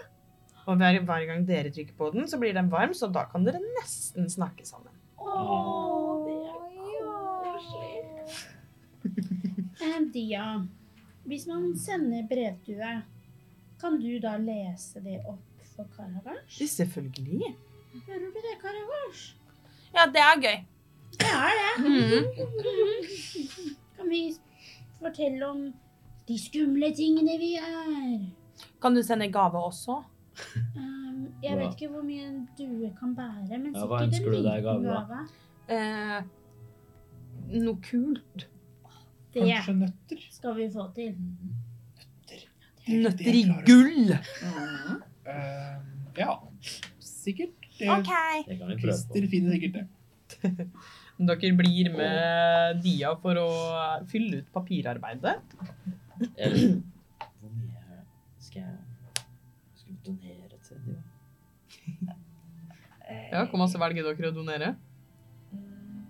S1: Og hver, hver gang dere trykker på den, så blir den varm, så da kan dere nesten snakke sammen.
S5: Eh, Dia, hvis man sender brevdue, kan du da lese det opp for Karagasj?
S1: Ja, Selvfølgelig.
S5: Hører du det, Karagasj?
S1: Ja, det Mm. er gøy. Mhm.
S5: Det er det. Kan vi fortelle om de skumle tingene vi er?
S1: Kan du sende gave også?
S5: Ehm, jeg
S4: Hva?
S5: vet ikke hvor mye en due kan bære, men
S4: Ja,
S5: sikkert
S4: hva
S5: en
S4: ønsker du
S5: liten
S4: deg i gave, da?
S5: gave.
S1: Eh, noe kult.
S5: Det
S3: Kanskje nøtter?
S5: skal vi få til.
S1: Nøtter i gull.
S3: Eh, ja, sikkert. Det,
S4: Det kan vi prøve på.
S3: Christer finner sikkert det.
S1: Dere blir med Dia for å fylle ut papirarbeidet.
S4: Eller, hvor mye skal jeg skal vi donere til det?
S1: Ja, Hvor masse velger dere å donere? Mm.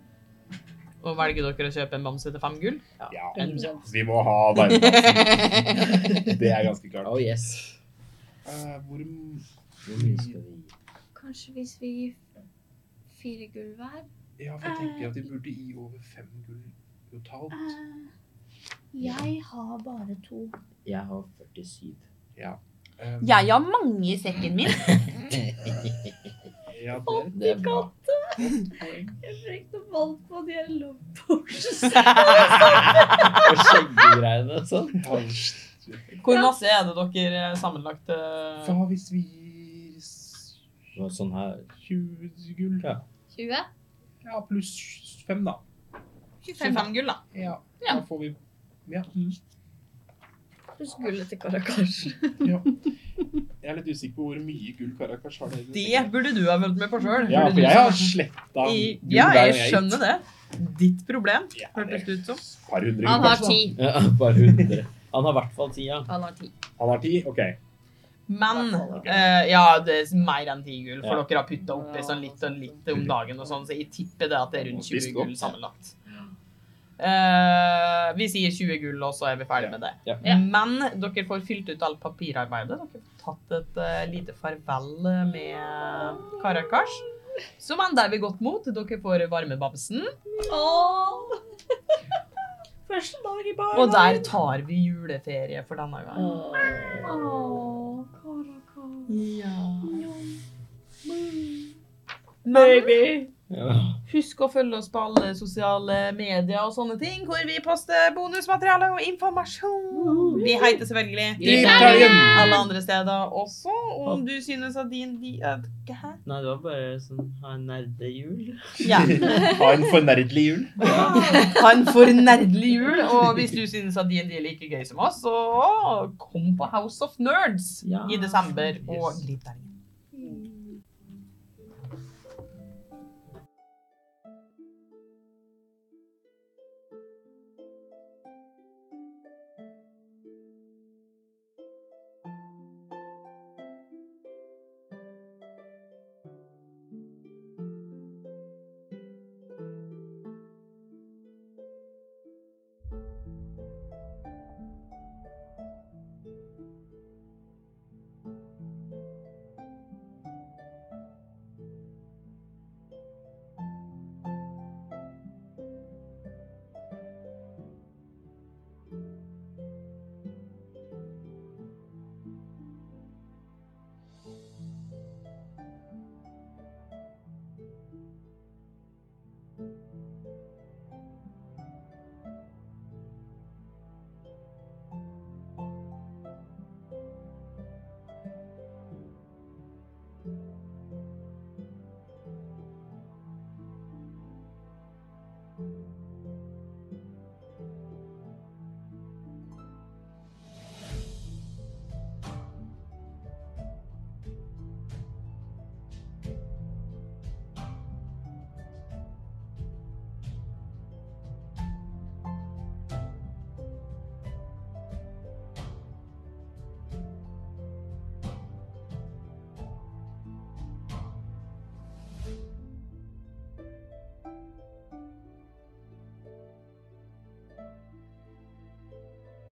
S1: Og velger dere å kjøpe en bamse til fem gull?
S3: Ja,
S1: En-
S3: vi må ha verdensplassen. Det er ganske klart.
S4: Oh yes.
S3: Eh, hvor
S4: Hvor mye skal vi gi?
S2: Kanskje hvis vi gir fire gull hver?
S3: Ja, for jeg tenker at vi burde gi over fem gull totalt.
S5: Eh, jeg har bare to.
S4: Jeg har 47.
S3: Eh,
S1: Jeg har mange i sekken min.
S3: ja, det er
S4: Det er bra.
S2: Jeg brukte valg på dialog.
S4: Og skjeggegreiene og sånn.
S1: Hvor masse er det dere sammenlagt? eh?
S3: Hva hvis vi gir s-
S4: Og sånn her.
S3: 20 gull?
S4: Ja.
S2: 20?
S3: Ja, pluss fem, da.
S1: 25 gull, da.
S3: Ja.
S2: Ja.
S3: Da får vi Ja. mm.
S2: Pluss gullet til Karakas.
S3: Jeg er litt usikker på hvor mye gull Karakas har. dere.
S1: Det burde du ha fulgt med på sjøl.
S3: Ja, for jeg har sletta
S1: I-
S3: gull
S1: Ja,
S3: hver gang
S1: jeg
S3: jeg
S1: skjønner det. Ditt problem,
S3: Ja,
S1: hørtes det ut som.
S3: Et par hundre
S2: Han
S3: gull,
S2: har
S3: kanskje,
S2: ti.
S4: Ja, bare 100. Han har i hvert fall tida.
S2: Han har ti.
S3: da. Han har ti? OK.
S1: Men
S3: Ok.
S1: eh, ja, det er mer enn 10 gull, for
S3: Ja.
S1: dere har putta oppi sånn litt og litt om dagen, og sånn, så jeg tipper det at det er rundt 20
S3: Spist opp.
S1: gull sammenlagt. Eh, vi sier 20 gull, og så er vi ferdig
S3: Ja.
S1: med det.
S4: Ja.
S2: Ja.
S1: Men dere får fylt ut alt papirarbeidet. Dere får tatt et eh, lite farvel med Karakas, som enda er ved godt mot. Dere får varmebamsen,
S2: 어.
S6: Åh,
S5: Første dag i bar.
S1: og der tar vi juleferie for denne gangen. Men
S6: baby.
S4: Ja.
S1: Husk å følge oss på alle sosiale medier og sånne ting, hvor vi poster bonusmateriale og informasjon. Vi heter selvfølgelig alle andre steder også. Og om du synes at din de, at, Hæ?
S4: Nei, det var bare sånn ha en nerdejul.
S1: Ja.
S3: Ha en fornerdelig jul.
S1: Ha en fornerdelig jul. Og hvis du synes at DND er like gøy som oss, så kom på House of Nerds
S4: Ja.
S1: i desember og
S4: Yes.
S1: litt der.